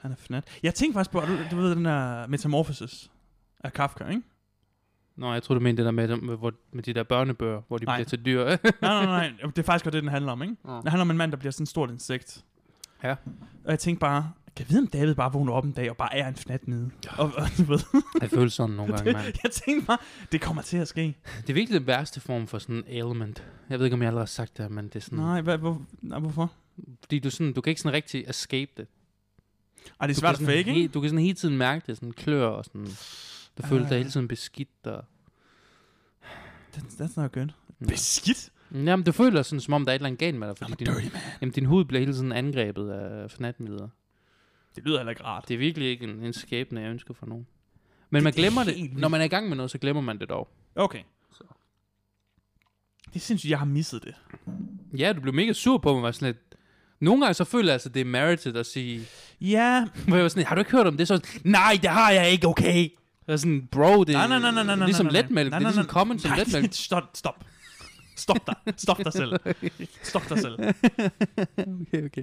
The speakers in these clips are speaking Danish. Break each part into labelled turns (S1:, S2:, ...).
S1: Han er fnat. Jeg tænkte faktisk på, du, du ved den der Metamorphosis af Kafka, ikke?
S2: Nå, jeg tror du mente det der med, med, hvor, med de der børnebøger, hvor de
S1: Nej.
S2: bliver til dyr.
S1: Nej, nej, nej. nej. Det er faktisk godt det, den handler om, ikke?
S2: Nå.
S1: Det handler om en mand, der bliver sådan et stort insekt.
S2: Ja.
S1: Og jeg tænkte bare, kan jeg vide, om David bare vågner op en dag og bare er en fnat nede? Og, og du ved,
S2: Jeg føler sådan nogle gange, mand.
S1: jeg tænkte bare, det kommer til at ske.
S2: Det er virkelig den værste form for sådan en ailment. Jeg ved ikke, om jeg allerede har sagt det, her, men det er sådan...
S1: Nej, hvad, hvor, nej, hvorfor?
S2: Fordi du, sådan, du kan ikke sådan rigtig escape det.
S1: Ej, det er
S2: Du
S1: svært
S2: kan
S1: at
S2: sådan
S1: fake,
S2: he-
S1: ikke?
S2: Du kan sådan hele tiden mærke det, sådan klør og sådan... Du
S1: Ah.
S2: føler dig hele tiden beskidt og...
S1: That's, that's not good.
S2: Ja.
S1: Beskidt?
S2: Jamen, du føler sådan, som om der er et eller andet galt med dig,
S1: I'm
S2: fordi
S1: a
S2: din,
S1: dirty man.
S2: jamen, din hud bliver hele tiden angrebet af fnatmidler.
S1: Det lyder heller ikke rart.
S2: Det er virkelig ikke en, en skæbne, jeg ønsker for nogen. Men man
S1: det er
S2: glemmer det.
S1: helt vildt.
S2: Når man er i gang med noget, så glemmer man det dog.
S1: Okay.
S2: Så.
S1: Det synes jeg, jeg har misset det.
S2: Ja, du blev mega sur på mig, var sådan lidt... Nogle gange så føler jeg altså, det er merited at sige...
S1: Ja,
S2: Hvor jeg var sådan, har du ikke hørt om det? Så nej, det har jeg ikke, okay. Jeg er sådan, bro, det
S1: Nej, nej, nej, nej, nej,
S2: er
S1: nej,
S2: ligesom
S1: nej, nej.
S2: letmælk. Det
S1: Nej,
S2: er
S1: nej,
S2: ligesom
S1: nej.
S2: common som
S1: Nej,
S2: letmælk.
S1: stop, stop. Stop dig. Stop dig selv. Stop dig selv.
S2: okay, okay.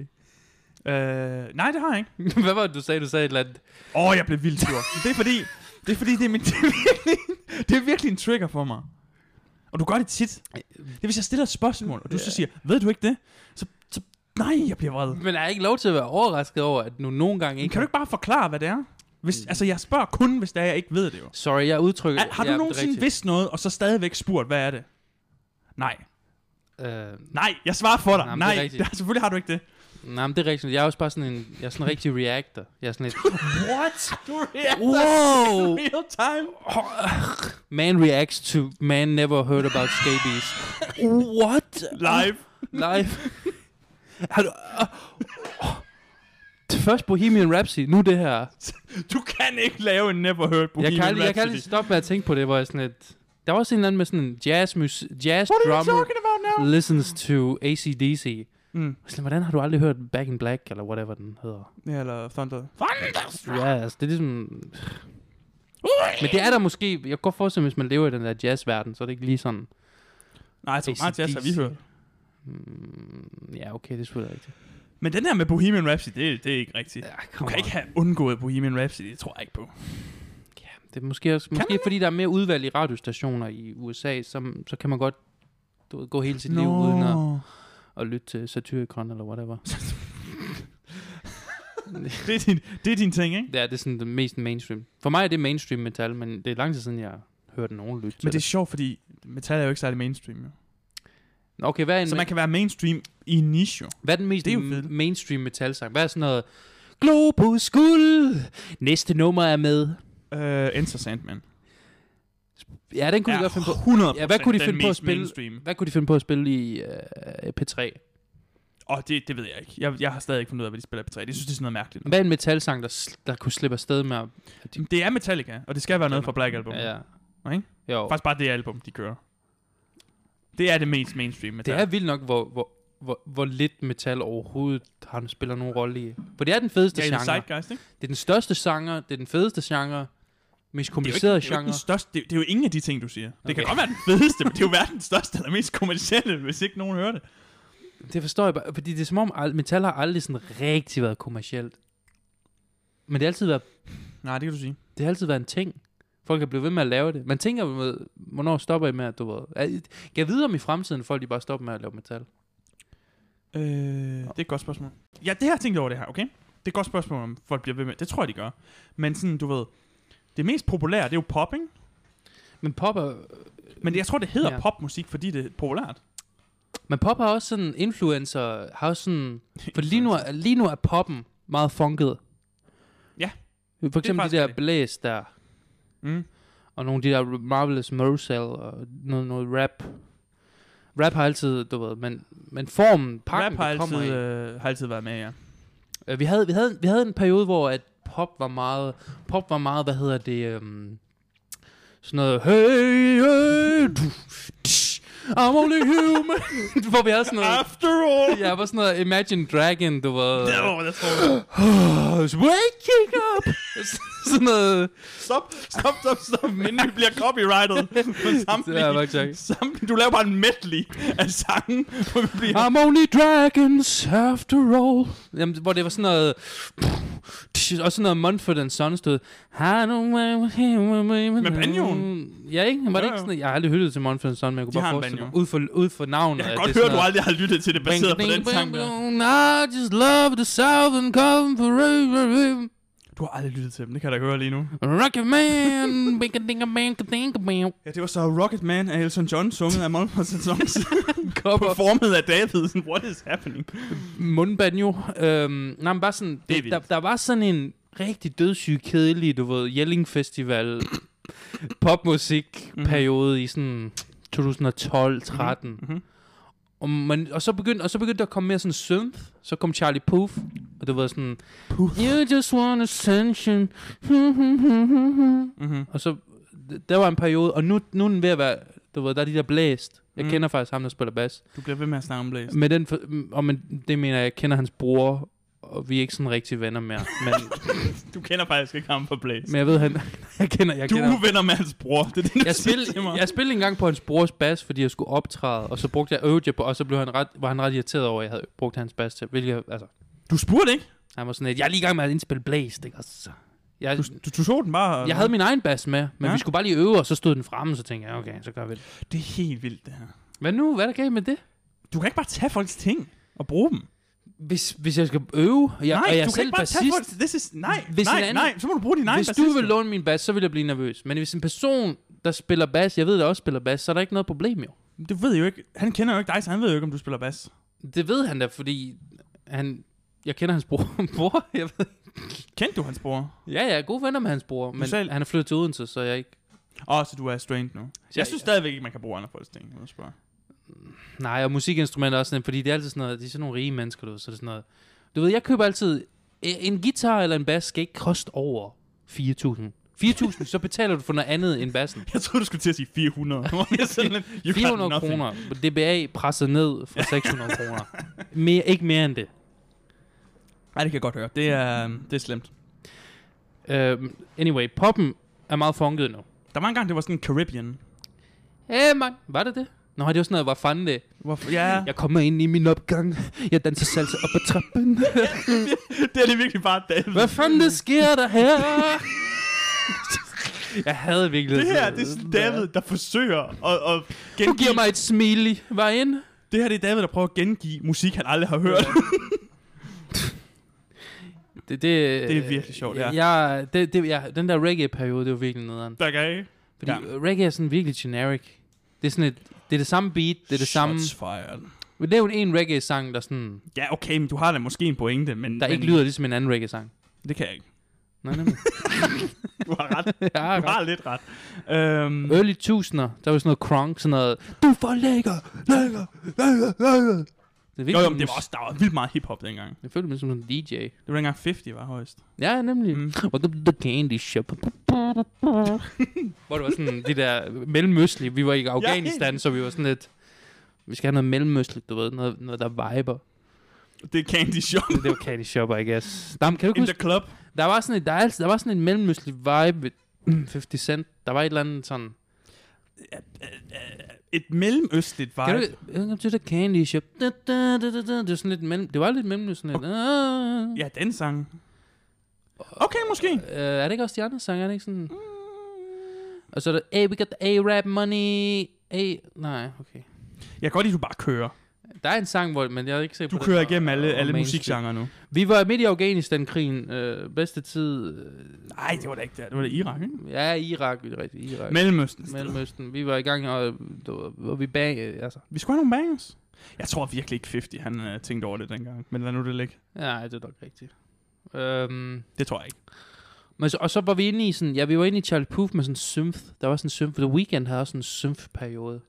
S1: Øh, nej, det har jeg ikke.
S2: Hvad var det, du sagde? Du sagde et eller andet.
S1: Åh, oh, jeg blev vildt sur. Det er fordi, det er, fordi det, er min, det, er virkelig, det er virkelig en trigger for mig. Og du gør det tit. Det er, hvis jeg stiller et spørgsmål, og du så siger, ved du ikke det? Så, så nej, jeg bliver vred.
S2: Men er jeg ikke lov til at være overrasket over, at nu nogle gange
S1: Men
S2: ikke...
S1: kan du ikke bare forklare, hvad det er? Hvis, altså, jeg spørger kun, hvis det er, jeg ikke ved det jo.
S2: Sorry, jeg udtrykker...
S1: Er, har
S2: Mm.
S1: du
S2: ja, det er
S1: nogensinde
S2: rigtigt.
S1: vidst noget, og så stadigvæk spurgt, hvad er det? Nej.
S2: Øh,
S1: Nej, jeg svarer for dig.
S2: Nej,
S1: Nej,
S2: men det er
S1: nej
S2: rigtigt.
S1: der, selvfølgelig har du ikke det.
S2: nej, men det er rigtigt. Jeg er også bare sådan en... Jeg er sådan en rigtig reactor. Jeg er sådan lidt...
S1: What? Du reagerer
S2: Wow!
S1: in real time.
S2: Man reacts to man never heard about scabies. What?
S1: Live.
S2: Live. Har du... Først Bohemian Rhapsody, nu det her.
S1: Du kan ikke lave en never heard
S2: jeg
S1: Bohemian
S2: kan, aldrig- jeg kan
S1: Rhapsody.
S2: lige stoppe med at tænke på det, hvor jeg sådan lidt... Der var også en eller anden med sådan en jazz, mus, jazz
S1: What are you
S2: drummer
S1: talking about now?
S2: listens to ACDC.
S1: Mm.
S2: Sådan, hvordan har du aldrig hørt Back in Black, eller whatever den hedder?
S1: Ja, eller Thunder. Thunder!
S2: Ja, altså, det er ligesom... Men det er der måske... Jeg kan godt forestille mig, hvis man lever i den der jazzverden, så er det ikke lige sådan...
S1: Nej, jeg tænker meget jazz, har vi
S2: AC/DC.
S1: hørt.
S2: Mm, ja, okay, det er selvfølgelig rigtigt.
S1: Men den der med Bohemian Rhapsody, det, det er ikke rigtigt.
S2: Ja,
S1: Du
S2: come
S1: kan
S2: on.
S1: ikke have undgået Bohemian Rapsody, det tror jeg ikke på.
S2: Ja, det er måske, også,
S1: man
S2: måske
S1: det?
S2: fordi der er mere udvalg i radiostationer i USA, så, så kan man godt du ved, gå hele sit liv uden at, at lytte til Satyricon eller whatever.
S1: det, er din, det er din ting, ikke?
S2: Ja, det er sådan det mest mainstream. For mig er det mainstream metal, men det er lang tid siden, jeg hørte nogen lytte til
S1: Men det er sjovt, fordi metal er jo ikke særlig mainstream. Jo.
S2: det. Okay, hvad er, en,
S1: Så man kan være mainstream i en niche, jo.
S2: hvad er den mest
S1: Det er jo
S2: m-
S1: fedt.
S2: mainstream metal sang? Hvad er sådan noget? Globus guld! Næste nummer er med.
S1: Uh, Enter Sandman.
S2: Ja, den kunne ja. de godt finde på.
S1: 100
S2: Ja, hvad kunne de finde på at spille?
S1: Mainstream.
S2: Hvad kunne de finde på at spille i øh, P3?
S1: Åh, det, det ved jeg ikke. Jeg, jeg har stadig ikke fundet ud af, hvad de spiller på 3. Det synes, det er sådan noget mærkeligt.
S2: Hvad er en metalsang, der, s- der kunne slippe afsted med? at-
S1: Jamen, Det er Metallica, og det skal være noget fra Black Album. Ja,
S2: Ja.
S1: Ikke?
S2: Jo.
S1: Faktisk bare det album, de kører. Det er det mest mainstream metal.
S2: Det er vildt nok, hvor, hvor, hvor, hvor lidt metal overhovedet har, spiller nogen rolle i. For det er den fedeste
S1: ja,
S2: genre.
S1: genre. Zeitgeist, ikke?
S2: Det er den største genre, det er den fedeste genre, mest
S1: Det er, jo ikke, det, er
S2: komplicerede
S1: jo ikke
S2: genre.
S1: den største, det, er- det er jo ingen af de ting, du siger. Okay. Det kan
S2: Okay.
S1: godt være den fedeste, men det er jo verdens største eller mest kommercielle, hvis ikke nogen hører det.
S2: Det forstår jeg bare, fordi det er som om, al- metal har aldrig sådan rigtig været kommercielt. Men det har altid været,
S1: Nej, det kan du sige.
S2: det har altid været en ting. Folk er blevet ved med at lave det. Man tænker, med, hvornår stopper I med, at du ved... Er- Kan jeg vide om i fremtiden, folk de bare stopper med at lave metal?
S1: Øh, det er et godt spørgsmål. Ja, det har jeg tænkt over det her, okay? Det er et godt spørgsmål, om folk bliver ved med. Det tror jeg, de gør. Men sådan, du ved, det mest populære, det er jo pop, ikke?
S2: Men pop er,
S1: Men jeg tror, det hedder
S2: Ja.
S1: ja. popmusik, fordi det er populært.
S2: men pop har også sådan... Influencer har også sådan... For lige nu, er, lige nu er poppen meget funket.
S1: Ja.
S2: For eksempel de
S1: faktisk
S2: der
S1: rigtigt.
S2: blæs der,
S1: Mm.
S2: og nogle af de der Marvelous Marcel og noget, noget rap. Rap har altid, du ved, men, men formen, pakken,
S1: Rap har
S2: det kommer
S1: altid,
S2: i.
S1: øh, har altid været med, ja.
S2: Øh, vi, havde, vi, havde, vi havde en periode, hvor at pop var meget, pop var meget, hvad hedder det, øhm, sådan noget, hey, hey, du, tsh, I'm only human, hvor vi havde sådan noget,
S1: After all!
S2: ja, var sådan noget Imagine Dragon, du var,
S1: No, that's all.
S2: oh, it's waking up, sådan noget,
S1: Stop, stop, stop, stop, inden vi bliver copyrightet. For
S2: Det har jeg faktisk
S1: samtlige,
S2: ikke.
S1: samtlige, du laver bare en medley af sangen, hvor vi bliver...
S2: I'm only dragons after all. Jamen, hvor det var sådan noget... Shit, og sådan noget Mumford and Sons stod. Med
S1: Med banjoen?
S2: Ja, ikke? Var det
S1: Jo,
S2: ikke
S1: jo.
S2: sådan, jeg har aldrig hørt til Mumford and Sons, men jeg
S1: De
S2: kunne bare
S1: har en
S2: forestille mig,
S1: banjo.
S2: ud for, ud for navnet.
S1: Jeg kan
S2: at
S1: godt
S2: det er
S1: høre,
S2: sådan
S1: du
S2: noget-
S1: aldrig har lyttet til det baseret på den sang der.
S2: I just love the southern comfort.
S1: Du har aldrig lyttet til dem, det kan jeg da høre lige nu.
S2: Rocket man, bing a ding a bang a ding a bang.
S1: Ja, det var så Rocket Man af Elton John, sunget af Mumford Sons,
S2: Cover.
S1: performet af Davidsen. What is happening?
S2: mundbanjo. Øhm, nej, men bare sådan,
S1: Det er
S2: det,
S1: vildt.
S2: der, der var sådan en rigtig dødssyg, kedelig, du ved, Jelling Festival popmusik periode i sådan 2012 13
S1: Mhm.
S2: og, man, og, så begyndte, og så begyndte der at komme mere sådan synth. Så kom Charlie Puth, og det var sådan...
S1: Puth.
S2: You just want attention.
S1: Mm-hmm.
S2: og så... d- Der var en periode, og nu, nu er den ved at være... Du ved, der er de der blæst. Jeg
S1: Mm.
S2: kender faktisk ham, der spiller bas.
S1: Du bliver ved med at snakke om Blaze.
S2: Men den, for- m- og men, det mener jeg, jeg kender hans bror, og vi er ikke sådan rigtig venner mere. Men,
S1: Du kender faktisk ikke ham fra Blaze.
S2: men jeg ved, han, jeg kender, jeg
S1: Du
S2: kender.
S1: er venner med hans bror. Det er det, du
S2: Jeg
S1: siger til
S2: spillede,
S1: mig.
S2: jeg spillede engang på hans brors bas, fordi jeg skulle optræde, og så brugte jeg øvede jeg på, og så blev han ret, var han ret irriteret over, at jeg havde brugt hans bas til, hvilket, jeg- altså,
S1: Du spurgte ikke?
S2: han var sådan lidt, jeg er lige i gang med at indspille Blaze, ikke? Og så, jeg,
S1: Du, du, du så den bare. øh,
S2: jeg havde min egen bas med, men
S1: Ja.
S2: ja. vi skulle bare lige øve, og så stod den fremme, så tænkte jeg, okay, så gør vi det.
S1: Det er helt vildt, det her.
S2: Hvad nu? Hvad er der galt med det?
S1: Du kan ikke bare tage folks ting og bruge dem.
S2: Hvis, hvis jeg skal øve, og jeg,
S1: nej,
S2: og jeg
S1: du
S2: er
S1: kan
S2: selv
S1: ikke bare tage
S2: bassist,
S1: folks... This is... Nej,
S2: Hvis
S1: nej,
S2: en anden-
S1: nej. Så må du bruge din egen
S2: hvis du vil låne min bas, så vil jeg blive nervøs. Men hvis en person, der spiller bas, jeg ved, der også spiller bas, så er der ikke noget problem jo.
S1: Du ved jeg jo ikke... Han kender jo ikke dig, så han ved jo ikke, om du spiller bas.
S2: Det ved han da, fordi han... Jeg kender hans bror. bror jeg ved.
S1: Kendte du hans bror?
S2: Ja, jeg er gode venner med hans bror, men
S1: selv-
S2: han er flyttet til Odense, så jeg ikke...
S1: Åh, så du er strained nu. Jeg, jeg synes stadigvæk ikke, man kan bruge andre folks ting. Jeg spørge.
S2: Nej, og musikinstrumenter er også sådan, fordi det er altid sådan noget, de er sådan nogle rige mennesker, du ved, så det er sådan noget... Du ved, jeg køber altid... øh, En guitar eller en bas skal ikke koste over 4.000. 4.000, så betaler du for noget andet end bassen.
S1: Jeg troede, du skulle til at sige 400. Nu var jeg sådan lidt, you got
S2: 400
S1: nothing.
S2: kroner. DBA presset ned fra 600 kroner. Mere, ikke mere end det.
S1: Nej, det kan jeg godt høre. Det er, øhm, det er slemt.
S2: Uh, anyway, poppen er meget funket nu.
S1: Der var engang, det var sådan en Caribbean.
S2: Hey, man. Var det det? Nå, det var sådan noget, hvor fanden det?
S1: Hvorfor? Ja,
S2: Jeg kommer ind i min opgang. Jeg danser salsa op ad trappen.
S1: det er det virkelig bare David.
S2: Hvad fanden det sker der her? jeg havde virkelig...
S1: Det her, det er sådan David, der forsøger at, at
S2: Du
S1: gengive...
S2: giver mig et smil var ind.
S1: Det her, det er David, der prøver at gengive musik, han aldrig har hørt.
S2: Det, det, det
S1: er virkelig sjovt, ja.
S2: Jeg, det, det, jeg, den der reggae-periode, det var virkelig nederen.
S1: der kan ikke.
S2: Fordi
S1: Ja.
S2: ja. reggae er sådan virkelig generic. Det er sådan et, det er det samme beat, det er det samme...
S1: Shots fired.
S2: Men det er jo en reggae-sang, der sådan...
S1: Ja, okay, men du har da måske en pointe, men...
S2: Der
S1: men,
S2: ikke lyder ligesom en anden reggae-sang.
S1: Det kan jeg ikke.
S2: Nej, nemlig.
S1: Du har ret.
S2: ja,
S1: Du har lidt ret. Øhm,
S2: Early 1000'er, der var sådan noget crunk, sådan noget, du er for lækker, lækker, lækker, lækker. Det er
S1: jo,
S2: virkelig,
S1: jo, men det var også, der var vildt meget hiphop dengang.
S2: Jeg følte mig som en DJ.
S1: Det var dengang 50 var højst.
S2: Ja, nemlig.
S1: Mm.
S2: Mm. Og the, the candy shop. Hvor det var sådan, det der mellemøstlige. Vi var i Afghanistan,
S1: helt.
S2: så vi var sådan lidt, vi skal have noget mellemøstligt, du ved, noget, noget der viber.
S1: Det er Candy Shop
S2: Det var candy shop, I guess. Jamen, kan du ikke
S1: in
S2: huske,
S1: the club.
S2: der var sådan et, der, er altid, der var sådan en mellemøstlig vibe ved 50 Cent. Der var et eller andet sådan,
S1: Et mellemøstligt vibe.
S2: Kan du ikke- Welcome to the candy shop. Da, da, da, da, da. Det var sådan lidt mellem... Det var lidt mellem sådan lidt... Ah. Okay.
S1: Ja, den sang. Okay, måske.
S2: Øh,
S1: Mm.
S2: er det ikke også de andre sange? Er det ikke sådan... Og så er der... Hey, we got the A-rap money. A... Nej, okay.
S1: Jeg kan godt lide, at du bare kører.
S2: Der er en sang, hvor... Men jeg er ikke sikker
S1: Du
S2: på
S1: kører
S2: den,
S1: igennem alle,
S2: og
S1: alle
S2: mainstream.
S1: musikgenrer nu.
S2: Vi var midt i Afghanistan-krigen. Øh, bedste tid... Øh,
S1: Nej, det var da ikke der. Det var da Irak, ikke?
S2: ja, Irak. Det er rigtigt. Irak.
S1: Mellemøsten.
S2: Mellemøsten. Vi var i gang, og, og, og vi bag... øh, Altså...
S1: Vi skulle have nogle bangers. Jeg tror virkelig ikke 50, han uh, tænkte over det dengang. Men lad nu det ligge.
S2: Nej, det er nok rigtigt. Øhm,
S1: Det tror jeg ikke.
S2: Men så, og så var vi inde i sådan, ja, vi var inde i Charlie Puth med sådan en synth. Der var sådan en synth, for The Weeknd havde også en synth-periode.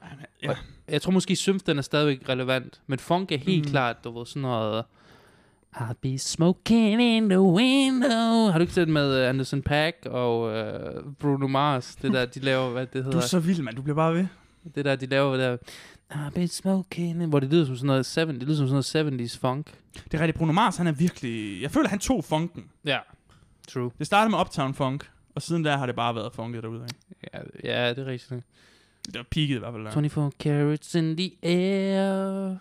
S1: Han er- Ja.
S2: Jeg tror måske synth, den er stadigvæk relevant, men funk er helt
S1: Mm.
S2: mm. klart, du ved, sådan noget... I'll be smoking in the window. Har du ikke set med øh, Anderson Paak og øh, Bruno Mars? Det der, de laver, hvad det
S1: Du
S2: hedder.
S1: er så vild, mand. Du bliver bare ved.
S2: Det der, de laver, der... I'll be smoking in... Hvor det lyder som sådan noget, 7, det lyder som sådan noget 70's funk.
S1: Det er rigtigt. Bruno Mars, han er virkelig... Jeg føler, han tog funken.
S2: Ja, true.
S1: Det startede med Uptown Funk. Og siden der har det bare været funket derude. Ikke?
S2: Ja, ja det er rigtigt.
S1: Det var peaket i hvert fald. Der.
S2: 24 carats in the air.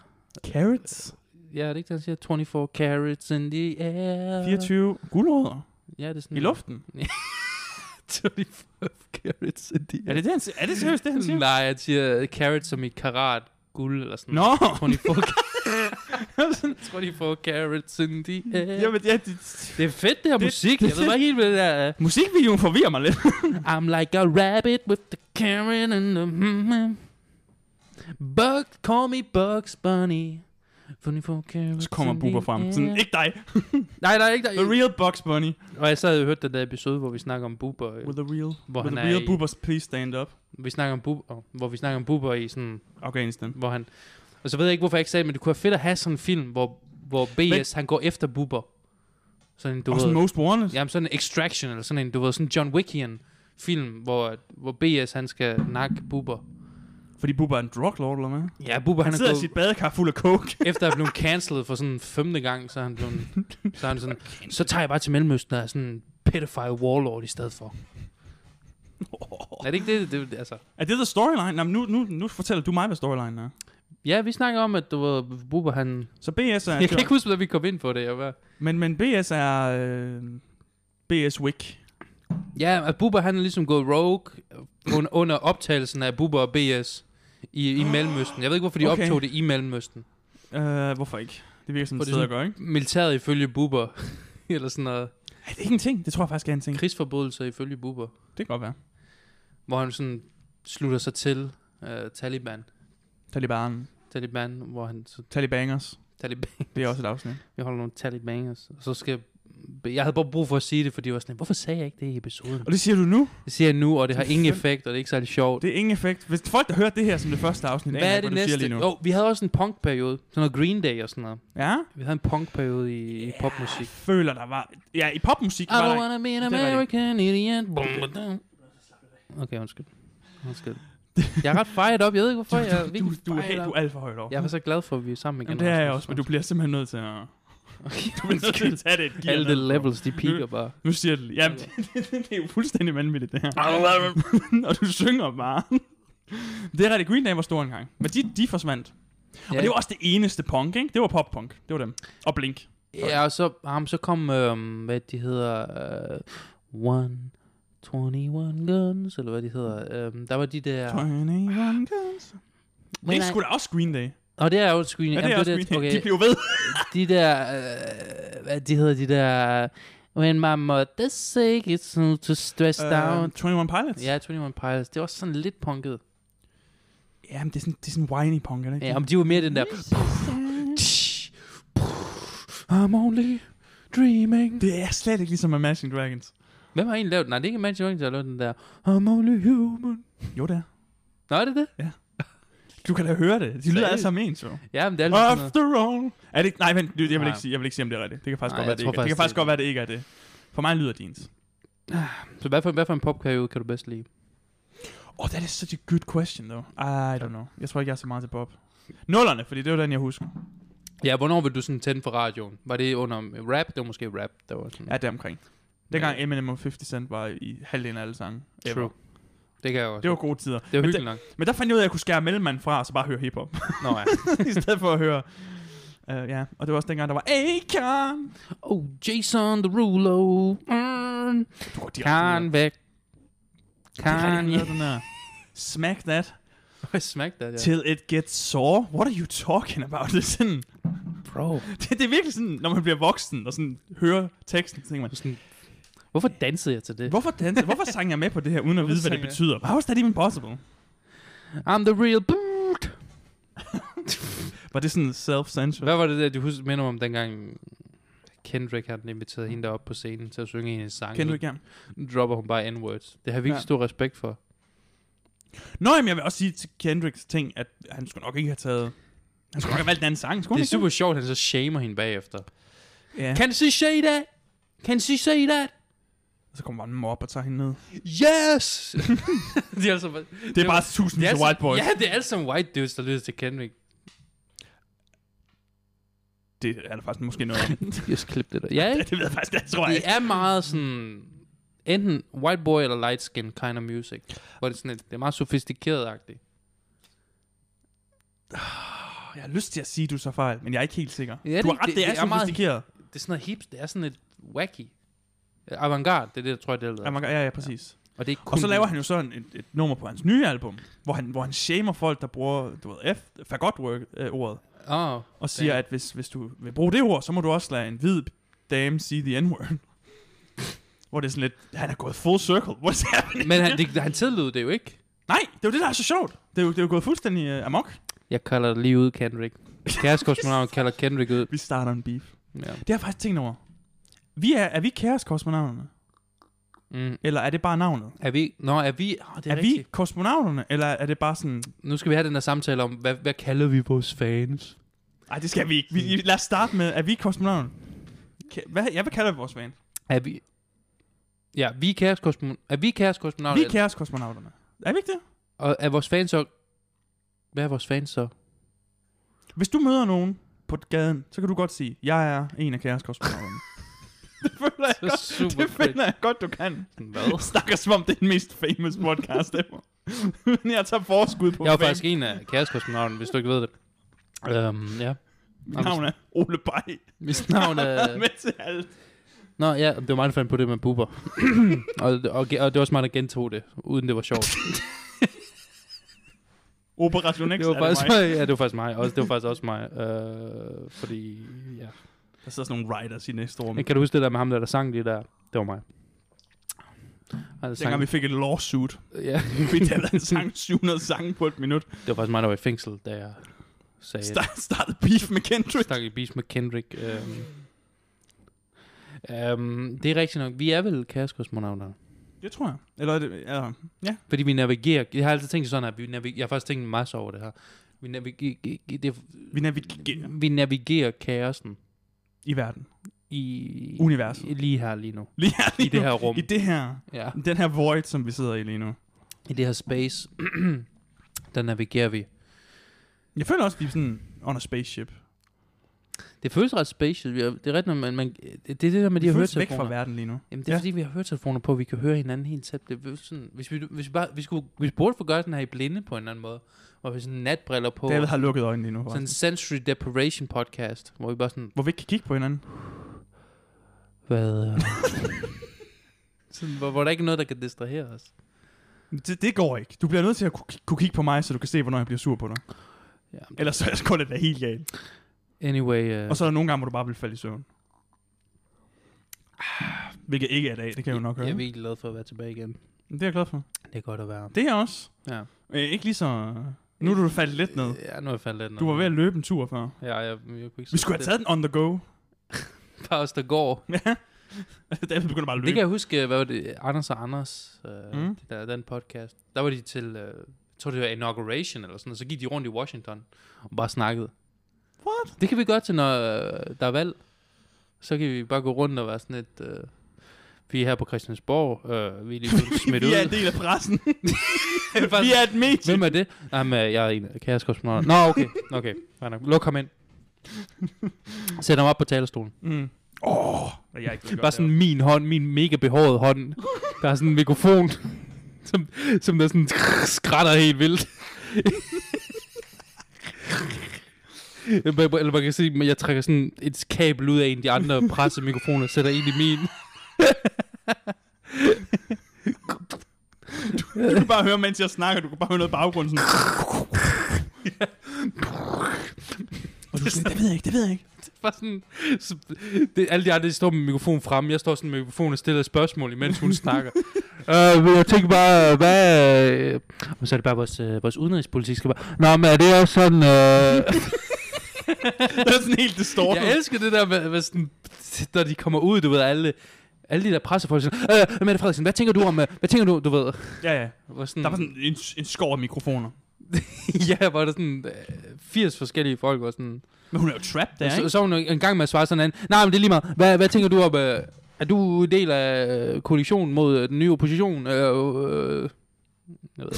S1: Carrots?
S2: ja, er det ikke, det, han siger? 24 carats in the air.
S1: 24 guldrødder
S2: Ja, det er sådan.
S1: i luften.
S2: 24 carats in the
S1: Er det det, han siger? Er det seriøst, det han siger?
S2: Nej, jeg siger øh, carats som i karat guld, eller sådan
S1: Nå!
S2: 24, ca- 24 carats in the air.
S1: Jamen, ja, det,
S2: Det er fedt, det her
S1: Det-
S2: musik.
S1: det-
S2: Jeg ved bare ikke helt, hvad det der er.
S1: musikvideoen forvirrer mig lidt.
S2: I'm like a rabbit with the carrot and the... Mm-hmm. Bug, call me Bugs Bunny. 24 carats
S1: Så kommer
S2: in
S1: Bubber
S2: the
S1: frem.
S2: air.
S1: Sådan, ikke dig.
S2: Nej, nej, ikke
S1: The
S2: der.
S1: real Bugs Bunny.
S2: Og jeg så havde jo hørt den der episode, hvor vi snakker om Bubber. øh,
S1: With the real,
S2: Hvor
S1: with
S2: han
S1: the
S2: er
S1: real
S2: i-
S1: Bubbers, please stand up.
S2: Vi snakker om Bubber, åh, hvor vi snakker om Bubber i sådan,
S1: Afghanistan.
S2: hvor han... Og så ved jeg ikke, hvorfor jeg ikke sagde det, men det kunne være fedt at have sådan en film, hvor, hvor BS, han går efter Bubber. Sådan en, du
S1: Og sådan
S2: ved...
S1: Most Wanted.
S2: Jamen sådan en Extraction, eller sådan en, du ved, sådan en John Wickian film, hvor, hvor BS, han skal nakke Bubber.
S1: Fordi Bubber er en drug lord, eller hvad?
S2: Ja, Bubber,
S1: Han
S2: han, han
S1: sidder
S2: er
S1: i
S2: gået,
S1: sit badekar fuld af coke.
S2: efter at have blevet cancelled for sådan femte gang, så er han blevet, så er han sådan, så tager jeg bare til Mellemøsten og er sådan en pedophile warlord i stedet for. Er det ikke det, det, altså?
S1: Er det der storyline? Nå, men nu, nu, nu fortæller du mig, hvad storylinen er.
S2: Ja, vi snakker om, at du var Bubber, han...
S1: Så BS er...
S2: Jeg kan ikke huske, hvordan vi kom ind på det. Jeg var...
S1: Men, men BS er... Øh, BS Wick.
S2: Ja, at Bubber, han er ligesom gået rogue un- under optagelsen af Bubber og BS i, i Mellemøsten. Jeg ved ikke, hvorfor de
S1: Okay.
S2: okay. optog det i Mellemøsten.
S1: Øh, hvorfor ikke? Det virker som
S2: Fordi
S1: et sted at
S2: sådan-
S1: gøre, ikke?
S2: Militæret ifølge Bubber, eller sådan noget.
S1: Er det ikke en ting? Det tror jeg faktisk er en ting.
S2: Krigsforbrydelser ifølge Bubber,
S1: Det kan godt være.
S2: hvor han sådan slutter sig til øh, Taliban.
S1: Taliban.
S2: Taliban, hvor han så
S1: Talibangers.
S2: Taliban,
S1: Det er også et afsnit.
S2: vi holder nogle Talibangers. Og så skal jeg havde bare brug for at sige det, fordi jeg var sådan, hvorfor sagde jeg ikke det i episoden?
S1: Og det siger du nu.
S2: Det siger jeg nu, og det har
S1: Som
S2: ingen
S1: fem-
S2: effekt, og det er ikke særlig sjovt.
S1: Det er ingen effekt. Hvis folk, der hører det her som det første afsnit, aner
S2: Hvad er
S1: ikke,
S2: det
S1: du siger
S2: næste?
S1: Lige nu.
S2: Jo, vi havde også en punkperiode. Sådan noget Green Day og sådan noget.
S1: Ja?
S2: Vi havde en punkperiode i, i popmusik.
S1: Jeg føler, der var... Ja, i popmusik
S2: I
S1: var
S2: don't
S1: der...
S2: wanna be
S1: det
S2: an
S1: var det
S2: American idiot. Bum, bum, bum. Okay, undskyld. Undskyld. Jeg er ret fired op. Jeg ved ikke, hvorfor jeg er
S1: Du,
S2: virkelig
S1: du, er,
S2: fired
S1: helt- du
S2: op.
S1: er alt for højt op.
S2: Jeg var så glad for, at vi er sammen igen.
S1: Jamen, det er jeg
S2: Rasmus.
S1: også, men du bliver simpelthen nødt til at... Du bliver nødt til
S2: Undskyld.
S1: at tage det et gear
S2: Alle
S1: ned.
S2: de levels, de piker bare.
S1: Nu siger du... Jamen, det, det, det, det er jo fuldstændig vanvittigt, det her. og du synger bare. det er rigtigt. Green Day var stor engang. Men de, de forsvandt. Og
S2: Ja.
S1: det var også det eneste punk, ikke? Det var pop-punk. Det var dem. Og Blink.
S2: Ja, og så, ham, så kom, øhm, hvad de hedder, øh, One, 21 Guns, eller hvad de hedder. Øhm, der var de der...
S1: 21 Guns. Det er sgu da også Green Day.
S2: Og det er jo screening.
S1: Ja, det er
S2: Jamen,
S1: også
S2: det,
S1: Green Day.
S2: okay.
S1: De blev ved.
S2: de der, øh, hvad de hedder, de der, When my mother sick, it's no to stress uh, down.
S1: Uh, 21 Pilots.
S2: Ja, 21 Pilots, det var også sådan lidt punket.
S1: Jamen, det er sådan, det er sådan whiny punk, er det ikke?
S2: Ja, men de var mere den der, I'm only dreaming.
S1: Det er slet ikke ligesom Imagine Dragons.
S2: Hvem har egentlig lavet den? Nej, det er ikke Imagine Dragons, der har lavet den der, I'm only human.
S1: Jo, det er.
S2: Nå, er det det?
S1: Du kan da høre det. De lyder
S2: Seriøst?
S1: alle sammen ens, jo.
S2: Ja, men det er lidt sådan noget.
S1: After all. Er det ikke? Nej, vent. Jeg vil,
S2: Nej.
S1: ikke sige, jeg vil ikke sige, om det er rigtigt. Det kan faktisk
S2: Nej,
S1: godt være,
S2: jeg
S1: det
S2: tror
S1: ikke er. Det kan
S2: faktisk,
S1: faktisk
S2: det er
S1: godt være, det ikke er det. For mig lyder det ens.
S2: Så hvad for, hvad for en popkariode kan du bedst lide?
S1: Oh, that is such a good question, though. I don't know. Jeg tror ikke, jeg er så meget til Bob. Nullerne, fordi det var den, jeg husker.
S2: Ja, hvornår vil du sådan tænde for radioen? Var det under øh, rap? Det var måske rap, der var sådan.
S1: Ja, det er omkring. Dengang Eminem og 50 Cent var i halvdelen af alle sange. ever.
S2: True. Det kan jeg også.
S1: Det var gode tider.
S2: det var
S1: men,
S2: hyggeligt nok.
S1: men der fandt jeg ud af, at jeg kunne skære mellemmanden fra, og så bare høre hiphop.
S2: Nå ja.
S1: I stedet for at høre... Uh, ja, og det var også dengang, der var Akon.
S2: Oh, Jason Derulo. Mm.
S1: Du går direkte ned.
S2: Convict.
S1: Det er rigtig
S2: Kanye.
S1: ned, den der. Smack that
S2: Hvad smagte det der?
S1: till it gets sore. What are you talking about? Det er sådan...
S2: Bro.
S1: Det, det er virkelig sådan, når man bliver voksen og sådan hører teksten, så tænker man,
S2: Sådan, hvorfor dansede jeg til det?
S1: hvorfor, danse, hvorfor sang jeg med på det her, uden at
S2: Hvorfor
S1: vide, hvad det
S2: sang jeg?
S1: betyder? How is that even possible?
S2: I'm the real boot.
S1: Var det sådan self-censor?
S2: Hvad var det der, du husker, minder mig om dengang Kendrick han inviterede hende op på scenen til at synge hendes sang.
S1: Kender du ikke ham?
S2: Nu dropper hun bare N-words. Det har jeg virkelig
S1: Ja.
S2: stor respekt for.
S1: Nå, jamen, jeg vil også sige til Kendricks ting, at han skulle nok ikke have taget... Han skulle nok have valgt en anden sang, skulle
S2: Det
S1: han
S2: er
S1: ikke?
S2: super sjovt, at han så shamer hende bagefter.
S1: Ja.
S2: Can she say that? Can she say that?
S1: Så kommer bare en mob og tager hende ned.
S2: Yes! det er altså,
S1: Det er bare tusindvis af
S2: altså-
S1: white boys.
S2: Ja, det er alle sammen white dudes, der lytter til Kendrick.
S1: Det er der faktisk måske noget om.
S2: Jeg skal klippe det der. Ja,
S1: Ja,
S2: ikke?
S1: det ved jeg faktisk, det tror jeg
S2: Det
S1: ikke.
S2: er meget sådan... Enten white boy eller light skin kind of music. Hvor det er sådan et, det er meget sofistikeret-agtigt.
S1: jeg har lyst til at sige, at du så fejl, men jeg er ikke helt sikker.
S2: Ja, det-
S1: du har ret, det,
S2: det-
S1: er,
S2: det er meget-
S1: sofistikeret.
S2: Det er sådan noget hips, det er sådan et wacky. øh, Avantgarde, det er det, jeg tror, det er
S1: Ja,
S2: lavet.
S1: man, ja, ja, præcis.
S2: Og, det er ikke kun
S1: Og så laver han jo sådan et, et nummer på hans nye album, hvor han, hvor han shamer folk, der bruger, du ved, F, fagotwork-ordet,
S2: Åh, oh,
S1: og siger,
S2: Damn.
S1: at hvis, hvis du vil bruge det ord, så må du også lade en hvid dame sige the n-word. hvor det er sådan lidt, han er gået full circle, what's happening?
S2: men han, det, han tillod det jo ikke.
S1: Nej, det er jo det, der er så sjovt. Det er jo, det er jo gået fuldstændig uh, amok.
S2: Jeg kalder det lige ud, Kendrick. Kæreskosmonauten kalder Kendrick ud.
S1: Vi starter en beef.
S2: Ja.
S1: Det har jeg faktisk tænkt over. Vi er, er vi kæreskosmonauterne?
S2: Mm.
S1: Eller er det bare navnet?
S2: Er vi... Nå, er vi... Oh, det er,
S1: er
S2: rigtigt.
S1: vi kosmonauterne, eller er det bare sådan...
S2: Nu skal vi have den der samtale om, hvad, hvad kalder vi vores fans?
S1: Nej, det skal vi ikke. Vi, lad os starte med, er vi kosmonauterne? Ka- Hvad, ja, hvad kalder vi vores fan?
S2: Er vi... Ja, vi er kæreskosmonauten. Er vi
S1: Vi
S2: kæreskosmonauten?
S1: er kæreskosmonauterne. Er vi ikke det?
S2: Og er vores fans så... Hvad er vores fans så?
S1: Hvis du møder nogen på gaden, så kan du godt sige, jeg er en af kæreskosmonauterne. det føler jeg
S2: Det er
S1: godt.
S2: super
S1: Det finder jeg godt, du kan.
S2: Hvad?
S1: Snakker som om, det er den mest famous podcast ever. Men jeg tager forskud på
S2: Jeg er
S1: fame.
S2: faktisk en af kæreskosmonauten, hvis du ikke ved det. Øhm, ja.
S1: Mit navn er Ole Bay.
S2: Mit navn er...
S1: med til alt.
S2: Nå ja, det var mig, der fandt på det med buber. og, og, og, det var også mig, der gentog det, uden det var sjovt.
S1: Operation X
S2: det var
S1: er
S2: faktisk
S1: det mig.
S2: mig. Ja, det var faktisk mig. Også, det var faktisk også mig. Øh, fordi, ja.
S1: Der sidder sådan nogle writers i næste rum.
S2: Men kan du huske det der med ham, der, der sang lige der? Det var mig. Han
S1: Dengang vi fik et lawsuit,
S2: ja.
S1: fordi der havde sang 700 sange på et minut.
S2: det var faktisk mig, der var i fængsel, da jeg sagde...
S1: Start, startede beef med Kendrick.
S2: Stak i beef med Kendrick. Øhm. Øhm, det er rigtigt nok. Vi er vel kæreskosmonauter.
S1: Det tror jeg. Eller er det, eller, ja.
S2: Fordi vi navigerer... Jeg har altid tænkt sådan, at vi navigerer... Jeg har faktisk tænkt en masse over det her. Vi navigerer... Det,
S1: Vi navigerer
S2: vi navigerer kaosen
S1: i verden.
S2: i...
S1: Universet.
S2: i- Lige her, lige nu.
S1: Lige her, lige
S2: I det
S1: nu.
S2: her rum.
S1: I det her,
S2: Ja.
S1: den her void, som vi sidder i lige nu.
S2: I det her space, der navigerer vi.
S1: Jeg føler også, at vi er sådan on a spaceship.
S2: Det føles ret spatial. Vi er- Det er rigtigt, men man, det er det der med de
S1: Vi
S2: her
S1: føles væk
S2: høretelefoner.
S1: fra verden lige nu.
S2: Jamen, det er
S1: Ja.
S2: ja. fordi, vi har høretelefoner på, vi kan høre hinanden helt tæt. Det er sådan, hvis, vi, hvis, vi bare, vi, skulle, vi burde få gøre den her i blinde på en eller anden måde. Hvor vi sådan natbriller på.
S1: David har lukket øjnene lige nu.
S2: sådan en
S1: forresten.
S2: sensory deprivation podcast, hvor vi bare sådan,
S1: Hvor vi ikke kan kigge på hinanden.
S2: hvad... øh?" sådan, hvor, hvor, der ikke er noget, der kan distrahere os.
S1: Det, det går ikke. Du bliver nødt til at kunne, kunne kigge på mig, så du kan se, hvornår jeg bliver sur på dig.
S2: Ja.
S1: Ellers så går det da helt galt.
S2: Anyway, uh,
S1: Og så er der nogle gange, hvor du bare vil falde i søvn. Ah, Hvilket ikke er i dag, det kan jeg jo nok høre.
S2: jeg er virkelig glad for at være tilbage igen.
S1: Men Det er jeg glad for.
S2: Det er godt at være.
S1: Det er jeg også.
S2: Ja.
S1: Øh, ikke lige så... Nu er du faldet lidt ned.
S2: Ja, nu er jeg faldet lidt ned.
S1: Du var ved at løbe en tur før.
S2: Ja, jeg, jeg, kunne ikke
S1: Vi skulle have taget den on the go.
S2: taget... Bare os, der går.
S1: Ja. David begynder bare at
S2: Det
S1: løbe.
S2: kan jeg huske, hvad var det, Anders og Anders, øh,
S1: Mm.
S2: mm. det der, den podcast, der var de til, øh, jeg tror det var inauguration eller sådan noget, så gik de rundt i Washington og bare snakkede.
S1: What?
S2: Det kan vi gøre til, når øh, der er valg. Så kan vi bare gå rundt og være sådan et, øh, vi er her på Christiansborg, øh, vi er lige blevet smidt
S1: Vi er en
S2: ud.
S1: del af pressen.
S2: Det er faktisk-
S1: Vi er et medie.
S2: Hvem er det? Jamen, øh, jeg er en af kæreskosmonauterne. Nå, okay, okay, fair nok. Luk ham ind. Sæt ham op på talerstolen.
S1: Mm. Åh, oh, jeg er ikke blevet
S2: Bare
S1: godt
S2: sådan min hånd, min mega behåret hånd. Der er sådan en mikrofon, som, som der sådan skrætter helt vildt. Eller- Eller man kan se, at jeg trækker sådan et kabel ud af en af de andre pressemikrofoner og sætter ind i min.
S1: derude. Du kan bare høre, mens jeg snakker. Du kan bare høre noget i baggrunden. Sådan. Og du er sådan, det ved jeg ikke, det ved jeg ikke.
S2: Bare sådan, så, det, alle de andre de står med mikrofonen frem. Jeg står sådan med mikrofonen og stiller et spørgsmål, imens hun snakker. Øh, men jeg tænker bare, hvad... Øh, og så er det bare vores, øh, vores udenrigspolitik skal bare... Nå, men er det også sådan... Øh,
S1: Det er sådan helt distortet.
S2: Jeg elsker det der med, med sådan, når de kommer ud, du ved, alle, alle de der pressefolk, sådan, øh, Mette Frederiksen, hvad tænker du om, øh, hvad tænker du, du ved,
S1: Ja, ja.
S2: hvor sådan,
S1: Der var sådan en, en skov af mikrofoner.
S2: ja, hvor der sådan øh, 80 forskellige folk, var sådan,
S1: Men hun er jo trapped der,
S2: så,
S1: ikke?
S2: så var hun en gang med at svare sådan en, nej, men det er lige meget, hvad, hvad tænker du om, øh, er du en del af øh, koalitionen mod øh, den nye opposition, øh, øh, jeg ved.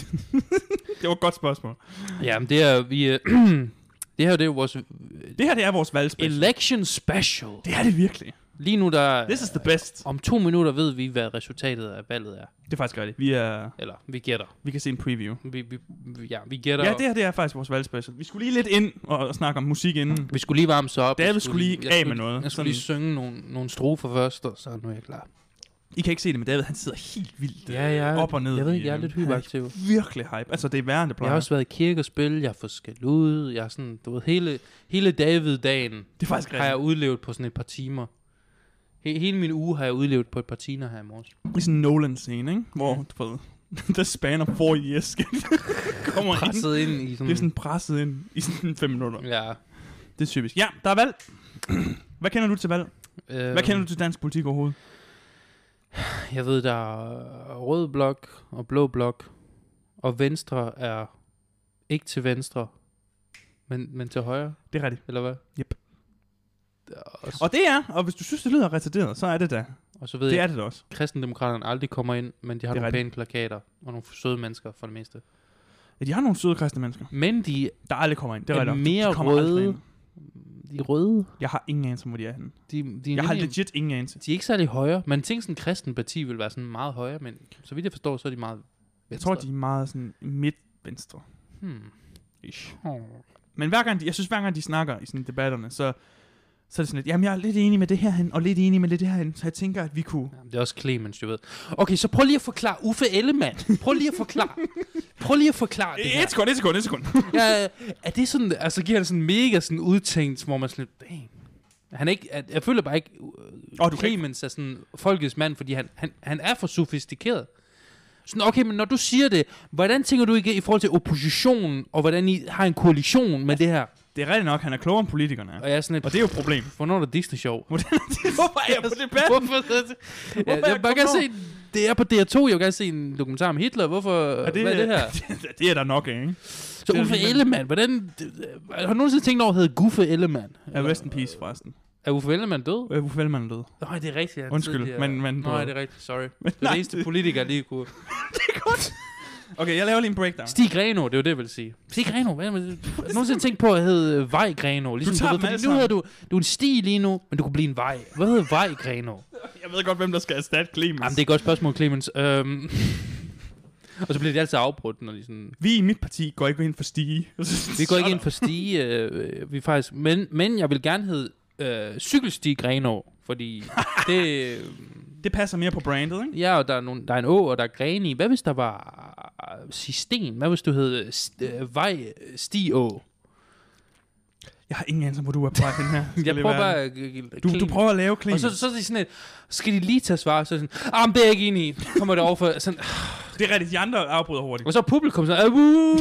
S1: Det var et godt spørgsmål.
S2: Øh, ja, men det er, vi, øh, det her, det er jo vores
S1: Det her, det er vores valgspil.
S2: election special,
S1: Det er det virkelig.
S2: Lige nu, der...
S1: This is the best.
S2: Om to minutter ved vi, hvad resultatet af valget er.
S1: Det er faktisk rigtigt. Vi, er,
S2: Eller, vi gætter.
S1: vi kan se en preview.
S2: Vi, vi, vi- ja, vi gætter.
S1: Ja, det her det er faktisk vores valgspecial. Vi skulle lige lidt ind og, og snakke om musik inden.
S2: Vi skulle lige varme sig op.
S1: David
S2: Mm. Jeg
S1: skulle lige
S2: jeg
S1: af
S2: skulle-
S1: med noget.
S2: Jeg skulle lige synge nogle, nogle strofer først, og så nu er jeg klar.
S1: I kan ikke se det, men David han sidder helt vildt øh,
S2: Ja, jeg er-
S1: op og ned.
S2: Jeg ved
S1: i,
S2: ikke, jeg er
S1: øh,
S2: lidt
S1: han
S2: hyperaktiv.
S1: Virkelig hype. Altså, det er værre, end det
S2: Jeg
S1: plejer.
S2: har også været i kirke og spille, jeg har fået skæld ud, jeg er sådan, du ved, hele, hele David-dagen
S1: Det er faktisk
S2: har jeg
S1: rigtigt.
S2: udlevet på sådan et par timer. He, hele min uge har jeg udlevet på et par timer her i morges.
S1: Det er sådan en Nolan-scene, ikke? Hvor, du ved, der spanner four years skal kommer ind.
S2: Presset ind i sådan...
S1: Det er sådan presset ind i sådan fem minutter.
S2: Ja.
S1: Det er typisk. Ja, der er valg. Hvad kender du til valg?
S2: Øh,
S1: Hvad kender du til dansk politik overhovedet?
S2: Jeg ved, der er rød blok og blå blok, og venstre er ikke til venstre, men, men til højre,
S1: Det er rigtigt.
S2: eller hvad?
S1: Yep.
S2: Og, så,
S1: Og det er, og hvis du synes, det lyder retarderet, så er det da.
S2: og så ved
S1: Det
S2: jeg,
S1: er
S2: at
S1: det da også.
S2: kristendemokraterne aldrig kommer ind, men de har
S1: Det er
S2: nogle pæne plakater og nogle søde mennesker for det meste.
S1: Ja, de har nogle søde kristne mennesker,
S2: Men de
S1: der aldrig kommer ind. Det er
S2: er
S1: rigtigt. nok.
S2: mere
S1: de kommer aldrig
S2: røde.
S1: ind.
S2: De er røde.
S1: Jeg har ingen anelse om, hvor de er henne.
S2: De, de, er
S1: Jeg har
S2: nemlig-
S1: legit ingen anelse.
S2: de er ikke særlig højre. Man tænker sådan, at kristen parti vil være sådan meget højre, men så vidt jeg forstår, så er de meget venstre.
S1: Jeg tror, de er meget sådan midt-venstre.
S2: Hmm.
S1: Ish.
S2: Oh.
S1: Men hver gang de, jeg synes, hver gang de snakker i sådan debatterne, så, så er det sådan lidt, jamen jeg er lidt enig med det herhen, og lidt enig med det herhen, så jeg tænker, at vi kunne...
S2: Jamen, det er også Clemens, du ved. Okay, så prøv lige at forklare Uffe Ellemann. Prøv lige at forklare. Prøv lige at forklare det her.
S1: Et sekund, et sekund, et sekund.
S2: Ja, er det sådan, altså giver det sådan mega sådan udtænkt, hvor man sådan, lidt, dang. Han er ikke, jeg, jeg føler bare ikke,
S1: Åh,
S2: oh,
S1: du
S2: du
S1: kan ikke-
S2: Clemens er sådan folkets mand, fordi han, han, han er for sofistikeret. Sådan, okay, men når du siger det, hvordan tænker du ikke i forhold til oppositionen, og hvordan I har en koalition med det her?
S1: Det er rigtigt nok, han er klogere end politikerne er.
S2: Og jeg er sådan lidt,
S1: Og det er jo et problem.
S2: hvornår er der Disney-show?
S1: Hvorfor er jeg på debatten?
S2: Hvorfor?
S1: er
S2: Ja, jeg
S1: jeg
S2: vil bare gerne
S1: kommet
S2: se, det er på DR2, jeg vil gerne se en dokumentar om Hitler, hvorfor,
S1: Er
S2: det, hvad er det her?
S1: det er der nok af, ikke?
S2: Så
S1: det er
S2: Uffe
S1: alligevel-
S2: Ellemann, hvordan, har du nogensinde tænkt over, at hedde Guffe Ellemann?
S1: Ja, rest in peace, forresten.
S2: Er Uffe Ellemann død?
S1: Øh, Uffe Ellemann er død.
S2: Nej, det er rigtigt. han
S1: Undskyld,
S2: tidligere-
S1: men- men-
S2: Nej, det er rigtigt, sorry. Det er
S1: nej,
S2: det eneste
S1: det-
S2: politiker, lige kunne...
S1: Okay, jeg laver lige en breakdown.
S2: Stig Greno, det er jo det, jeg vil sige. Stig Greno, hvad er det? Har du nogensinde tænkt på at hedde øh, Vej Greno? Ligesom,
S1: tager dem
S2: ved,
S1: alle
S2: fordi nu hedder du, du er en Stig lige nu, men du kunne blive en Vej. Hvad hedder Vej Greno?
S1: Jeg ved godt, hvem der skal erstatte Clemens.
S2: Jamen, det er et godt spørgsmål, Clemens. Øhm. og så bliver det altid afbrudt, når de sådan...
S1: Vi i mit parti går ikke ind for Stige.
S2: Vi går ikke ind for Stig, øh, øh, vi er faktisk... Men, men jeg vil gerne hedde øh, Cykelstig Greno, fordi det... øh,
S1: Det passer mere på brandet, ikke?
S2: Ja, og der er, nogle, der er en å, og der er grene i. Hvad hvis der var øh, Sisten? Hvad hvis du hed øh, St- øh, Vej øh, Stiå?
S1: Jeg har ingen anelse om, hvor du er på vej hen her. Skal
S2: Jeg
S1: lige
S2: prøver
S1: være
S2: bare...
S1: ærlig.
S2: at, øh, øh,
S1: Du, du
S2: Clemens.
S1: prøver at lave Clemens.
S2: Og så, så er det sådan et, skal de lige tage svar? Så er det sådan, ah, men det er jeg ikke enig i. Kommer det over for, sådan,
S1: Det er rigtigt, de andre afbryder hurtigt.
S2: og så er publikum sådan, "Ah, wuh."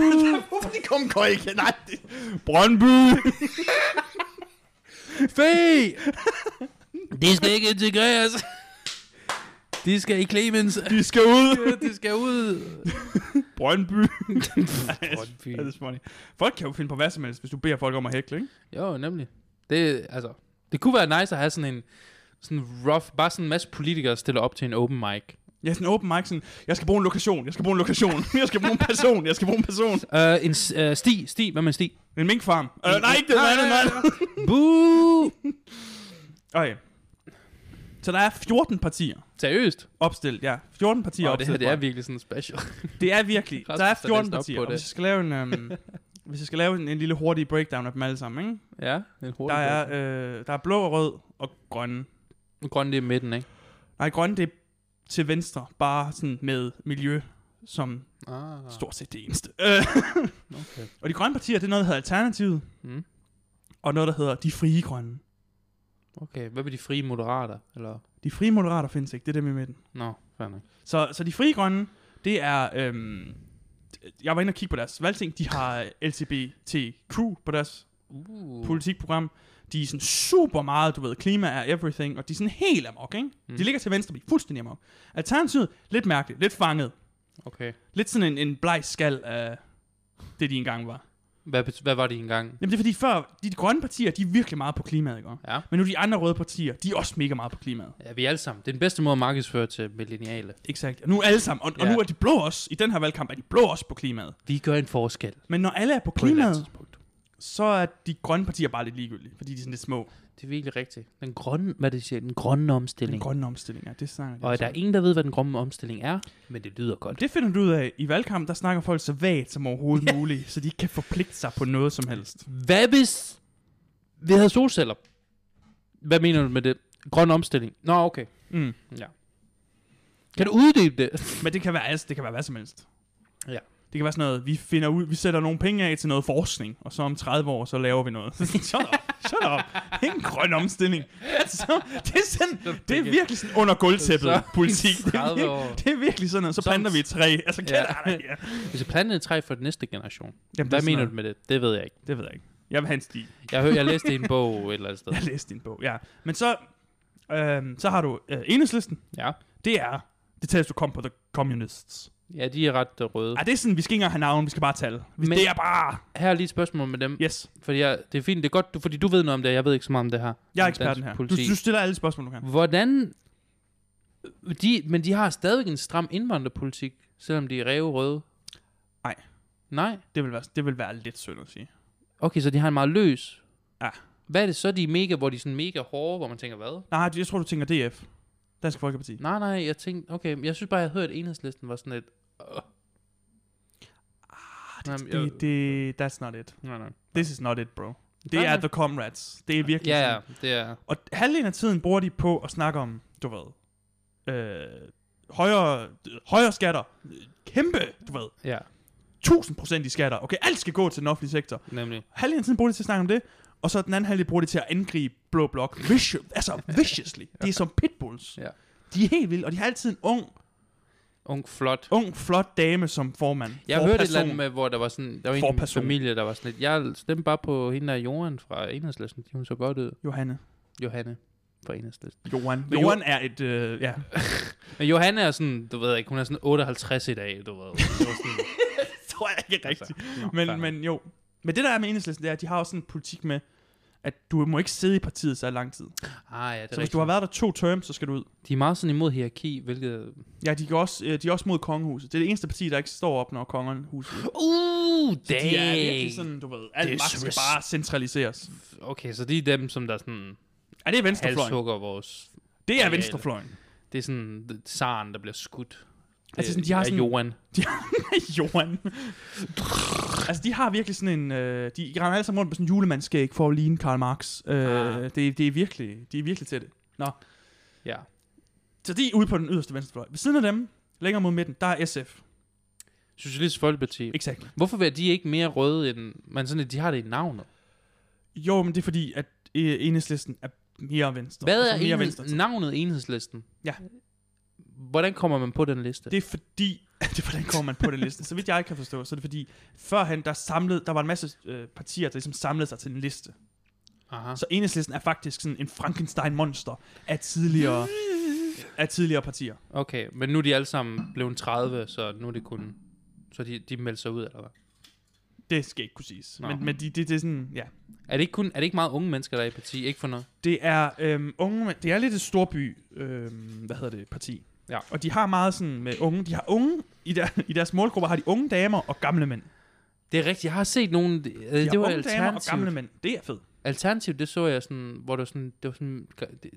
S1: Publikum går ikke. Nej, det... Brøndby!
S2: Fæ! De skal ikke integreres. De skal i Clemens.
S1: De skal ud!
S2: De skal ud.
S1: Brøndby!
S2: Brøndby.
S1: Ja, det er funny. Folk kan jo finde på hvad som helst, hvis du beder folk om at hækle, ikke?
S2: Jo, nemlig. Det, altså, det kunne være nice at have sådan en sådan rough, bare sådan en masse politikere stiller op til en open mic.
S1: Jeg er sådan open mic, sådan, jeg skal bruge en lokation, jeg skal bruge en lokation, jeg skal bruge en person, jeg skal bruge en person.
S2: Uh, en s- øh, sti, sti, hvad med en sti?
S1: En minkfarm. Øh, nej, ikke det, nej, nej, nej.
S2: Boo!
S1: Okay. Så der er 14 partier
S2: Seriøst?
S1: opstillet, ja. 14 partier
S2: Åh, det her
S1: opstillet.
S2: det er virkelig sådan special.
S1: det er virkelig.
S2: Rasmus
S1: Der er
S2: har
S1: 14
S2: læst op
S1: partier,
S2: på
S1: og
S2: det.
S1: hvis jeg skal lave en... Øhm, hvis jeg skal lave en, en lille hurtig breakdown af dem alle sammen, ikke?
S2: ja, en hurtig.
S1: Der er, øh, der er blå og rød og grønne.
S2: Grøn, det er midten, ikke?
S1: Nej, grønne det er til venstre, bare sådan med miljø som
S2: Ah,
S1: stort set det eneste. Øh,
S2: okay.
S1: og de grønne partier, det er noget, der hedder Alternativet,
S2: Mm.
S1: og noget, der hedder De Frie Grønne.
S2: Okay, hvad med de frie moderater? Eller?
S1: De frie moderater findes ikke, det er dem i midten.
S2: Nå, fair nok.
S1: Så, så de frie grønne, det er... Øhm, jeg var inde og kigge på deres valgting. De har LGBTQ på deres
S2: Uh.
S1: uh. politikprogram. De er sådan super meget, du ved, klima er everything, og de er sådan helt amok, ikke? Mm. De ligger til venstre, de er fuldstændig amok. Alternativet, lidt mærkeligt, lidt fanget.
S2: Okay.
S1: Lidt sådan en, en bleg skal af det, de engang var.
S2: Hvad, bet- hvad var det engang?
S1: Jamen det er fordi før, de, de grønne partier, de er virkelig meget på klimaet, ikke?
S2: Ja.
S1: Men nu de andre røde partier, de er også mega meget på klimaet.
S2: ja, vi alle sammen. Det er den bedste måde at markedsføre til millenniale.
S1: Exakt. Og nu er alle sammen, og, ja. og
S2: Ja.
S1: nu er de blå også, i den her valgkamp er de blå også på klimaet.
S2: Vi gør en forskel.
S1: Men når alle er på
S2: På et eller andet
S1: klimaet,
S2: tidspunkt.
S1: så er de grønne partier bare lidt ligegyldige, fordi de er sådan lidt små.
S2: Det er virkelig rigtigt. Den grønne, hvad det siger, den grønne omstilling.
S1: Den grønne omstilling, ja, det snakker de
S2: og
S1: også
S2: der
S1: om.
S2: er ingen, der ved, hvad den grønne omstilling er, men det lyder godt.
S1: Det finder du ud af. I valgkamp, der snakker folk så vagt som overhovedet muligt, så de ikke kan forpligte sig på noget som helst.
S2: Hvad hvis vi havde solceller? Hvad mener du med det? Grøn omstilling. Nå, okay.
S1: Mm.
S2: Ja. Kan du uddybe det?
S1: Men det kan være altså, det kan være hvad som helst.
S2: Ja.
S1: Det kan være sådan noget, vi finder ud, vi sætter nogle penge af til noget forskning, og så om 30 år, så laver vi noget. shut up, shut up. Ingen grøn omstilling. Altså, det er sådan, det er virkelig sådan under
S2: Så-
S1: gulvtæppet politik. Det er,
S2: 30 år.
S1: virkelig, det er virkelig sådan noget. Så
S2: Som-
S1: planter vi et træ. Altså, kan
S2: Ja.
S1: ja. ja.
S2: Hvis jeg plantede et træ for den næste generation.
S1: Jamen,
S2: Hvad mener du med det? Det ved jeg ikke.
S1: Det ved jeg ikke. Jeg vil have en sti.
S2: Jeg, hør, jeg læste i en bog et eller andet sted.
S1: Jeg læste din bog, ja. Men så, øhm, så har du øh, enhedslisten.
S2: Ja.
S1: Det er, det tælles du kom på the communists.
S2: Ja, de er ret øh, røde.
S1: Ej, det er sådan, vi skal ikke engang have navn, vi skal bare tale. Vi,
S2: Men-
S1: det er bare,
S2: Her er lige et spørgsmål med dem.
S1: yes.
S2: Fordi jeg, det er fint, det er godt, du, fordi du ved noget om det, jeg ved ikke så meget om det her.
S1: Jeg er
S2: Om
S1: eksperten
S2: dansk
S1: her. Du,
S2: Politik.
S1: du stiller alle spørgsmål, du kan.
S2: Hvordan... De, men de har stadigvæk en stram indvandrerpolitik, selvom de er ræverøde.
S1: Nej.
S2: Nej?
S1: Det vil være, det vil være lidt synd at sige.
S2: Okay, så de har en meget løs.
S1: Ja.
S2: Hvad er det så, de er mega, hvor de er sådan mega hårde, hvor man tænker, hvad?
S1: Nej, jeg tror, du tænker DF. Dansk Folkeparti.
S2: Nej, nej, jeg tænkte, okay, men jeg synes bare, jeg havde hørt, at enhedslisten var sådan lidt... Øh.
S1: Ah, Det,
S2: Jamen, jeg-
S1: det, det, that's not it.
S2: Nej, nej.
S1: This is not it, bro. Det
S2: Nej,
S1: er
S2: nej.
S1: the comrades. Det er virkelig
S2: Ja,
S1: sådan.
S2: ja, det er...
S1: Og halvdelen af tiden bruger de på at snakke om, du ved, øh, højere, øh, højere skatter. Øh, Kæmpe, du ved,
S2: Ja,
S1: 1000 procent i skatter. Okay, alt skal gå til den offentlige sektor.
S2: nemlig.
S1: Halvdelen af tiden bruger de til at snakke om det, og så den anden halvdel bruger de til at angribe Blå Blok. Vicious, altså viciously. De er som pitbulls.
S2: Ja.
S1: De er helt vilde, og de har altid en ung,
S2: Ung, flot.
S1: ung flot dame som formand.
S2: Jeg
S1: For
S2: hørte et
S1: person.
S2: eller andet med, hvor der var sådan... Der var en
S1: For
S2: i min
S1: person.
S2: familie, der var sådan lidt... Jeg stemte bare på hende der Johan fra enhedslisten. De hun så godt ud.
S1: Johanne.
S2: Johanne fra enhedslisten.
S1: Johan.
S2: Men
S1: Johan er et, øh, ja.
S2: Men Johanne er sådan, du ved ikke, hun er sådan 58 i dag, du ved. Det var sådan,
S1: tror jeg ikke er rigtigt.
S2: altså, nå, fair
S1: Men,
S2: nok.
S1: men jo. Men det der er med enhedslisten, det er, at de har også sådan en politik med, at du må ikke sidde i partiet så lang tid. Så
S2: Ah, ja, det er
S1: hvis du har været der to term, så skal du ud.
S2: De er meget sådan imod hierarki, hvilket...
S1: Ja, de, går også, øh, de er også mod kongehuset. Det er det eneste parti, der ikke står op, når kongen huset.
S2: Uh,
S1: De er virkelig sådan, du ved, alt magt skal
S2: Disres-
S1: bare centraliseres.
S2: Okay, så det er dem, som der sådan
S1: Er det venstrefløjen?
S2: halshugger vores...
S1: Det er
S2: Ja,
S1: venstrefløjen.
S2: Det er sådan the- zaren, der bliver skudt. Øh, Det
S1: Altså sådan, de har
S2: er
S1: sådan-
S2: Johan.
S1: Johan. altså, de har virkelig sådan en... Øh, de render alle sammen rundt med sådan en julemandskæg for at ligne Karl Marx. Øh,
S2: Ah.
S1: det, det, er virkelig, de er virkelig til det.
S2: Ja.
S1: Så de er ude på den yderste venstrefløj. Ved siden af dem, længere mod midten, der er SF.
S2: Socialistisk Folkeparti.
S1: Exakt.
S2: Hvorfor er de ikke mere røde end... Men sådan, at de har det i navnet.
S1: Jo, men det er fordi, at øh, enhedslisten er mere venstre.
S2: Hvad
S1: Altså
S2: er
S1: mere
S2: enheds...
S1: venstre?
S2: navnet enhedslisten?
S1: Ja.
S2: Hvordan kommer man på den liste?
S1: Det er fordi... det er, hvordan kommer man på den liste? Så vidt jeg kan forstå, så er det fordi, førhen, der, samlede, der var en masse øh, partier, der ligesom samlede sig til en liste.
S2: Aha.
S1: Så enhedslisten er faktisk sådan en Frankenstein-monster af tidligere, af tidligere partier.
S2: Okay, men nu er de alle sammen blevet 30, så nu er det kun... Så de, de melder sig ud, eller hvad?
S1: Det skal ikke kunne siges.
S2: Nå.
S1: Men, men det de, det er sådan, ja.
S2: Er det ikke, kun, er det ikke meget unge mennesker, der er i parti? Ikke for noget?
S1: Det er, øhm, unge, men- det er lidt et storby, øhm, hvad hedder det, parti.
S2: Ja.
S1: Og de har meget sådan med unge, de har unge, i, der, i deres målgrupper har de unge damer og gamle mænd. De
S2: Det er rigtigt, jeg har set nogen... Øh,
S1: har
S2: det var
S1: unge damer og gamle
S2: alternativt.
S1: mænd. Det er fedt.
S2: Alternativt, det så jeg sådan, hvor det var sådan... Det, var sådan, det,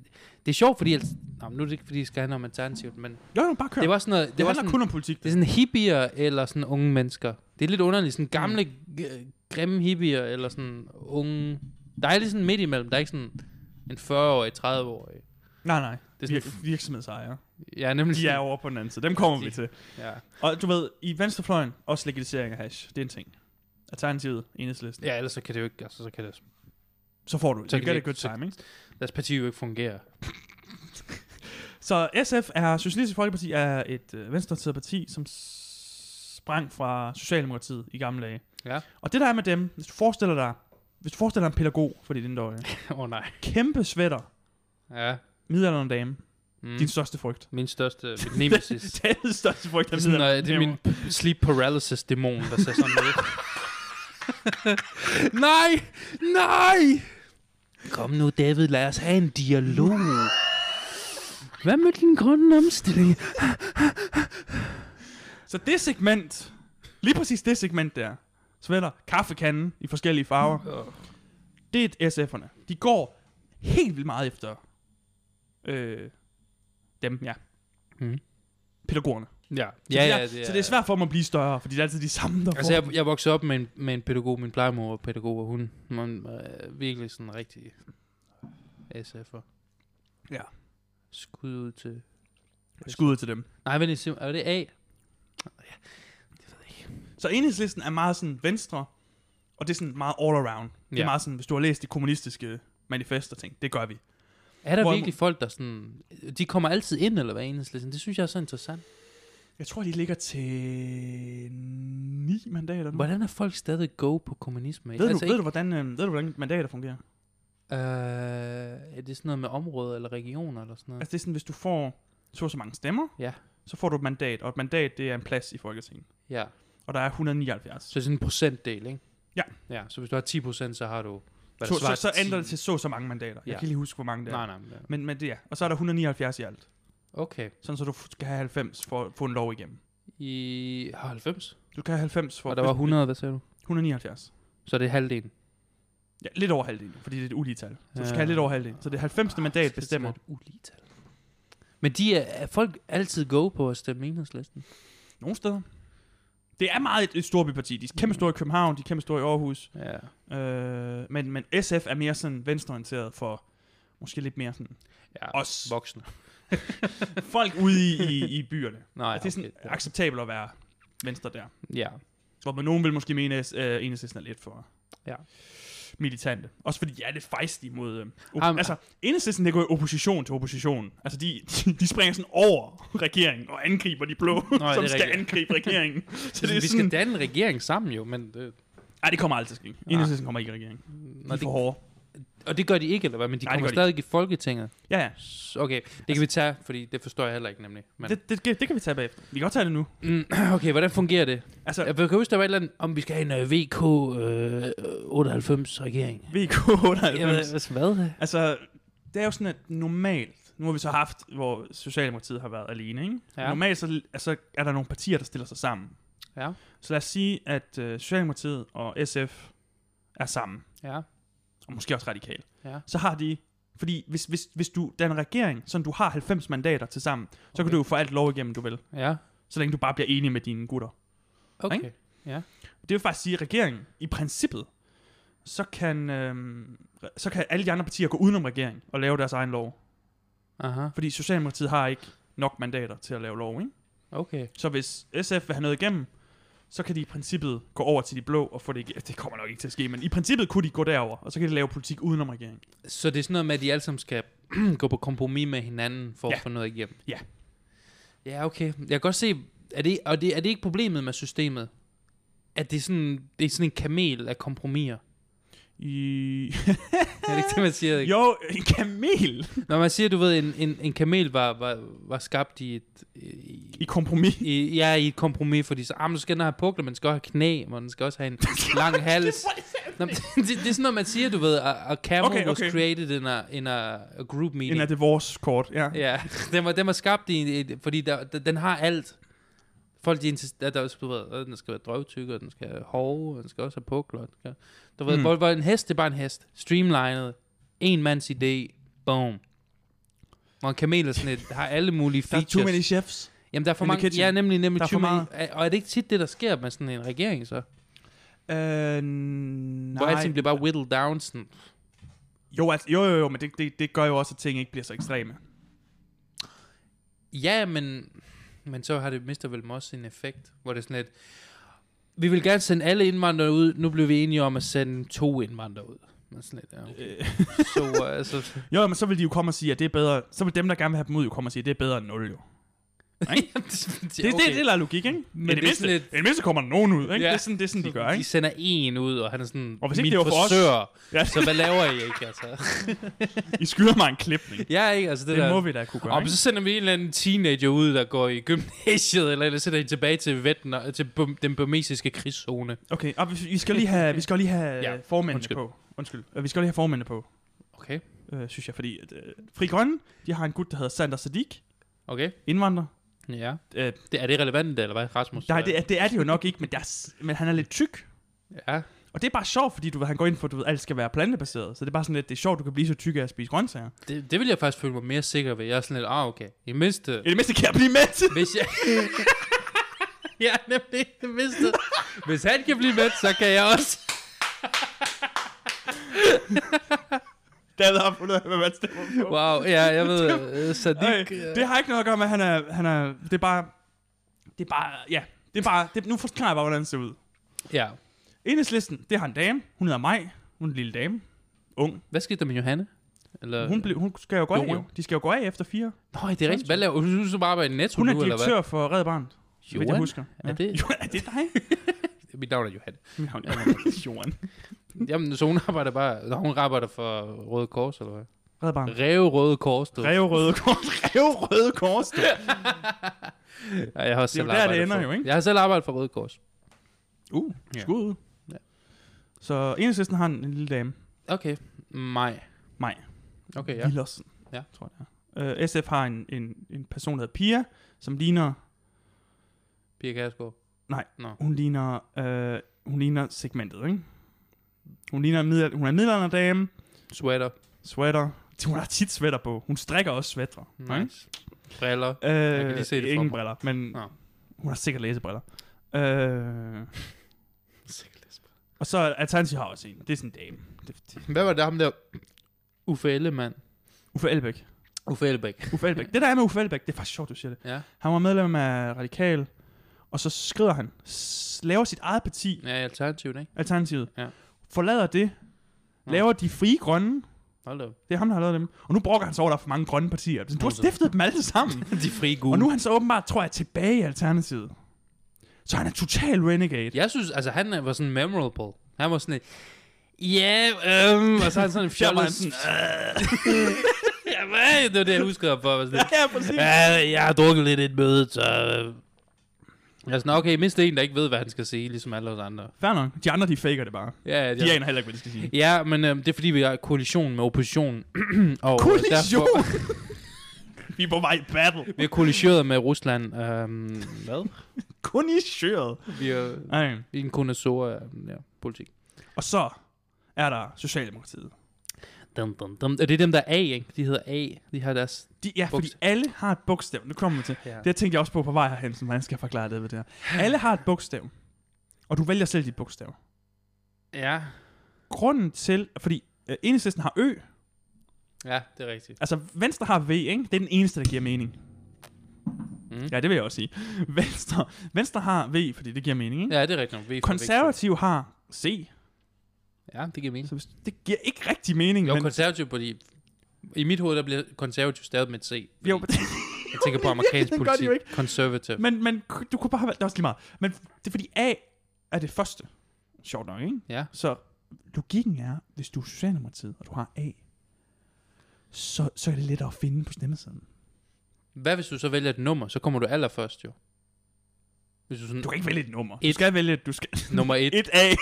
S2: det er sjovt, fordi... Al- Nå, men nu er det ikke, fordi det skal handle om alternativt, men...
S1: Jo, jo, bare kør.
S2: Det var sådan noget... Det,
S1: det
S2: var
S1: handler
S2: sådan,
S1: kun om politik.
S2: Det er sådan hippier eller sådan unge mennesker. Det er lidt underligt. Sådan gamle, g- grimme hippier eller sådan unge... Der er lidt sådan midt imellem. Der er ikke sådan en 40-årig, 30-årig.
S1: Nej, nej.
S2: Det er
S1: Det
S2: sådan-
S1: er Vir- virksomhedsejere.
S2: Ja, nemlig
S1: De er over på den anden side. Dem kommer
S2: De-
S1: vi til.
S2: Ja.
S1: Og du ved, i venstrefløjen, også legalisering af hash. Det er en ting. Alternativet, enhedslisten.
S2: ja, ellers så kan det jo ikke... Altså, så kan det,
S1: Så får du det.
S2: Så
S1: You
S2: kan
S1: get
S2: det
S1: a
S2: ikke-
S1: good
S2: så-
S1: time, ikke?
S2: deres parti jo ikke fungerer.
S1: Så SF er, Socialistisk Folkeparti er et øh, venstreorienteret parti, som s- sprang fra Socialdemokratiet i gamle dage.
S2: Ja.
S1: Og det der er med dem, hvis du forestiller dig, hvis du forestiller dig en pædagog, fordi det er dårlige,
S2: Åh oh, nej.
S1: kæmpe svætter,
S2: Ja.
S1: midaldrende dame, mm.
S2: Mm.
S1: din største frygt.
S2: Min største, mit nemesis.
S1: det er den største frygt,
S2: det,
S1: af
S2: er sådan, øh,
S1: midaldrende
S2: det er min
S1: damer.
S2: p- sleep paralysis dæmon, der ser sådan ud. nej! Nej! Kom nu, David, lad os have en dialog. Hvad med din grønne omstilling?
S1: Så det segment, lige præcis det segment der,
S2: Mm.
S1: svætter, kaffekanden i forskellige farver, det er SF'erne. De går helt vildt meget efter øh, dem, ja.
S2: Mhm.
S1: Pædagogerne.
S2: Ja,
S1: Så,
S2: ja,
S1: det er,
S2: ja, det er,
S1: så det er svært for mig at blive større, fordi det er altid de samme, der
S2: Altså,
S1: får.
S2: jeg, jeg voksede op med en, med en pædagog, min plejemor var pædagog, og hun man, øh, virkelig sådan rigtig SF'er.
S1: Ja.
S2: Skud ud til...
S1: Skud ud til dem.
S2: Nej, men det er, er det A?
S1: Så enhedslisten er meget sådan venstre, og det er sådan meget all around. Det er
S2: Ja.
S1: meget sådan, hvis du har læst de kommunistiske manifester ting, det gør vi.
S2: Er der
S1: Hvorimod-
S2: virkelig folk, der sådan... De kommer altid ind, eller hvad enhedslisten? Det synes jeg er så interessant.
S1: Jeg tror, de ligger til ni mandater nu.
S2: Hvordan er folk stadig go på kommunisme? Altså,
S1: Ved, du, ved,
S2: ikke-
S1: du, hvordan, øh, ved du, hvordan mandater fungerer?
S2: Øh, er det sådan noget med områder eller regioner eller sådan noget?
S1: Altså det er sådan, hvis du får så og så mange stemmer,
S2: Ja.
S1: så får du et mandat, og et mandat, det er en plads i Folketinget.
S2: Ja.
S1: Og der er 179.
S2: Så det er sådan en procentdel, ikke?
S1: Ja.
S2: Ja, så hvis du har 10 procent, så har du... Hvad
S1: Så,
S2: der
S1: så,
S2: svarer
S1: så
S2: ti-
S1: ændrer det til så og så mange mandater. Jeg
S2: Ja.
S1: kan ikke lige huske, hvor mange det er.
S2: Nej, nej, men, det er-
S1: Men, men det er. Og så er der 179 i alt.
S2: Okay.
S1: Sådan, så du f- skal have 90 for at få en lov igennem.
S2: I har 90?
S1: Du kan have 90 for...
S2: Og der var 100, hvad sagde du?
S1: 179.
S2: Så det er halvdelen.
S1: Ja, lidt over halvdelen, fordi det er et ulige tal. Så du skal
S2: Ja.
S1: have lidt over halvdelen. Så det 90.
S2: Ah, Det er
S1: mandat
S2: sådan
S1: bestemmer.
S2: et uligetal. Men de er, er folk altid go på at stemme enhedslisten?
S1: Nogle steder. Det er meget et, et storbyparti. De er kæmpe store i København, de er kæmpe store i Aarhus.
S2: Ja.
S1: Øh, men, men SF er mere sådan venstreorienteret for måske lidt mere sådan
S2: ja.
S1: os.
S2: Voksne.
S1: folk ude i, i, i byerne.
S2: Nej,
S1: Ej, det er sådan
S2: okay.
S1: acceptabelt at være venstre der.
S2: Ja.
S1: Hvor man nogen vil måske mene, at øh, enhedslisten er lidt for
S2: Ja.
S1: militante. Også fordi jeg er lidt fejstig mod... Øh, op-
S2: Jamen,
S1: altså, enhedslisten, det går i opposition til opposition. Altså, de, de, de springer sådan over regeringen og angriber de blå,
S2: det er
S1: som skal
S2: rigtigt.
S1: angribe regeringen. så
S2: Så
S1: det
S2: det
S1: er
S2: Altså, vi skal
S1: sådan...
S2: danne en regering sammen jo, men... Øh,
S1: Nej, det kommer aldrig til at ske. Enhedslisten kommer ikke i regeringen. De
S2: når
S1: er for
S2: det,
S1: hårde.
S2: og det gør de ikke, eller hvad? Men de
S1: Nej, det
S2: kommer
S1: gør de
S2: stadig i Folketinget.
S1: Ja, ja.
S2: S- Okay, det kan vi tage, fordi det forstår jeg heller ikke nemlig. Men,
S1: Det, det, det, det kan vi tage bagefter. Vi kan godt tage det nu.
S2: Mm, okay, hvordan fungerer det?
S1: Altså,
S2: Jeg kan huske, der var et eller andet, om vi skal have en uh, VK øh, 98-regering. Jeg
S1: VK98.
S2: ved, hvad?
S1: Altså, det er jo sådan, at normalt, nu har vi så haft, hvor Socialdemokratiet har været alene, ikke?
S2: Ja.
S1: Ja. Normalt så altså, er der nogle partier, der stiller sig sammen.
S2: Ja,
S1: Så lad os sige, at øh, Socialdemokratiet og SF er sammen,
S2: ja,
S1: og måske også radikal.
S2: ja.
S1: Så har de, fordi hvis, hvis, hvis du danner regering, sådan du har 90 mandater til sammen, så okay.
S2: Okay.
S1: kan du jo få alt lov igennem, du vil.
S2: Ja,
S1: Så længe du bare bliver enig med dine gutter.
S2: okay.
S1: Ikke? Det vil faktisk sige, at regeringen, i princippet, så kan, øh, så kan alle de andre partier gå udenom regeringen og lave deres egen lov.
S2: Aha,
S1: Fordi Socialdemokratiet har ikke nok mandater til at lave lov, ikke?
S2: okay.
S1: Så hvis SF vil have noget igennem, så kan de i princippet gå over til de blå og få det igennem. Det kommer nok ikke til at ske, men i princippet kunne de gå derover, og så kan de lave politik udenom regeringen.
S2: Så det er sådan noget med, at de alle sammen skal gå på kompromis med hinanden for ja.
S1: Ja.
S2: at få noget igennem?
S1: Ja.
S2: Ja, okay. Jeg kan godt se, er det, og det, er det ikke problemet med systemet? At det er sådan, det er sådan en kamel af kompromiser.
S1: I...
S2: Er det ikke det, man siger? Ikke?
S1: jo, en kamel
S2: Når man siger, du ved, en, en, en kamel var, var, var skabt i et... I,
S1: i kompromis.
S2: i, ja, i et kompromis, fordi så, ah, men så skal den have pukler, man skal også have knæ, og den skal også have en lang hals. Nå, men det, det, er sådan noget, man siger, du ved, a, a
S1: Okay,
S2: camel okay, okay. was
S1: okay.
S2: created in a, in a, a group meeting.
S1: En af det vores kort, ja.
S2: Ja, den var, den var skabt i, et, fordi der, der, den har alt. Folk, de insisterer, der, også, du ved, øh, den skal være drøvtyk, og den skal have hove, og den skal også have pukler. og Den skal, du ved,
S1: Mm.
S2: mm. hvor, hvor en hest, det er bare en hest. Streamlined. En mands idé. Boom. Hvor en kamel er sådan et, har alle mulige
S1: Der er
S2: features.
S1: too many chefs.
S2: Jamen, der er for
S1: in the
S2: mange...
S1: kitchen.
S2: Ja, nemlig, nemlig
S1: Der er
S2: too
S1: for
S2: many- Er- Og er det ikke tit det, der sker med sådan en regering, så? Nej.
S1: Øh,
S2: Hvor
S1: nej.
S2: alting bliver bare whittled down, sådan...
S1: Jo, altså, jo, jo, jo, men det, det, det gør jo også, at ting ikke bliver så ekstreme.
S2: Ja, men, men så har det mister vel også sin effekt, hvor det er sådan lidt, vi vil gerne sende alle indvandrere ud, nu blev vi enige om at sende to indvandrere ud. Men sådan lidt, ja.
S1: Øh,
S2: Så, øh, altså,
S1: Jo, men så vil de jo komme og sige, at det er bedre. Så vil dem, der gerne vil have dem ud, jo komme og sige, at det er bedre end nul, jo. Det, okay. det, det, det er logik, ikke? Men det,
S2: det er
S1: det, mindste,
S2: sådan
S1: lidt...
S2: lidt-
S1: det mindste kommer der nogen ud, ikke? Ja.
S2: Ja.
S1: Det, er sådan, det er sådan, de gør,
S2: De
S1: ikke?
S2: sender en ud, og han er sådan,
S1: Og hvis ikke
S2: min
S1: det var for os-
S2: frisør,
S1: Ja.
S2: så hvad laver I ikke, altså?
S1: I skylder mig en klipning.
S2: Ja, ikke, altså det,
S1: Det
S2: der.
S1: må vi da kunne gøre,
S2: Og så sender vi en eller anden teenager ud, der går i gymnasiet, eller ellers sender I tilbage til, Vietnam, til bum- den burmesiske krigszone.
S1: ikke? Okay, og vi, vi skal lige have, vi skal lige have
S2: Ja,
S1: ja, formændene undskyld.
S2: undskyld.
S1: på. Undskyld. Øh, Vi skal lige have formændene på,
S2: Okay,
S1: øh, synes jeg, fordi at, øh, Fri Grønne, de har en gut, der hedder Sander Sadik,
S2: okay,
S1: indvandrer.
S2: ja.
S1: Øh,
S2: Det, er det relevant, eller hvad, Rasmus?
S1: nej, det er, det er det jo nok ikke, men, der, er s- men han er lidt tyk,
S2: Ja,
S1: Og det er bare sjovt, fordi du ved, han går ind for, at du ved, alt skal være plantebaseret. Så det er bare sådan lidt, det er sjovt, du kan blive så tyk af at spise grøntsager.
S2: Det, det vil jeg faktisk føle mig mere sikker ved. Jeg er sådan lidt, ah, okay. I mindste,
S1: I det mindste kan jeg blive med til.
S2: hvis jeg... ja, nemlig, i det mindste. Hvis han kan blive med, så kan jeg også.
S1: David har fundet ud af, hvad man stemmer på.
S2: Wow, ja, jeg ved, øh, Sadiq...
S1: Ej, det har ikke noget at gøre med, at han er, han er, det er bare, det er bare, ja, det er bare, det, nu forklarer jeg bare, hvordan det ser ud.
S2: Ja.
S1: Enhedslisten, det har en dame, hun hedder Maj, hun er en lille dame, ung.
S2: Hvad skete der med Johanne? Eller...
S1: Hun, blev, hun skal jo gå af,
S2: Jo.
S1: jo. de skal jo gå af efter fire.
S2: Nå, det er rigtigt. Hvad laver hun? Hun synes, hun bare arbejder i Netto
S1: Hun er
S2: nu, eller hvad?
S1: direktør for Red Barnet, så vidt jeg
S2: Johan?
S1: husker.
S2: Er det-
S1: Jo, er det dig?
S2: Mit navn er Johanne.
S1: Mit navn er Johan.
S2: Jamen, så hun arbejder bare... Nå, hun arbejder for Røde Kors, eller hvad?
S1: Red Barnet.
S2: Reve Røde Kors, du.
S1: Rev Røde Kors. Rev Røde Kors. du.
S2: Ja, jeg har selv
S1: der, det
S2: arbejdet
S1: ender
S2: for.
S1: jo, ikke?
S2: Jeg har selv arbejdet for Røde Kors.
S1: Uh,
S2: Ja.
S1: skud ud.
S2: Ja.
S1: Så enhedslisten har en, en lille dame,
S2: Okay. Maj.
S1: Maj.
S2: Okay, ja.
S1: ja. Villersen,
S2: Ja.
S1: tror jeg. det er. Øh, SF har en, en, en person, der hedder Pia, som ligner,
S2: Pia Kærsgaard.
S1: hun ligner, øh, hun ligner segmentet, ikke? Hun, ligner en middel, hun er en middelalderdame,
S2: Sweater.
S1: sweater, hun har tit sweater på, hun strikker også sweater.
S2: Nice. Mm. Briller.
S1: Øh, jeg
S2: kan lige se det for
S1: ingen
S2: mig.
S1: briller, men
S2: Nå.
S1: hun har sikkert læsebriller. Øh, og så Alternativ har også en, det er sådan en dame. Det, det.
S2: Hvad var det ham der? Uffe Ellemann.
S1: Uffe Elbæk.
S2: Uffe Ellebæk.
S1: Uffe Elbæk. Det der er med Uffe Elbæk, det er faktisk sjovt, du siger det.
S2: Ja.
S1: Han var medlem af Radikal, og så skrider han, s- laver sit eget parti,
S2: Ja, alternativt, ikke?
S1: Alternativet.
S2: Ja.
S1: Forlader det,
S2: Nå.
S1: laver de frie grønne,
S2: Hold da op.
S1: det er ham, der har lavet dem, og nu brokker han sig over, at der er for mange grønne partier. Du har
S2: Nonsens.
S1: stiftet dem alle sammen,
S2: De frie gule.
S1: og nu er han så åbenbart, tror jeg, tilbage i Alternativet. Så han er total renegade.
S2: Jeg synes, altså han øh, var sådan memorable. Han var sådan et, ja, yeah, øhm, og så har han sådan en
S1: Der var han
S2: fjollet.
S1: sådan,
S2: ja, hvad? Det var det, jeg husker ham for. Var sådan,
S1: ja, præcis.
S2: ja, jeg har drukket lidt i et møde, så... øh." Jeg er sådan, okay, mindst en, der ikke ved, hvad han skal sige, ligesom alle os andre.
S1: Fair nok. De andre, de faker det bare.
S2: Ja, ja,
S1: De
S2: ja.
S1: aner heller ikke, hvad de skal sige.
S2: ja men øhm, det er fordi, vi har koalition med oppositionen. og, øh,
S1: Kollision!
S2: Derfor,
S1: Vi er på vej i battle.
S2: vi har koaliseret med Rusland. Øhm, hvad?
S1: Kun i sjøret.
S2: Vi er,
S1: Ej.
S2: vi er en kondensor af ja, politik.
S1: Og så er der Socialdemokratiet.
S2: Dum, dum, dum. Og det er dem, der er A, ikke? De hedder A. De har deres...
S1: De, ja, fordi
S2: Bogstav.
S1: alle har et bogstav. Nu kommer vi til.
S2: Ja.
S1: Det tænkte jeg også på på vej herhen, som hvordan skal jeg forklare det ved det her. Alle har et bogstav, og du vælger selv dit bogstav.
S2: ja.
S1: Grunden til, fordi øh, enhedslisten har ø,
S2: Ja, det er rigtigt.
S1: altså venstre har v, ikke? det er den eneste, der giver mening.
S2: Mhm. Mm.
S1: Ja, det vil jeg også sige. Venstre, venstre har v, fordi det giver mening. Ikke?
S2: Ja, det er Mhm. rigtigt. nok. Vi er fra
S1: Konservativ har c,
S2: Vækst. Ja, det giver mening.
S1: så hvis, det giver ikke rigtig mening.
S2: Jo,
S1: men,
S2: konservativ, fordi i mit hoved, der bliver konservativ stavet med et C. fordi
S1: jo,
S2: jeg tænker på amerikansk
S1: det gør de
S2: politik.
S1: jo ikke.
S2: Conservative.
S1: men, men du kunne bare have valgt, det er også lige meget. Men det er fordi a er det første. Sjovt nok, ikke?
S2: Ja.
S1: Så logikken er, hvis du er Socialdemokratiet, og du har A, så, så er det lettere at finde på stemmesedlen.
S2: Mm. Hvad hvis du så vælger et nummer? Så kommer du allerførst, jo. Hvis du sådan...
S1: Du kan ikke vælge et nummer. Du
S2: Et.
S1: skal vælge, du skal...
S2: Nummer et.
S1: Et A,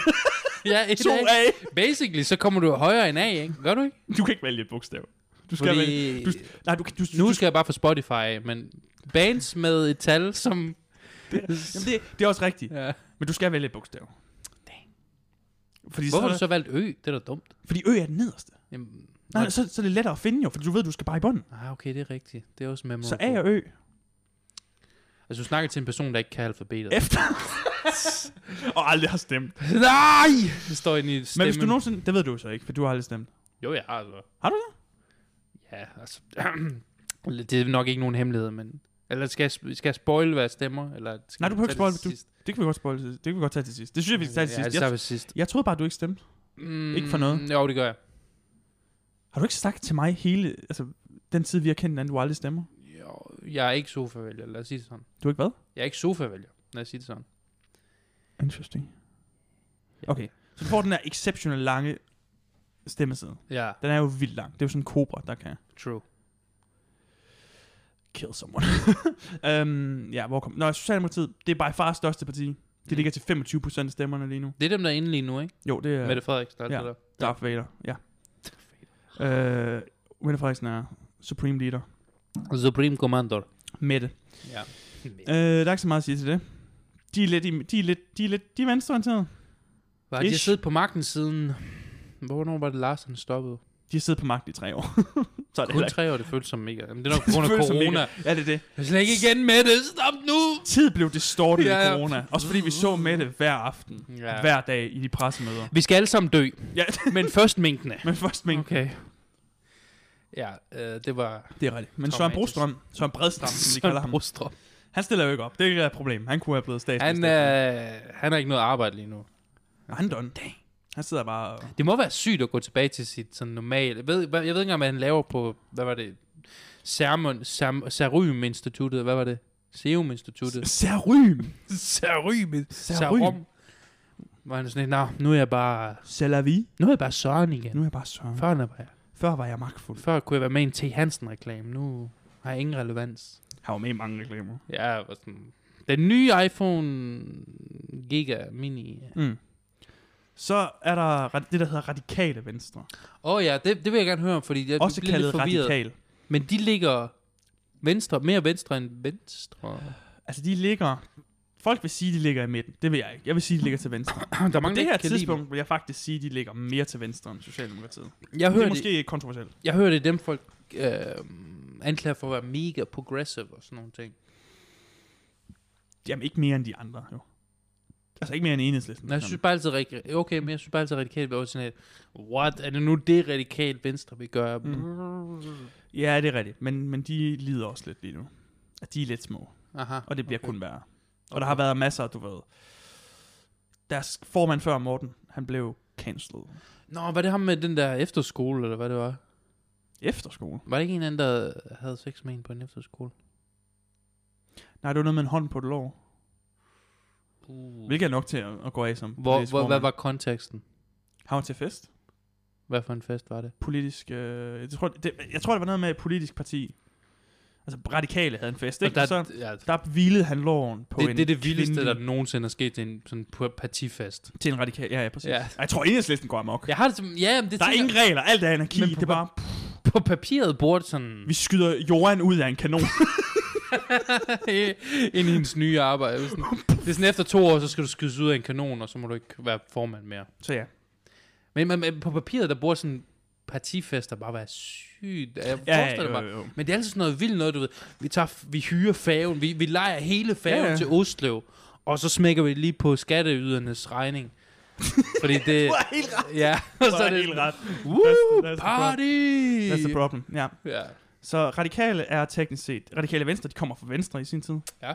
S2: ja, et
S1: to
S2: A.
S1: A.
S2: Basically, så kommer du højere end A, ikke? Gør du ikke?
S1: Du kan ikke vælge et bogstav. Du skal vælge...
S2: Fordi...
S1: du- Nej, du, kan- du, du,
S2: Nu skal jeg bare få Spotify, men bands med et tal, som...
S1: Jamen, det, det er også rigtigt.
S2: Ja.
S1: Men du skal vælge et bogstav. Fordi
S2: Hvorfor har
S1: så,
S2: du så valgt Ø? Det er da dumt.
S1: Fordi Ø er den nederste.
S2: Jamen,
S1: Nej, så, så er det lettere at finde jo, fordi du ved, du skal bare i bunden.
S2: Ah, okay, det er rigtigt. Det er også memorable.
S1: Så A og Ø
S2: Altså, du snakker til en person, der ikke kan alfabetet.
S1: efter. og aldrig har stemt.
S2: Nej! Det står inde i
S1: Men
S2: stemmen.
S1: hvis du nogensinde... Det ved du så ikke, for du har aldrig stemt.
S2: Jo, jeg har så.
S1: Har du
S2: det? Ja, altså... det er nok ikke nogen hemmelighed, men... Eller skal jeg, sp- skal jeg spoil, hvad jeg stemmer? Eller skal
S1: Nej, du behøver
S2: jeg
S1: ikke spoil,
S2: tage
S1: du-
S2: det til sidst?
S1: Det kan vi godt, spoil, til- det kan vi godt tage til sidst. Det synes jeg, vi skal tage til
S2: Ja,
S1: sidst.
S2: det tager
S1: Jeg,
S2: vi til sidst.
S1: jeg troede bare, du ikke stemte.
S2: Mm,
S1: Ikke for noget.
S2: Jo, det gør jeg.
S1: Har du ikke sagt til mig hele, altså den tid, vi har kendt hinanden, du aldrig stemmer?
S2: Jo, jeg er ikke sofavælger, lad os sige det sådan.
S1: Du har ikke hvad?
S2: Jeg er ikke sofavælger, lad os sige det sådan.
S1: Interesting. Okay, så du får den her exceptional lange stemmeside.
S2: Ja,
S1: Den er jo vildt lang. Det er jo sådan en kobra, der kan
S2: true.
S1: kill someone. um, ja, hvor kom... Nå, Socialdemokratiet, det er by far største parti. Det ligger til 25% af stemmerne lige nu.
S2: Det er dem, der er inde lige nu, ikke?
S1: Jo, det
S2: Ja.
S1: er
S2: Mette Frederiksen, der er
S1: Ja.
S2: ja. der.
S1: Darth Vader. Ja. Øh, Mette Frederiksen er supreme leader.
S2: Supreme Commander.
S1: Mette.
S2: Ja.
S1: Øh, der er ikke så meget at sige til det. De er lidt, i, de er lidt, de er lidt, de er venstreorienterede.
S2: Var de har
S1: Ish.
S2: siddet på magten siden... Hvornår var det Lars, han stoppede?
S1: De har siddet på magt i tre år. så er det
S2: Kun
S1: heller
S2: tre år, det føltes som mega. Jamen, det er nok på grund af
S1: Føles som
S2: corona.
S1: mega- Ja, det er det.
S2: Jeg er slet ikke igen med det. Stop nu!
S1: Tid blev distortet ja,
S2: Ja,
S1: ja.
S2: ja.
S1: i corona. Også fordi vi så med det hver aften. Ja.
S2: Ja.
S1: Hver dag i de pressemøder.
S2: Vi skal alle sammen dø,
S1: Ja,
S2: men først minkene.
S1: men først men
S2: Okay. Ja, øh, det var...
S1: Det er rigtigt. Men Søren
S2: Traumatisk.
S1: Brostrøm, Søren Bredstrøm, som de kalder ham,
S2: Brostrup.
S1: han stiller jo ikke op. Det er ikke et problem. Han kunne have blevet
S2: Han,
S1: statsminister.
S2: øh, han har ikke noget arbejde lige nu.
S1: er... Han done. Han sidder bare og...
S2: Det må være sygt at gå tilbage til sit sådan normale... Jeg ved, hvad- jeg ved ikke engang, hvad han laver på... Hvad var det? Sermon, Serm, Serum Instituttet. Hvad var det? Serum Instituttet.
S1: Serym.
S2: Serum.
S1: Serum.
S2: Serum. Var han sådan lidt, "Nå, nu er jeg bare...
S1: Salavi.
S2: Nu er jeg bare Søren igen.
S1: Nu er jeg bare Søren.
S2: Før, var jeg,
S1: Før var jeg magtfuld.
S2: før kunne jeg være med i en T. Hansen-reklame. Nu har jeg ingen relevans.
S1: Har jo med i mange reklamer.
S2: Ja, jeg var sådan... Den nye iPhone Giga Mini.
S1: Mm. Så er der ra- det, der hedder radikale venstre.
S2: Åh oh, ja, det, det vil jeg gerne høre om, fordi jeg
S1: Også
S2: bliver lidt
S1: kaldet
S2: forvirret.
S1: radikal.
S2: Men de ligger venstre, mere venstre end venstre.
S1: Altså, de ligger... Folk vil sige, de ligger i midten. Det vil jeg ikke. Jeg vil sige, de ligger til venstre.
S2: Der er
S1: På
S2: mange,
S1: det
S2: der
S1: her
S2: ikke kan lide
S1: tidspunkt vil jeg faktisk sige, at de ligger mere til venstre end Socialdemokratiet.
S2: dem. Jeg
S1: det
S2: hører
S1: er
S2: det,
S1: måske det. kontroversielt.
S2: jeg hører det dem folk øh, anklager for at være mega progressive og sådan nogle ting.
S1: Jamen ikke mere end de andre, jo. Altså ikke mere end enhedslisten.
S2: Men jeg synes bare altid, rigtig- okay, men jeg synes bare altid, radikalt vil være sådan et, what, er det nu det radikalt venstre vil gøre? Mm.
S1: Ja, det er rigtigt. Men, men de lider også lidt lige nu. At de er lidt små.
S2: Aha.
S1: Og det bliver
S2: Okay.
S1: okay. kun værre. Og der har været masser, du ved. Deres formand før Morten, han blev cancelled.
S2: Nå, var det ham med den der efterskole, eller hvad det var?
S1: Efterskole?
S2: Var det ikke en anden, der havde sex med en på en efterskole?
S1: Nej, det var noget med en hånd på et lår.
S2: Uh.
S1: Hvilket er nok til at, at gå af som
S2: Hvor,
S1: politisk
S2: hvor, hvad
S1: formand.
S2: var konteksten?
S1: Han var til fest.
S2: Hvad for en fest var det?
S1: politisk... Øh, jeg, tror, det, jeg tror, det var noget med et politisk parti. Altså, radikale havde en fest, ikke?
S2: Og
S1: Der, så,
S2: ja,
S1: der hvilede han loven på en
S2: det, det er det vildeste,
S1: kvindelig-
S2: der nogensinde er sket til en sådan pu- partifest.
S1: til en radikal. Ja, ja, præcis.
S2: Ja.
S1: Ja. Jeg tror, enhedslisten går amok. Ja,
S2: Jeg har det som, ja, men det
S1: der er
S2: tænker-
S1: ingen regler, alt er anarki.
S2: Men
S1: Det
S2: på-
S1: er bare, pff,
S2: på papiret burde sådan
S1: vi skyder Joran ud af en kanon.
S2: ind i hendes nye arbejde. Sådan. Det er sådan, efter to år, så skal du skydes ud af en kanon, og så må du ikke være formand mere.
S1: så ja.
S2: Men, men, men på papiret, der burde sådan partifester bare være sygt. Jeg
S1: Ja,
S2: forestiller
S1: ja,
S2: mig.
S1: jo, jo.
S2: Men det er altid sådan noget vildt noget, du ved. Vi, tager, f- vi hyrer færgen, vi, vi leger hele færgen
S1: Ja,
S2: ja,
S1: ja.
S2: ja. til Oslo, og så smækker vi det lige på skatteydernes regning. Fordi det...
S1: Du er helt ret.
S2: ja, og
S1: Du
S2: så er
S1: er
S2: det...
S1: helt ret.
S2: Woo,
S1: that's the
S2: party!
S1: That's the problem. Ja.
S2: Ja.
S1: Så radikale er teknisk set... Radikale Venstre, de kommer fra Venstre i sin tid.
S2: Ja.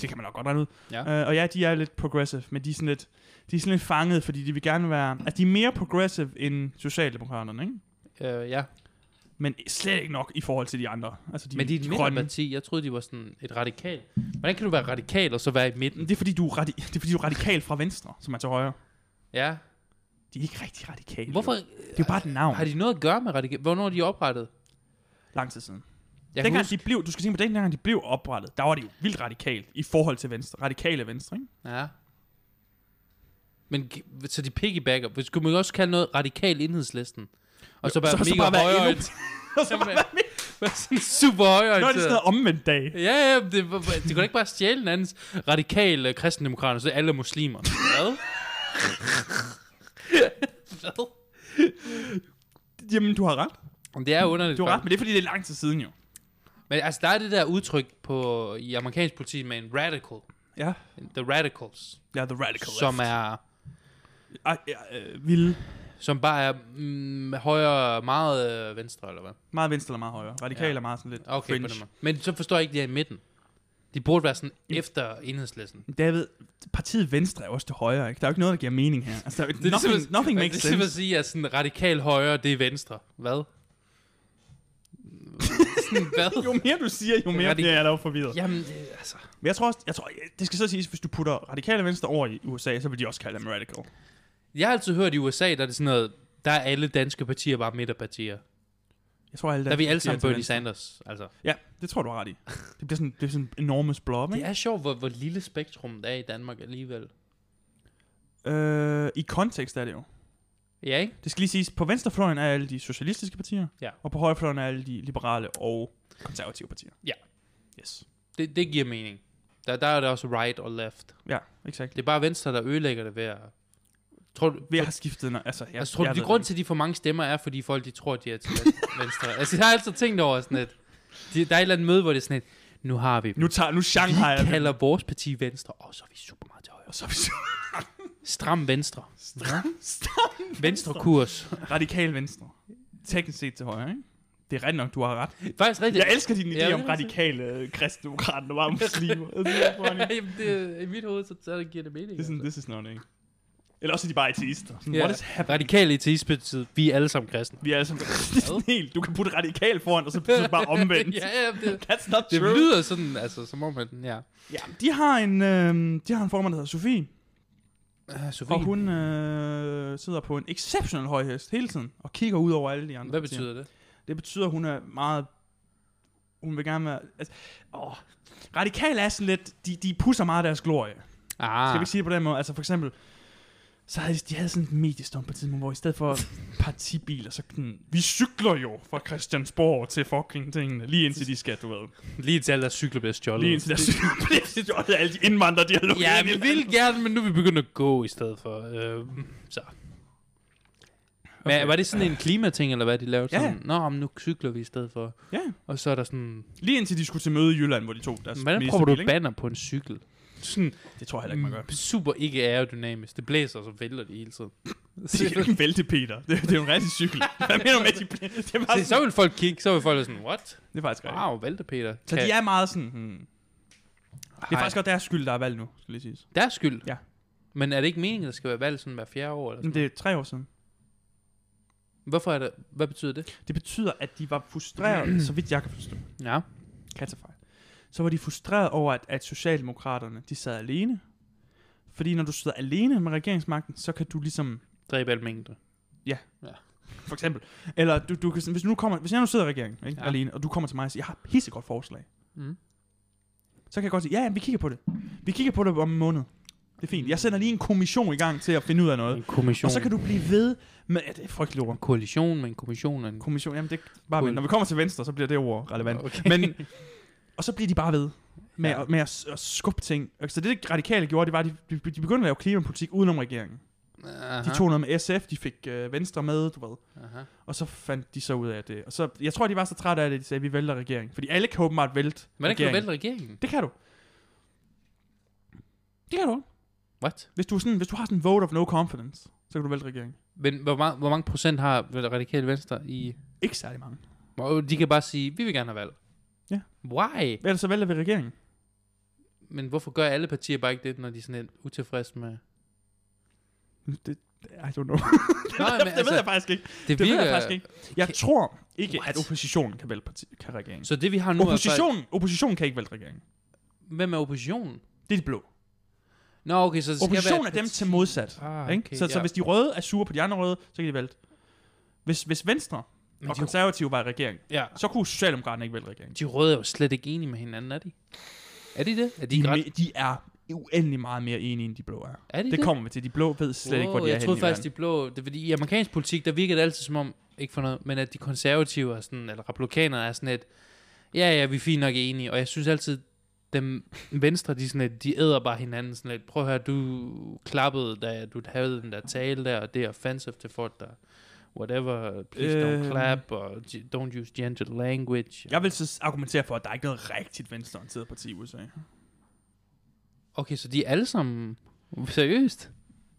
S1: Det kan man nok godt regne ud.
S2: Ja.
S1: Øh, og ja, de er lidt progressive, men de er sådan lidt, de er sådan lidt fanget, fordi de vil gerne være... Altså, de er mere progressive end Socialdemokraterne, ikke?
S2: Øh, ja.
S1: Men slet ikke nok i forhold til de andre. Altså, de,
S2: Men de er et
S1: grønne.
S2: midterparti. Jeg troede, de var sådan et radikal. Hvordan kan du være radikal og så være i midten?
S1: Det er, fordi du er radi- det er, fordi du er radikal fra venstre, som er til højre.
S2: Ja.
S1: De er ikke rigtig radikale.
S2: Hvorfor
S1: jo. Det er jo bare et navn.
S2: har de noget at gøre med radikal? Hvornår er de oprettet?
S1: Lang tid siden.
S2: Jeg kan
S1: dengang
S2: huske...
S1: de blev, du skal tænke på, dengang de blev oprettet, der var det jo vildt radikalt i forhold til venstre. Radikale venstre, ikke?
S2: Ja. Men gi- så de piggybacker. Hvis- Skulle man også kalde noget radikal enhedslisten? Og så bare
S1: så- så
S2: mega
S1: bare være
S2: højere.
S1: endnu- Og så var det
S2: Sådan super højere.
S1: sådan noget omvendt dag.
S2: Ja, ja, det, var- det kunne da ikke bare stjæle en andens radikale kristendemokrater, så alle er muslimer. Hvad? Hvad?
S1: Jamen, du har ret.
S2: Men Det er underligt.
S1: Du har ret,
S2: faktisk.
S1: men det er, fordi det er lang tid siden jo.
S2: Men altså, der er det der udtryk på, i amerikansk politik med en radical.
S1: Ja.
S2: The radicals.
S1: Ja, the radical
S2: Som er...
S1: Ah, ja, øh, vilde.
S2: Som bare er mm, højere, meget øh, venstre, eller hvad?
S1: Meget venstre eller meget højre. Radikale
S2: Ja.
S1: er meget sådan lidt
S2: Okay, på
S1: fringe.
S2: den måde. Men så forstår jeg ikke, de er i midten. De burde være sådan efter enhedslæsen.
S1: David, partiet Venstre er jo også til højre, ikke? Der er jo ikke noget, der giver mening her. Altså, der er, nothing, nothing makes
S2: Det er ligesom at
S1: sense.
S2: sige, at sådan radikal højre, det er venstre. Hvad? sådan, hvad?
S1: Jo mere du siger, jo mere
S2: Radik-
S1: bliver jeg da forvirret. Ja.
S2: Jamen, øh, altså...
S1: Men jeg tror også, jeg tror, det skal så siges, hvis du putter radikale venstre over i USA, så vil de også kalde dem radical.
S2: Jeg har altid hørt i USA, der er det sådan noget, der er alle danske partier bare midterpartier.
S1: Jeg tror, alle
S2: Der er vi
S1: danske
S2: alle sammen
S1: partier er til
S2: Bernie Sanders, altså.
S1: venstre. Ja, det tror du har ret i. Det bliver sådan, det bliver sådan en enormous blob,
S2: Det
S1: ikke?
S2: er sjovt, hvor, hvor lille spektrum der er i Danmark alligevel.
S1: Øh, I kontekst er det jo.
S2: Ja, ikke?
S1: Det skal lige siges, på venstrefløjen er alle de socialistiske partier,
S2: Ja.
S1: og på højrefløjen er alle de liberale og konservative partier.
S2: Ja.
S1: Yes.
S2: Det, det giver mening. Der, der er det også right og left.
S1: Ja, exakt.
S2: Det er bare Venstre, der ødelægger det ved at Tror du,
S1: Vi har skiftet, når, altså, jeg,
S2: altså, tror
S1: jeg
S2: du,
S1: ved
S2: de grund
S1: det
S2: til, at de får mange stemmer, er, fordi folk de tror, de er til venstre? Altså, jeg har altid tænkt over sådan et... De, der er et eller andet møde, hvor det er sådan et... Nu har vi
S1: ikke.
S2: dem.
S1: Nu tager, nu Shanghai
S2: Vi kalder vores parti Venstre, og så er vi super meget til højre.
S1: Og så er vi så
S2: Stram Venstre.
S1: Stram
S2: Venstre kurs.
S1: radikal venstre. Teknisk set til højre, ikke? Det er ret nok, du har ret.
S2: Faktisk rigtigt.
S1: Jeg elsker dine idé
S2: Ja,
S1: om
S2: det er
S1: radikale øh, kristdemokrater, der var muslimer. Altså, det er funny.
S2: Jamen, det, I mit hoved, så, så giver det mening. altså.
S1: Det er sådan, this is not, ikke? Eller også er de bare ateister. Sådan,
S2: Ja.
S1: What is happening?
S2: Radikale ateistpartiet, vi er alle sammen kristne.
S1: Vi er alle sammen det er sådan helt, du kan putte radikal foran, og så betyder det bare omvendt.
S2: ja, ja, det,
S1: That's not
S2: det
S1: true.
S2: lyder sådan, altså, som om, at den, ja.
S1: Ja, de har en, øh, de har en formand, der hedder Sofie,
S2: Uh, Sofie,
S1: og hun øh, sidder på en exceptionel høj hest hele tiden, og kigger ud over alle de andre.
S2: hvad
S1: partier.
S2: betyder det?
S1: Det betyder, at hun er meget... Hun vil gerne være... Altså, åh, radikale er sådan lidt... De, de pusser meget deres glorie. Skal vi
S2: Ah,
S1: ikke sige det på den måde? Altså for eksempel, så havde de, de havde sådan et mediestunt på et tidspunkt, hvor i stedet for partibiler, så sådan, vi cykler jo fra Christiansborg til fucking tingene, lige indtil de skal, du ved.
S2: lige til alle deres cykler bliver stjålet.
S1: Lige indtil der cykler, og alle de indvandrere, de har lukket
S2: Ja,
S1: ind i
S2: vi vil gerne, men nu er vi begyndt at gå i stedet for. Øh, så. Men
S1: Okay.
S2: var det sådan en klimating, eller hvad de lavede?
S1: Ja.
S2: Sådan, Nå, men nu cykler vi i stedet for.
S1: Ja,
S2: Og så er der sådan,
S1: lige indtil de skulle til møde i Jylland, hvor de tog deres
S2: hvordan prøver du
S1: ministerbil,
S2: et banner på en cykel? Sådan
S1: ikke? Det tror jeg heller ikke, man gør.
S2: super ikke aerodynamisk. Det blæser, og så vælter det hele tiden.
S1: Det er jo ikke en vælte, Peter. Det, det er jo en rigtig cykel. Hvad mener du med, at de bliver? Det er, bare
S2: Så, så
S1: sådan,
S2: vil folk kigge, så vil folk være sådan, what?
S1: det er faktisk rigtigt.
S2: Wow, vælte Peter.
S1: Så de er meget sådan... Hmm. Det er faktisk godt deres skyld, der er valg nu, skal lige siges.
S2: Deres skyld?
S1: Ja.
S2: Men er det ikke meningen, at der skal være valg sådan hver fjerde år? Eller
S1: Men
S2: sådan?
S1: det er tre år siden.
S2: Hvorfor er det? Hvad betyder det?
S1: Det betyder, at de var frustreret, så vidt jeg kan forstå.
S2: Ja.
S1: Kattefejl. Så var de frustreret over, at, at Socialdemokraterne, de sad alene. Fordi når du sidder alene med regeringsmagten, så kan du ligesom...
S2: Dræb alt mængde.
S1: For eksempel. Eller du, du kan, sådan- hvis, nu kommer, hvis jeg nu sidder i regeringen ikke, ja.
S2: Ja.
S1: alene, og du kommer til mig og siger, jeg har et pissegodt forslag.
S2: Mm.
S1: Så kan jeg godt sige, ja, ja, vi kigger på det. Vi kigger på det om en måned. Det er fint. Jeg sender lige en kommission i gang til at finde ud af noget.
S2: En kommission.
S1: Og så kan du blive ved med... Ja, det er frygteligt ord.
S2: En koalition med en kommission. og En...
S1: Kommission, jamen det er bare
S2: Cool.
S1: cool. Når vi kommer til venstre, så bliver det ord relevant.
S2: Okay.
S1: Okay. Men, og så bliver de bare ved med,
S2: Ja.
S1: ja. at, med at, s- at skubbe ting. Og Så det, de radikale gjorde, det var, at de, de, de begyndte at lave klimapolitik udenom regeringen.
S2: Aha,
S1: De tog noget med SF, de fik øh, Venstre med, du ved.
S2: aha.
S1: Og så fandt de så ud af det. Og så, jeg tror, de var så trætte af det, at de sagde, at vi vælter regeringen. Fordi alle kan åbenbart vælte
S2: Hvordan kan du
S1: regeringen.
S2: vælte regeringen?
S1: Det kan du. Det kan du.
S2: What?
S1: Hvis du, er sådan, hvis du har sådan en vote of no confidence, så kan du vælte regeringen.
S2: Men hvor, meget, hvor mange procent har radikale venstre i...
S1: Ikke særlig mange.
S2: Hvor øh, De kan bare sige, vi vil gerne have valg.
S1: Ja.
S2: Why?
S1: Ellers så vælter vi regeringen.
S2: Men hvorfor gør alle partier bare ikke det, når de er sådan lidt utilfredse med...
S1: Det, I don't know.
S2: Nå, men altså,
S1: det ved jeg faktisk ikke. Det,
S2: det,
S1: det
S2: virker,
S1: ved jeg faktisk ikke. Jeg
S2: Kan-
S1: tror ikke,
S2: What?
S1: at oppositionen kan vælge parti, kan regeringen.
S2: Så det vi har nu er...
S1: Oppositionen, oppositionen kan ikke vælge regeringen.
S2: Folk, hvem er oppositionen?
S1: Det er de blå.
S2: Nå, okay, så det skal
S1: Oppositionen er
S2: være et
S1: dem
S2: parti-
S1: til modsat.
S2: Ah,
S1: Okay, ikke? Så,
S2: ja.
S1: så hvis de røde er sure på de andre røde, så kan de vælte. Hvis, hvis Venstre
S2: Men
S1: og
S2: de-
S1: konservative var i regering,
S2: Ja.
S1: så kunne Socialdemokraterne ikke vælge regeringen.
S2: De røde er jo slet ikke enige med hinanden, er de? Er de det? Er de,
S1: De,
S2: ikke ret...
S1: me- de er uendelig meget mere enige, end de blå er.
S2: Er de
S1: Det kommer vi til. De blå ved slet ikke, hvor de er
S2: jeg
S1: henne
S2: troede
S1: i
S2: faktisk,
S1: verden.
S2: de blå... Det, er fordi I amerikansk politik, der virker det altid som om... Ikke for noget, men at de konservative er sådan, eller republikanere er sådan et... Ja, ja, vi er fint nok enige. Og jeg synes altid, dem venstre, de, er sådan et, de æder bare hinanden sådan lidt. Prøv at høre, du klappede, da du havde den der tale der, og det er offensive til folk, der... Whatever, please
S1: Øh.
S2: don't clap, og g- don't use gendered language.
S1: Jeg vil så argumentere for, at der er ikke noget rigtigt venstreorienteret parti i USA.
S2: Okay, så de er alle sammen... Seriøst?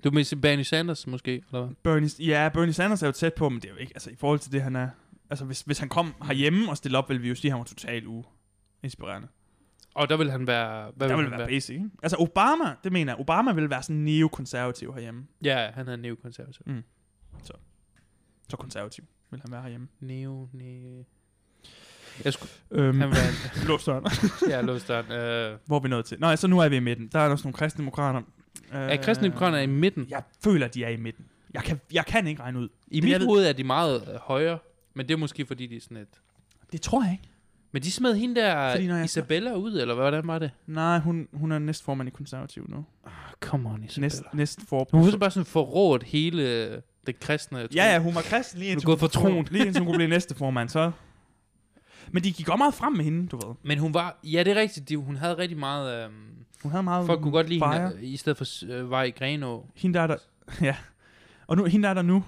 S2: Du mener Bernie Sanders måske, eller hvad?
S1: Bernie, ja, Bernie Sanders er jo tæt på, men det er jo ikke, altså i forhold til det, han er. Altså hvis, hvis han kom herhjemme og stillede op, ville vi jo sige, at han var totalt uinspirerende.
S2: Og der vil han være... Hvad
S1: Der
S2: vil
S1: ville
S2: han
S1: være basic, ikke? Altså Obama, det mener jeg, Obama ville være sådan neokonservativ herhjemme.
S2: Ja, han er neokonservativ.
S1: Så konservativ vil han være herhjemme.
S2: Neo, ne... Jeg skulle...
S1: Øhm,
S2: Han var...
S1: Blå Søren.
S2: ja, låst den. Øh,
S1: Hvor er vi nået til? Nå, så nu er vi i midten. Der er også nogle kristendemokrater. Øh,
S2: er kristendemokraterne i midten?
S1: Jeg føler, de er i midten. Jeg kan, jeg kan ikke regne ud.
S2: I
S1: jeg
S2: mit
S1: ved-
S2: hoved er de meget øh, højere, men det er måske fordi, de er sådan et...
S1: Det tror jeg ikke.
S2: Men de smed hende
S1: Fordi når
S2: der
S1: jeg-
S2: Isabella ud, eller hvordan var det?
S1: Nej, hun, hun er næstformand i konservativ nu.
S2: Oh, come on, Isabella.
S1: Næst, næstfor...
S2: Hun har bare sådan forrådt hele øh, det kristne. tro.
S1: Ja, ja, hun var kristen lige
S2: Hun
S1: indtil
S2: er gået for
S1: kunne-
S2: troen.
S1: Lige indtil hun kunne blive næste formand, så... Men de gik godt meget frem med hende, du ved.
S2: Men hun var... Ja, det er rigtigt. De, hun havde rigtig meget... Øh,
S1: Hun havde meget...
S2: folk kunne godt lide øh.
S1: fire.
S2: hende, øh, i stedet for øh, var i Grenå.
S1: Hende der, er der... Ja. Og nu, hende der er der nu,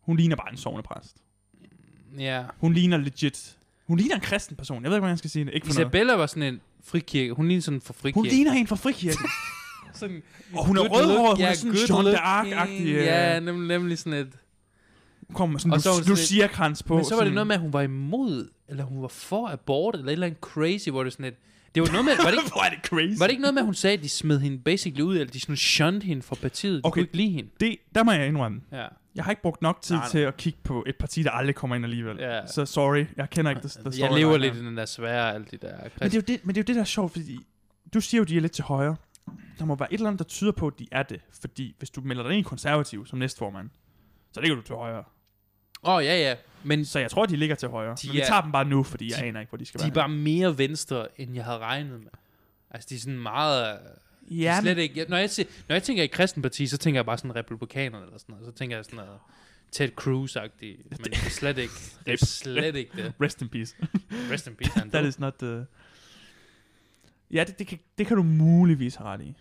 S1: hun ligner bare en sovende præst.
S2: Ja.
S1: Hun ligner legit. Hun ligner en kristen person. Jeg ved ikke, hvordan jeg skal sige det. Ikke for noget.
S2: Isabella var sådan en frikirke. Hun lignede sådan for frikirke.
S1: Hun ligner en fra frikirken.
S2: sådan...
S1: Og hun er
S2: good
S1: rødhåret,
S2: look-
S1: hun er
S2: ja,
S1: sådan
S2: good
S1: John
S2: looking.
S1: d'Arc-agtig. øh,
S2: Ja, nemlig, nemlig sådan et...
S1: Kom med sådan
S2: Og
S1: en
S2: så er hun
S1: lu-
S2: sådan lidt-
S1: Lucia-krans på.
S2: Men så var det
S1: sådan-
S2: noget med, at hun var imod, eller hun var for abort, eller et eller andet crazy, hvor det sådan et... Det var noget med... Var det ikke,
S1: Hvor er det crazy.
S2: var det ikke noget med, at hun sagde, at de smed hende basically ud, eller de sådan shunned hende fra partiet? De
S1: Okay.
S2: kunne ikke lide hende.
S1: Det, der må jeg indrømme.
S2: Ja.
S1: Jeg har ikke brugt nok tid
S2: Nej, nej.
S1: til at kigge på et parti, der aldrig kommer ind alligevel.
S2: Ja. Altså,
S1: Så sorry, jeg kender ikke det. det
S2: Jeg lever lidt i den der svære, alt det der...
S1: Men det, er jo det, men det er jo det, der er sjovt, fordi du siger jo, de er lidt til højre. Der må være et eller andet, der tyder på, at de er det. Fordi hvis du melder dig ind i konservativ som næstformand, så ligger du til højre.
S2: Åh, oh, ja, ja. Men
S1: Så jeg tror, de ligger til højre.
S2: De
S1: De men vi
S2: er-
S1: tager dem bare nu, fordi jeg
S2: de-
S1: aner ikke, hvor de skal
S2: de er
S1: være.
S2: bare mere venstre, end jeg havde regnet med. Altså, de er sådan meget... Ja,
S1: ja,
S2: slet ikke. Jeg, når, jeg, se- når jeg tænker i kristenparti, så tænker jeg bare sådan republikanerne eller sådan noget. Så tænker jeg sådan noget Ted Cruz-agtigt. Men det er slet ikke det. Er slet ikke det.
S1: rest in peace.
S2: Rest in peace, han
S1: That
S2: døde.
S1: is not the... Ja, det, det, kan, det kan du muligvis have ret i.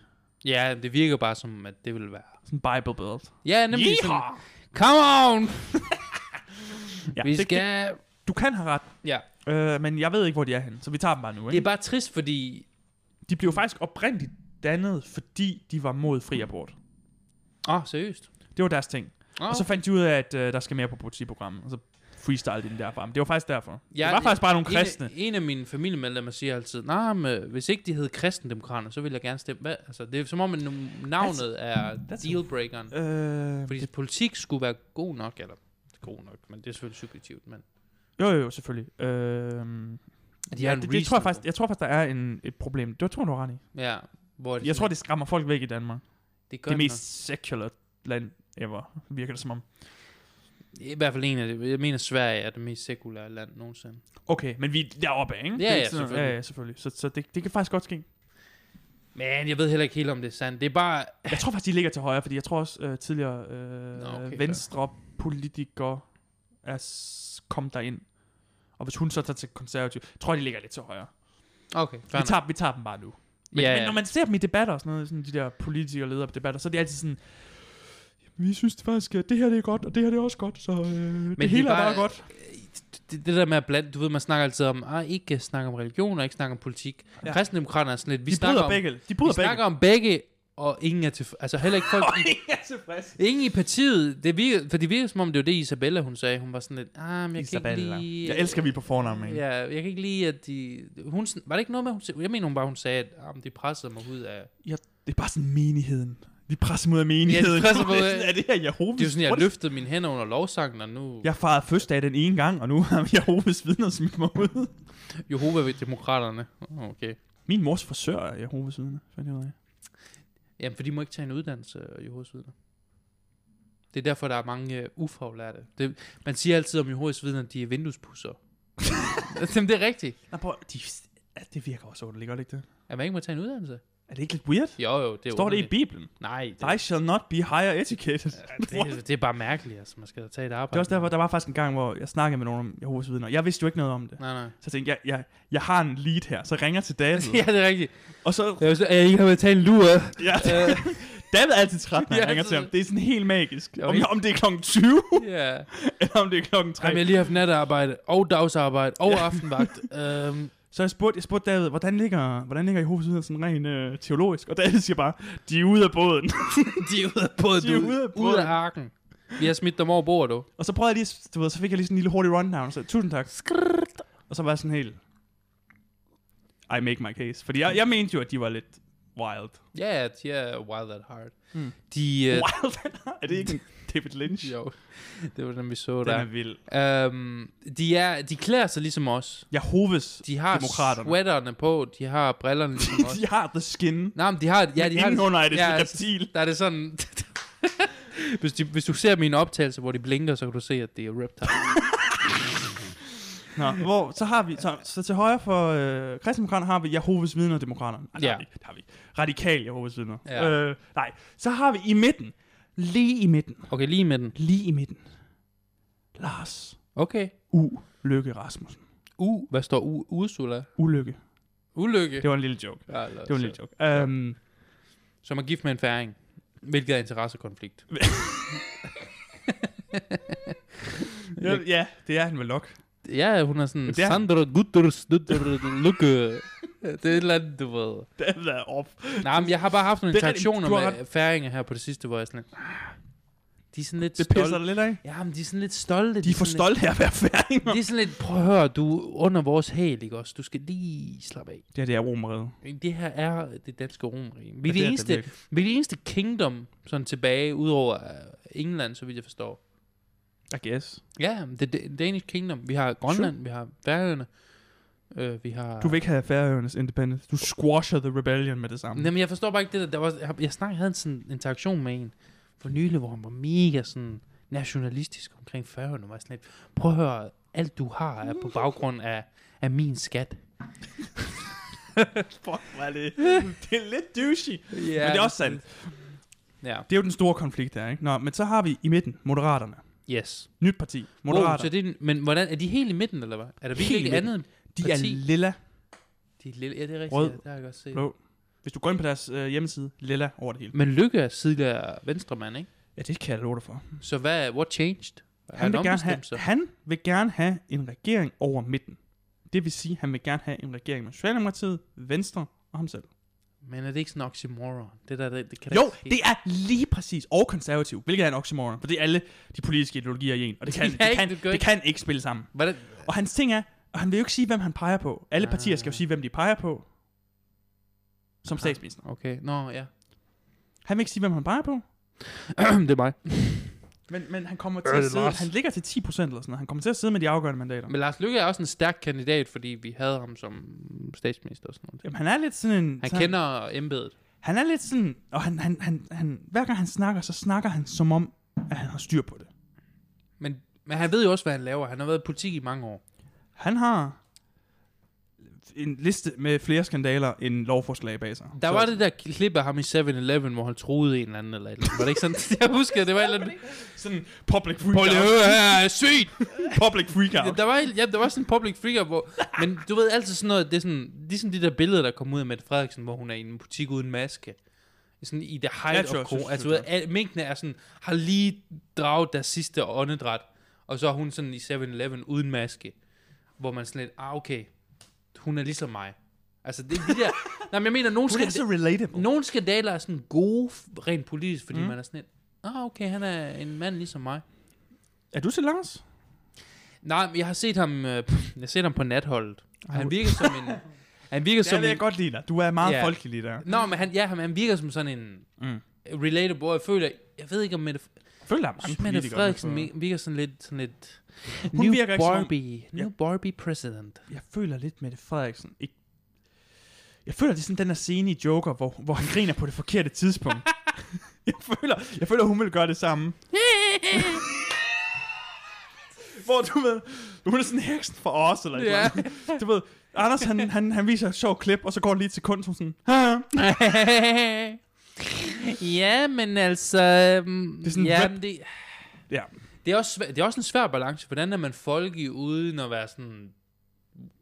S2: Ja, det virker bare som, at det vil være.
S1: Sådan Bible Belt.
S2: Ja, nemlig sådan,
S1: Yeehaw!
S2: come on!
S1: Ja,
S2: Vi
S1: det, det,
S2: skal...
S1: du kan have ret,
S2: Ja,
S1: øh, men jeg ved ikke, hvor de er henne, så vi tager dem bare nu.
S2: det er
S1: Ikke?
S2: bare trist, fordi...
S1: De blev faktisk oprindeligt dannet, fordi de var mod fri abort.
S2: Åh, oh, seriøst?
S1: Det var deres ting.
S2: Oh,
S1: Og så fandt de ud af, at øh, der skal mere på politiprogrammet, og så freestyle de den derfra. Men det var faktisk derfor. Ja,
S2: Ja,
S1: det var
S2: det-
S1: faktisk bare nogle kristne.
S2: En, en af mine familiemedlemmer siger altid, nej, nah, øh, hvis ikke de hed kristendemokrater, så ville jeg gerne stemme. Hvad? Altså, det er som om, at nu- navnet er
S1: that's-
S2: dealbreakeren.
S1: Øh,
S2: Fordi
S1: det,
S2: politik skulle være god nok, eller god nok, men det er selvfølgelig subjektivt, men
S1: jo, jo, jo, selvfølgelig. Øh,
S2: de
S1: ja,
S2: har en
S1: det, det tror
S2: reason
S1: jeg faktisk,
S2: for-
S1: jeg tror faktisk, der er en, et problem. Det tror jeg, du har ret i.
S2: ja, hvor er det
S1: Jeg tror,
S2: sådan,
S1: det skræmmer folk væk i Danmark.
S2: det, gør
S1: Det mest secular land ever, virker det som om.
S2: noget. I hvert fald en af det. Jeg mener, Sverige er det mest sekulære land nogensinde.
S1: Okay, men vi er deroppe, af, ikke?
S2: Ja,
S1: Det er
S2: ja,
S1: ikke sådan noget-
S2: selvfølgelig.
S1: Ja, ja, selvfølgelig. Så, så det, det kan faktisk godt ske.
S2: Men jeg ved heller ikke helt, om det er sandt. Det er bare...
S1: Jeg tror faktisk, de ligger til højre, fordi jeg tror også øh, tidligere øh,
S2: Nå,
S1: Nå,
S2: okay,
S1: okay, venstre politikere er s- kom derind. Og hvis hun så tager til konservativ, jeg tror jeg, de ligger lidt til højre.
S2: Okay,
S1: Vi tager, vi tager dem bare nu. Men,
S2: Ja,
S1: ja, men
S2: ja.
S1: når man ser dem i debatter og sådan noget, sådan de der politikere og ledere på debatter, så er de altid sådan, vi synes det faktisk, at det her det er godt, og det her det er også godt, så øh, men
S2: de er
S1: det hele er
S2: bare-
S1: bare godt.
S2: det, det der med at blande... Du ved, man snakker altid om, ah, ikke snakke om religion og ikke snakke om politik. Ja.
S1: Ja.
S2: Kristendemokraterne er sådan lidt... Vi
S1: de
S2: snakker
S1: bryder
S2: om,
S1: begge. De
S2: Vi
S1: bryder begge.
S2: snakker om begge, og ingen er til... Altså heller ikke folk... i,
S1: ingen er tilfreds.
S2: ingen i partiet, det virker, for det virker som om, det var det Isabella, hun sagde. Hun var sådan lidt, ah, men jeg kan ikke
S1: Isabella.
S2: lide...
S1: Jeg elsker, at vi er på fornavn, ikke?
S2: Ja, jeg kan ikke lide, at de... Hun, sn- var det ikke noget med, hun sagde... Jeg mener hun bare, hun sagde, at ah, men de pressede mig ud af...
S1: Det er bare sådan menigheden. De presser mod af menigheden.
S2: presser mod-
S1: Det er sådan, er det her Jehovas?
S2: Det er jo sådan, jeg
S1: What the
S2: løftede mine hænder under lovsangen, og nu... Ja.
S1: Jeg farede fødselsdag den ene gang, og nu har Jehovas vidner smidt mig ud.
S2: Jehova ved demokraterne. Åh, Okay.
S1: Min mors frisør er Jehovas vidner, fandt jeg ud af.
S2: Jamen, for de må ikke tage en uddannelse, øh, Jehovas vidner. Det er derfor, der er mange uh, ufaglærte. Det, man siger altid om Jehovas vidner, at de er vinduespusser. Jamen, det er rigtigt.
S1: Nej, prøv, de, ja, det virker også underligt, gør det ikke det?
S2: At man ikke må tage en uddannelse.
S1: Er det ikke lidt weird?
S2: Jo, jo, det er
S1: Står det i
S2: underligt.
S1: Bibelen?
S2: Nej, det,
S1: I shall not be higher educated.
S2: det, det, det, er bare mærkeligt, altså. Man skal da tage et arbejde.
S1: Det er også derfor, der var faktisk en gang, hvor jeg snakkede med nogen om Jehovas vidner. Jeg vidste jo ikke noget om det.
S2: Nej, nej.
S1: Så jeg tænkte, jeg, jeg, jeg har en lead her, så jeg ringer til David.
S2: ja, det er rigtigt.
S1: Og så,
S2: Jeg, så, jeg ikke har været tage en lur.
S1: ja,
S2: Øh.
S1: David er altid træt, når jeg
S2: Ja,
S1: ringer
S2: så-
S1: til ham. Det er sådan helt magisk.
S2: Jeg var
S1: Om,
S2: helt-
S1: om det er klokken 20,
S2: Ja.
S1: eller om det er klokken 3.
S2: Jamen, jeg har lige haft natarbejde, og dagsarbejde, og aftenvagt. øhm,
S1: Så jeg spurgte, jeg spurgte David, hvordan ligger, hvordan ligger Jehovas vidner sådan rent øh, teologisk? Og David siger bare, de er ude af båden.
S2: de er ude af båden.
S1: De er ude af båden.
S2: Ude af arken. Vi har smidt dem over bordet, du.
S1: og så prøvede jeg lige, du ved, så fik jeg lige sådan en lille hurtig rundown, og så tusind tak. Og så var jeg sådan helt, I make my case. Fordi jeg, jeg mente jo, at de var lidt wild.
S2: Ja, yeah, de er wild at heart.
S1: Mm.
S2: De, øh,
S1: Wild? er det ikke en David Lynch?
S2: jo, det var den, vi
S1: Den
S2: så
S1: er
S2: der.
S1: vild.
S2: Øhm, de, er, de klæder sig ligesom os.
S1: Jehovas,
S2: De har
S1: Demokraterne.
S2: sweaterne på, de har brillerne ligesom os.
S1: de har the skin.
S2: Nej, men de har... Ja, de har
S1: Indenunder er det sådan
S2: ja, altså-
S1: et reptil.
S2: Der er det sådan... hvis, de, hvis du ser mine optagelser, hvor de blinker, så kan du se, at det er reptile.
S1: Nå, hvor, så har vi, så, så til højre for øh, kristendemokraterne har vi Jehovas vidner og demokraterne. Nej, det
S2: Ja.
S1: har vi ikke, det har vi ikke. Radikal Jehovas vidner.
S2: Ja.
S1: Øh, nej, så har vi i midten, lige i midten,
S2: Okay, lige med den.
S1: lige i midten, Lars
S2: Okay.
S1: U. Lykke Rasmussen.
S2: U, hvad står U? Ursula?
S1: Ulykke.
S2: Ulykke.
S1: Det var en lille joke.
S2: Ja, eller
S1: Det var en
S2: så-
S1: lille joke. Um,
S2: Som er gift med en færing. Hvilket er interessekonflikt.
S1: Ja, ja, det er han vel nok.
S2: Ja, hun er sådan,
S1: Men det er-
S2: Sandra Gutters, Dutter, Lukke. Det er et eller andet, du ved.
S1: Den er op.
S2: Nej, men jeg har bare haft nogle
S1: Det er rigtigt,
S2: interaktioner
S1: du har
S2: med færinger her på det sidste, hvor jeg er sådan, lidt, "Ah, de er sådan lidt
S1: Det pisser
S2: stolte.
S1: dig lidt af.
S2: Ja, men de er sådan lidt stolte.
S1: De er for
S2: sådan
S1: stolte af at være færinger.
S2: Lidt, de er sådan lidt, prøv at høre, du er under vores hæl, ikke også? Du skal lige slappe af.
S1: Det her, det er romeriet.
S2: Det her er det danske romerige. Vi er
S1: Ja, det
S2: det,
S1: er det
S2: eneste,
S1: virkelig.
S2: vi er det eneste kingdom sådan tilbage, udover øh, England, så vidt jeg forstår.
S1: I guess.
S2: Ja, det er Danish kingdom. Vi har Grønland, vi har Færøerne, øh, vi har...
S1: Du vil ikke have Færøernes independence. Du squasher the rebellion med det samme.
S2: Jamen, jeg forstår bare ikke det der. der var, jeg, jeg snakkede, havde en sådan interaktion med en for nylig, hvor han var mega sådan nationalistisk omkring færøerne. Var jeg sådan lidt, prøv at høre, alt du har er på baggrund af, af min skat.
S1: Fuck, hvad er det? det er lidt douchey.
S2: Ja,
S1: Men det er også sandt.
S2: Ja,
S1: Det er jo den store konflikt der, ikke? Nå, men så har vi i midten Moderaterne.
S2: yes.
S1: Nyt parti.
S2: Wow,
S1: Moderater.
S2: så det, er- men hvordan, er de helt i midten, eller hvad? Er der
S1: Helt i
S2: virkelig ikke
S1: midten.
S2: andet?
S1: de er
S2: parti.
S1: lilla,
S2: De er lille, ja, det er rigtigt.
S1: Rød,
S2: ja, det har jeg godt set.
S1: blå. Hvis du går ind på deres øh, hjemmeside, lilla over det hele.
S2: Men Lykke er tidligere venstremand, ikke?
S1: Ja, det kan jeg love dig for.
S2: Så hvad, what changed? Har
S1: Han vil, gerne have,
S2: ombestemt sig?
S1: han vil gerne have en regering over midten. Det vil sige, at han vil gerne have en regering med Socialdemokratiet, Venstre og ham selv.
S2: Men er det ikke sådan en oxymoron? Det der, det, det kan da
S1: Jo,
S2: ikke ske.
S1: det er lige præcis. Og konservativ, hvilket er en oxymoron. For det er alle de politiske ideologier i en. Og det kan,
S2: Ja,
S1: det kan,
S2: ikke, du kan
S1: det kan ikke spille sammen.
S2: Hvordan,
S1: Og hans ting er, og han vil jo ikke sige, hvem han peger på. Alle partier skal jo
S2: Ah.
S1: sige, hvem de peger på. Som
S2: Ah.
S1: statsminister.
S2: okay, nå, ja.
S1: Han vil ikke sige, hvem han peger på.
S2: det er mig.
S1: Men, men han kommer til
S2: Øh, det
S1: at
S2: er
S1: sidde,
S2: Lars.
S1: han ligger til 10% eller sådan noget. Han kommer til at sidde med de afgørende mandater.
S2: Men Lars Lykke er også en stærk kandidat, fordi vi havde ham som statsminister og sådan noget.
S1: Jamen, han er lidt sådan en...
S2: Han
S1: sådan,
S2: kender embedet.
S1: Han er lidt sådan... Og han, han, han, han, hver gang han snakker, så snakker han som om, at han har styr på det.
S2: Men, men han ved jo også, hvad han laver. Han har været i politik i mange år.
S1: Han har en liste med flere skandaler end lovforslag bag sig.
S2: Der
S1: så,
S2: var det der klip af ham i 7-Eleven, hvor han troede en eller anden eller et eller andet. Var det ikke sådan? Jeg husker, det var et eller andet.
S1: Sådan public
S2: Prøv lige at
S1: freakout.
S2: høre her, er syg!
S1: public
S2: Ja,
S1: freakout.
S2: der, var, en- ja, der var sådan en public figure, hvor... Men du ved altid sådan noget, det er sådan, ligesom de der billeder, der kom ud af Mette Frederiksen, hvor hun er i en butik uden maske. Sådan i the
S1: Jeg
S2: height
S1: tror,
S2: of
S1: jeg synes,
S2: corona. Altså, du
S1: det
S2: ved,
S1: er
S2: al, minkene er sådan, har lige draget deres sidste åndedræt, og så er hun sådan i 7-Eleven uden maske, hvor man sådan lidt, ah, okay, hun er ligesom mig. Altså, det er de der... nej, men jeg mener, nogen
S1: Hun er
S2: skal...
S1: så relatable.
S2: Nogle skandaler er sådan gode, f- rent politisk, fordi mm. man er sådan lidt, ah, okay, han er en mand ligesom mig.
S1: Er du til Lars?
S2: Nej, men jeg har set ham, øh, pff, jeg har set ham på natholdet. Og
S1: Ej,
S2: han virker som en... Han virker
S1: Ja,
S2: som
S1: det vil
S2: en,
S1: jeg godt lide dig. Du er meget
S2: Ja.
S1: yeah. folkelig lige der.
S2: Nå, men han, ja, han, han virker som sådan en
S1: Mm.
S2: relatable, og jeg føler, jeg ved ikke om Mette,
S1: Føler der er mange
S2: Mette
S1: politikere.
S2: Frederiksen
S1: men
S2: mi- virker sådan lidt, sådan lidt
S1: Hun
S2: new
S1: virker ikke som om-
S2: Barbie,
S1: Ja.
S2: new Barbie president.
S1: for- Jeg føler lidt Mette Frederiksen. Ikke... Jeg føler, det er sådan den der scene i Joker, hvor, hvor han griner på det forkerte tidspunkt. jeg, føler, jeg føler, hun vil gøre det samme. Hvor du ved, hun er sådan heksen for os, eller
S2: Ja.
S1: yeah. Du ved, Anders han, han, han viser et sjovt klip, og så går det lige et sekund, så er hun sådan, Haha.
S2: ja, men altså... Det
S1: er sådan
S2: ja,
S1: rap-
S2: men det,
S1: Ja.
S2: Det er, også, svæ- det er også en svær balance. Hvordan er man folkelig uden at være sådan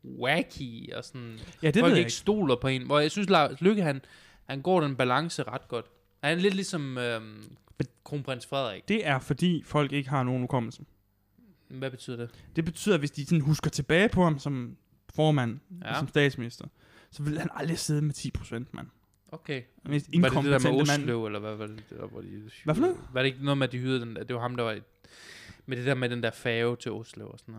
S2: wacky og sådan...
S1: Ja, det
S2: folk
S1: ved jeg
S2: ikke
S1: ikke.
S2: stoler på en. Hvor jeg synes, Lars Lykke, han, han går den balance ret godt. Han er lidt ligesom øhm, kronprins Frederik.
S1: Det er fordi, folk ikke har nogen hukommelse.
S2: Hvad betyder det?
S1: Det betyder, at hvis de sådan husker tilbage på ham som formand, ja.
S2: Ja.
S1: som statsminister, så vil han aldrig sidde med 10 procent, mand.
S2: Okay.
S1: Den mest
S2: Var det det der med
S1: inkompetente mand.
S2: Oslo, eller hvad var det der, hvor de hyrede?
S1: Hvad for noget?
S2: Var det ikke noget med, at de hyrede den der? Det var ham, der var i, med det der med den der fave til Oslo og sådan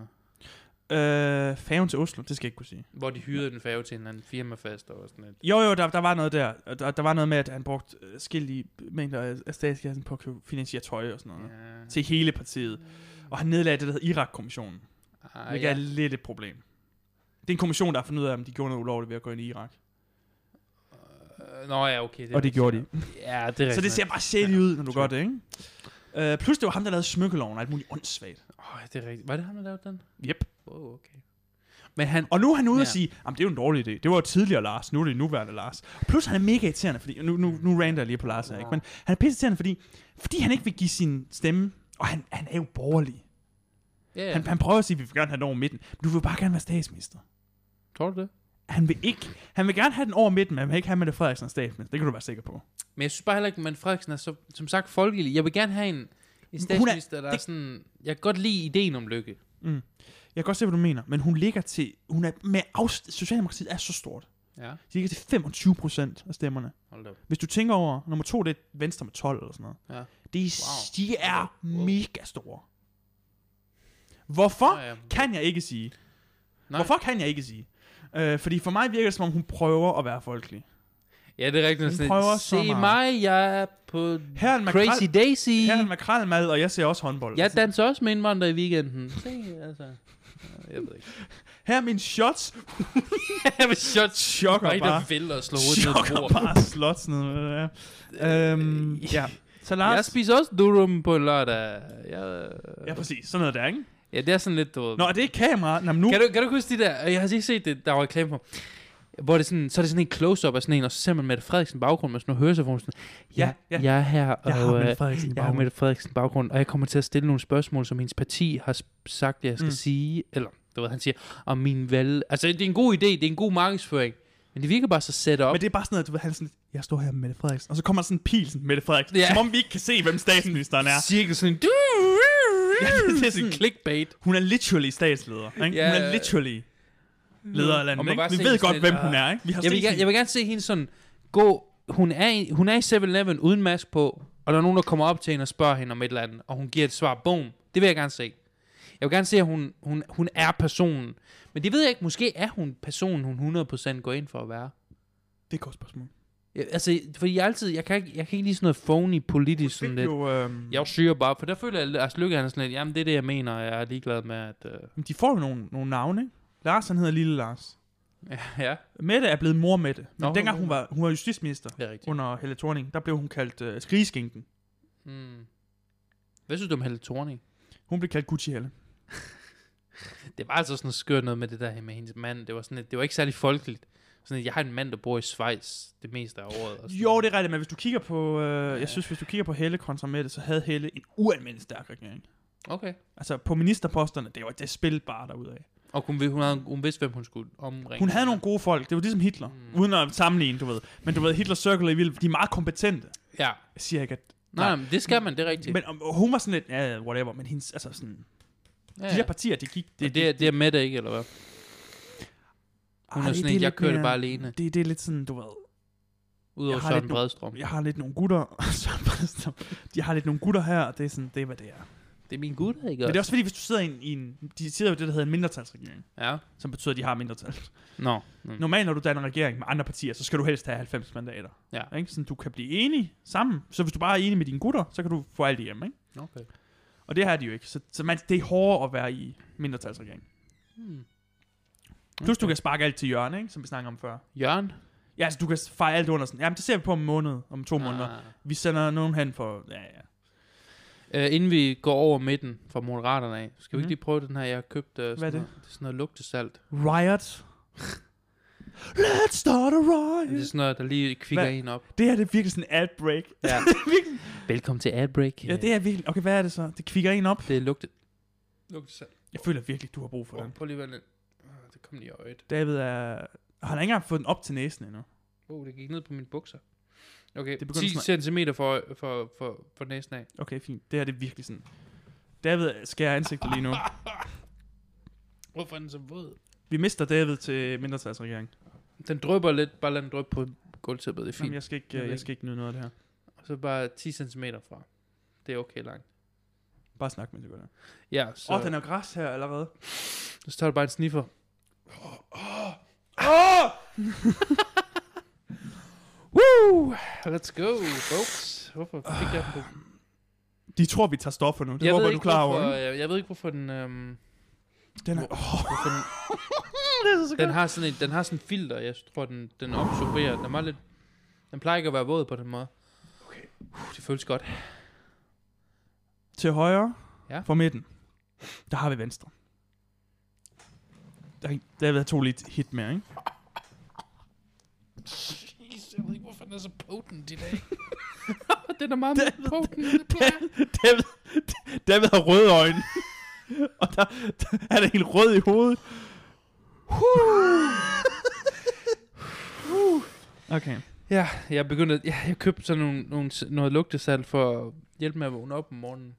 S2: noget.
S1: Øh, faven til Oslo, det skal jeg ikke kunne sige.
S2: Hvor de hyrede en fave til en eller anden firmafest og sådan noget.
S1: Jo, jo, der, der var noget der. Og Der, der var noget med, at han brugte øh, skillige mængder af- af statskassen på at købe- finansiere tøj og sådan noget. Ja.
S2: Ja.
S1: Til hele partiet. Og han nedlagde det, der hedder Irak-kommissionen. Ah,
S2: Ah,
S1: hvilket ja.
S2: ja.
S1: er lidt et problem. Det er en kommission, der har fundet ud af, om de gjorde noget ulovligt ved at gå ind i Irak.
S2: Øh, Nå ja, okay. Det
S1: Og det gjorde de.
S2: Ja, det er rigtigt.
S1: Så det ser bare sjældent ud, når du gør det, ikke? Øh, plus det var ham, der lavede smykkeloven og alt muligt åndssvagt.
S2: Åh, det er rigtigt. Var det ham, der lavede den?
S1: Yep.
S2: Wow, okay. Men han...
S1: Og nu er han ude ja. og
S2: Ja.
S1: sige, at det er jo en dårlig idé. Det var jo tidligere Lars, nu er det nuværende Lars. Plus han er mega irriterende, fordi, nu, nu, nu rander jeg lige på Lars her, ikke? men han er pisse irriterende, fordi, fordi han ikke vil give sin stemme, og han, han er jo borgerlig.
S2: Ja, ja.
S1: Han, han prøver at sige, at vi vil gerne have den over midten, men du vil bare gerne være statsminister.
S2: Tror du det?
S1: Han vil ikke, han vil gerne have den over midten, men han vil ikke have Mette Frederiksen som statsminister. Det kan du være sikker på.
S2: Men jeg synes bare heller ikke, at Mette Frederiksen er så, som sagt folkelig. Jeg vil gerne have en, En statsminister, der er sådan... Jeg kan godt lide ideen om lykke.
S1: Mm. Jeg kan godt se, hvad du mener, men hun ligger til... Hun er med afst- Socialdemokratiet er så stort.
S2: Ja,
S1: De ligger til 25 procent af stemmerne.
S2: hold da op.
S1: Hvis du tænker over, nummer to, det er Venstre med 12 eller sådan noget.
S2: Ja.
S1: De,
S2: Wow.
S1: de er
S2: Wow.
S1: mega store. Hvorfor
S2: Nå ja.
S1: kan jeg ikke sige?
S2: Nej.
S1: Hvorfor kan jeg ikke sige? Øh, fordi for mig virker det, som om hun prøver at være folkelig.
S2: Ja, det er rigtigt.
S1: Hun
S2: nok sådan,
S1: prøver så
S2: Se
S1: meget."
S2: mig, jeg er på
S1: Her er en makrel-
S2: Crazy Daisy.
S1: Her er en makrelmad, og jeg ser også håndbold. Altså,
S2: Jeg danser også med indvandrere i weekenden. Se, altså. Jeg ved ikke.
S1: Her er mine shots.
S2: jeg vil shot
S1: Chokker bare.
S2: vælter og slår
S1: Chokker bare slots ned. med det der. Øhm,
S2: Øh,
S1: ja. Så
S2: Jeg
S1: Lars...
S2: spiser også durum på en lørdag. Jeg,
S1: Ja, præcis. Sådan noget der, ikke?
S2: ja, det er sådan lidt, du ved.
S1: Nå, er det ikke kamera? Nå, men nu...
S2: Kan du, kan du huske de der, øh, jeg har ikke set det, der var reklame for, hvor det er sådan, så er det sådan en close-up af sådan en, og så ser man Mette Frederiksen baggrund med sådan noget høresefon, sådan, ja,
S1: Ja,
S2: ja,
S1: ja.
S2: jeg er her, og
S1: Jeg har
S2: øh,
S1: Mette Frederiksen i
S2: jeg har
S1: baggrunden.
S2: Mette Frederiksen baggrund, og jeg kommer til at stille nogle spørgsmål, som hendes parti har s- sagt, jeg skal
S1: Mm.
S2: mm. sige, eller du ved, han siger, om min valg, altså det er en god idé, det er en god markedsføring, men det virker bare så set op.
S1: Men det er bare sådan noget, du ved, han er sådan, lidt, jeg står her med Mette Frederiksen, og så kommer der sådan en pil, sådan, Mette Frederiksen, ja.
S2: Ja.
S1: som om vi ikke kan se, hvem statsministeren er.
S2: cirkel sådan, du,
S1: Ja, det er sådan-
S2: sådan clickbait.
S1: Hun er literally statsleder, ikke?
S2: Ja.
S1: Hun er literally leder af
S2: Og
S1: landet,
S2: man
S1: ikke?
S2: bare
S1: Vi
S2: ser
S1: ved
S2: hende
S1: godt,
S2: sådan
S1: hvem
S2: lidt,
S1: hun
S2: "Ah."
S1: er, ikke? Vi har
S2: Jeg vil,
S1: set
S2: gerne, jeg
S1: hende.
S2: vil gerne se hende sådan gå... Hun er, i- hun er i 7-Eleven uden mask på, og der er nogen, der kommer op til hende og spørger hende om et eller andet, og hun giver et svar. Boom. Det vil jeg gerne se. Jeg vil gerne se, at hun, hun, hun er personen. Men det ved jeg ikke. Måske er hun personen, hun 100% går ind for at være.
S1: Det er et godt spørgsmål.
S2: Jeg, altså, fordi jeg altid... Jeg kan, ikke, jeg kan ikke lide sådan noget phony politisk sådan
S1: Fik
S2: lidt.
S1: jo, øhm,
S2: Jeg syger bare, for der føler jeg, at Lars Lykke han er sådan lidt, jamen det er det, jeg mener, og jeg er ligeglad med, at... Øh,
S1: men de får jo nogle, nogle navne, ikke? Lars, han hedder Lille Lars.
S2: ja, ja,
S1: Mette er blevet mor Mette. Men
S2: Nå,
S1: dengang
S2: hun-
S1: hun var, hun var justitsminister
S2: det er rigtigt.
S1: under Helle Thorning, der blev hun kaldt øh, skrigeskinken.
S2: Mm. Hvad synes du om Helle Thorning?
S1: Hun blev kaldt Gucci Helle.
S2: Det var altså sådan noget skørt noget med det der med hendes mand. Det var sådan lidt, det var ikke særlig folkeligt. Sådan, at jeg har en mand, der bor i Schweiz det meste af året. Og sådan.
S1: Jo, det er rigtigt, men hvis du kigger på, øh, jeg synes, hvis du kigger på Helle kontra Mette, så havde Helle en ualmindelig stærk regering.
S2: Okay.
S1: Altså på ministerposterne, det var det spil bare derudad.
S2: Og hun, vid- hun, havde, hun vidste, hvem hun skulle omringe.
S1: Hun havde nogle gode folk, det var ligesom Hitler, mm.
S2: Mm.
S1: uden at sammenligne, du ved. Men du ved, Hitler Circle i Vild, de er meget kompetente.
S2: Ja.
S1: Jeg siger ikke, at...
S2: Nej, nej, men det skal man, det er rigtigt.
S1: Men og, og hun var sådan lidt, ja, yeah, whatever, men hendes, altså sådan...
S2: ja,
S1: De her partier, det gik...
S2: det, det, er, det er med det ikke, eller hvad? Hun
S1: Ej,
S2: er sådan
S1: det
S2: en, jeg
S1: lidt
S2: kører det
S1: mere-
S2: bare alene.
S1: Det, det er lidt sådan, du ved,
S2: Udover
S1: Jeg har lidt
S2: Søren
S1: nu-
S2: Bredstrøm.
S1: jeg har lidt nogle gutter, Søren Bredstrøm, de har lidt nogle gutter her, og det er sådan, det er, hvad det er.
S2: Det er min gut, ikke?
S1: Men det er også fordi, hvis du sidder i en, i en de sidder jo i det, der hedder en mindretalsregering,
S2: Ja.
S1: som betyder, at de har mindretal.
S2: Nå. Mm.
S1: Normalt, når du danner regering med andre partier, så skal du helst have 90 mandater.
S2: Ja.
S1: Ikke? Sådan, du kan blive enig sammen. Så hvis du bare er enig med dine gutter, så kan du få alt igennem, ikke?
S2: Okay.
S1: Og det her er de jo ikke. Så, så man, det er hårdere at være i mindretalsregering.
S2: Hmm.
S1: Plus du kan sparke alt til hjørne, ikke? som vi snakker om før.
S2: Jørgen?
S1: Ja, altså du kan fejre alt under sådan. Jamen det ser vi på om en måned, om to ah. måneder.
S2: Ah.
S1: Vi sender nogen hen for... Ja, ja.
S2: Øh, inden vi går over midten fra Moderaterne af, skal vi
S1: Mhm.
S2: ikke lige prøve den her, jeg har købt? Øh,
S1: Hvad er
S2: sådan
S1: det?
S2: Noget, det er sådan noget lugtesalt.
S1: Riot. Let's start a
S2: Det er
S1: riot.
S2: sådan noget, der lige kvikker
S1: Hvad?
S2: en op.
S1: Det her det er virkelig sådan en ad break.
S2: Ja.
S1: Virkelig.
S2: Velkommen til Adbreak.
S1: ja, det er virkelig... Okay, hvad er det så? Det kvikker en op.
S2: det er lugtet. Lugtet salt.
S1: Jeg føler virkelig, du har brug for
S2: Prøv,
S1: den.
S2: prøv lige at vende. Ah, Det kom lige i øjet.
S1: David er... Han har ikke engang fået den op til næsen endnu.
S2: Oh, det gik ned på mine bukser. Okay,
S1: Det
S2: det
S1: begynder
S2: 10
S1: sådan
S2: cm for, for, for, for næsen af.
S1: Okay, fint. Det her det er virkelig sådan... David skærer ansigtet lige nu.
S2: Hvorfor er den så våd?
S1: Vi mister David til mindretalsregering.
S2: Den drøber lidt, bare lad den drøbe på gulvtæppet, det er fint.
S1: Jamen, jeg skal ikke, øh,
S2: Jeg
S1: jeg,
S2: ved
S1: jeg skal ikke nyde noget af det her.
S2: Og så bare 10 cm fra. Det er okay langt.
S1: Bare snak med det godt. Åh,
S2: Ja, så,
S1: oh, den er græs her allerede.
S2: så tager du bare en sniffer. Ah!
S1: Åh! Oh!
S2: Woo! Let's go, folks. Hvorfor fik jeg den på
S1: De tror, vi tager stoffer nu. Det jeg
S2: jeg
S1: håber
S2: ved
S1: du
S2: ikke,
S1: er klar
S2: hvorfor,
S1: over. ikke?
S2: Jeg, jeg ved ikke, hvorfor den... Øhm,
S1: Den er... Oh,
S2: hvorfor den
S1: det er så
S2: Den
S1: godt.
S2: har sådan en, den har sådan en filter, jeg tror, den, den absorberer. Den er meget lidt... Den plejer ikke at være våd på den måde. Okay. Uh, det føles godt.
S1: Til højre ja.
S2: Ja.
S1: for midten. Der har vi venstre. Der, er- David har to lidt hit mere, ikke?
S2: Jeez, jeg ved ikke, hvorfor den er så potent i dag. den er meget mere potent, end det plejer.
S1: David, David har røde øjne. Og der, der er det helt rød i hovedet. Huh. Okay.
S2: Ja, jeg begyndte... Ja, jeg købte sådan nogle, nogle, noget lugtesalt for at hjælpe med at vågne op om morgenen.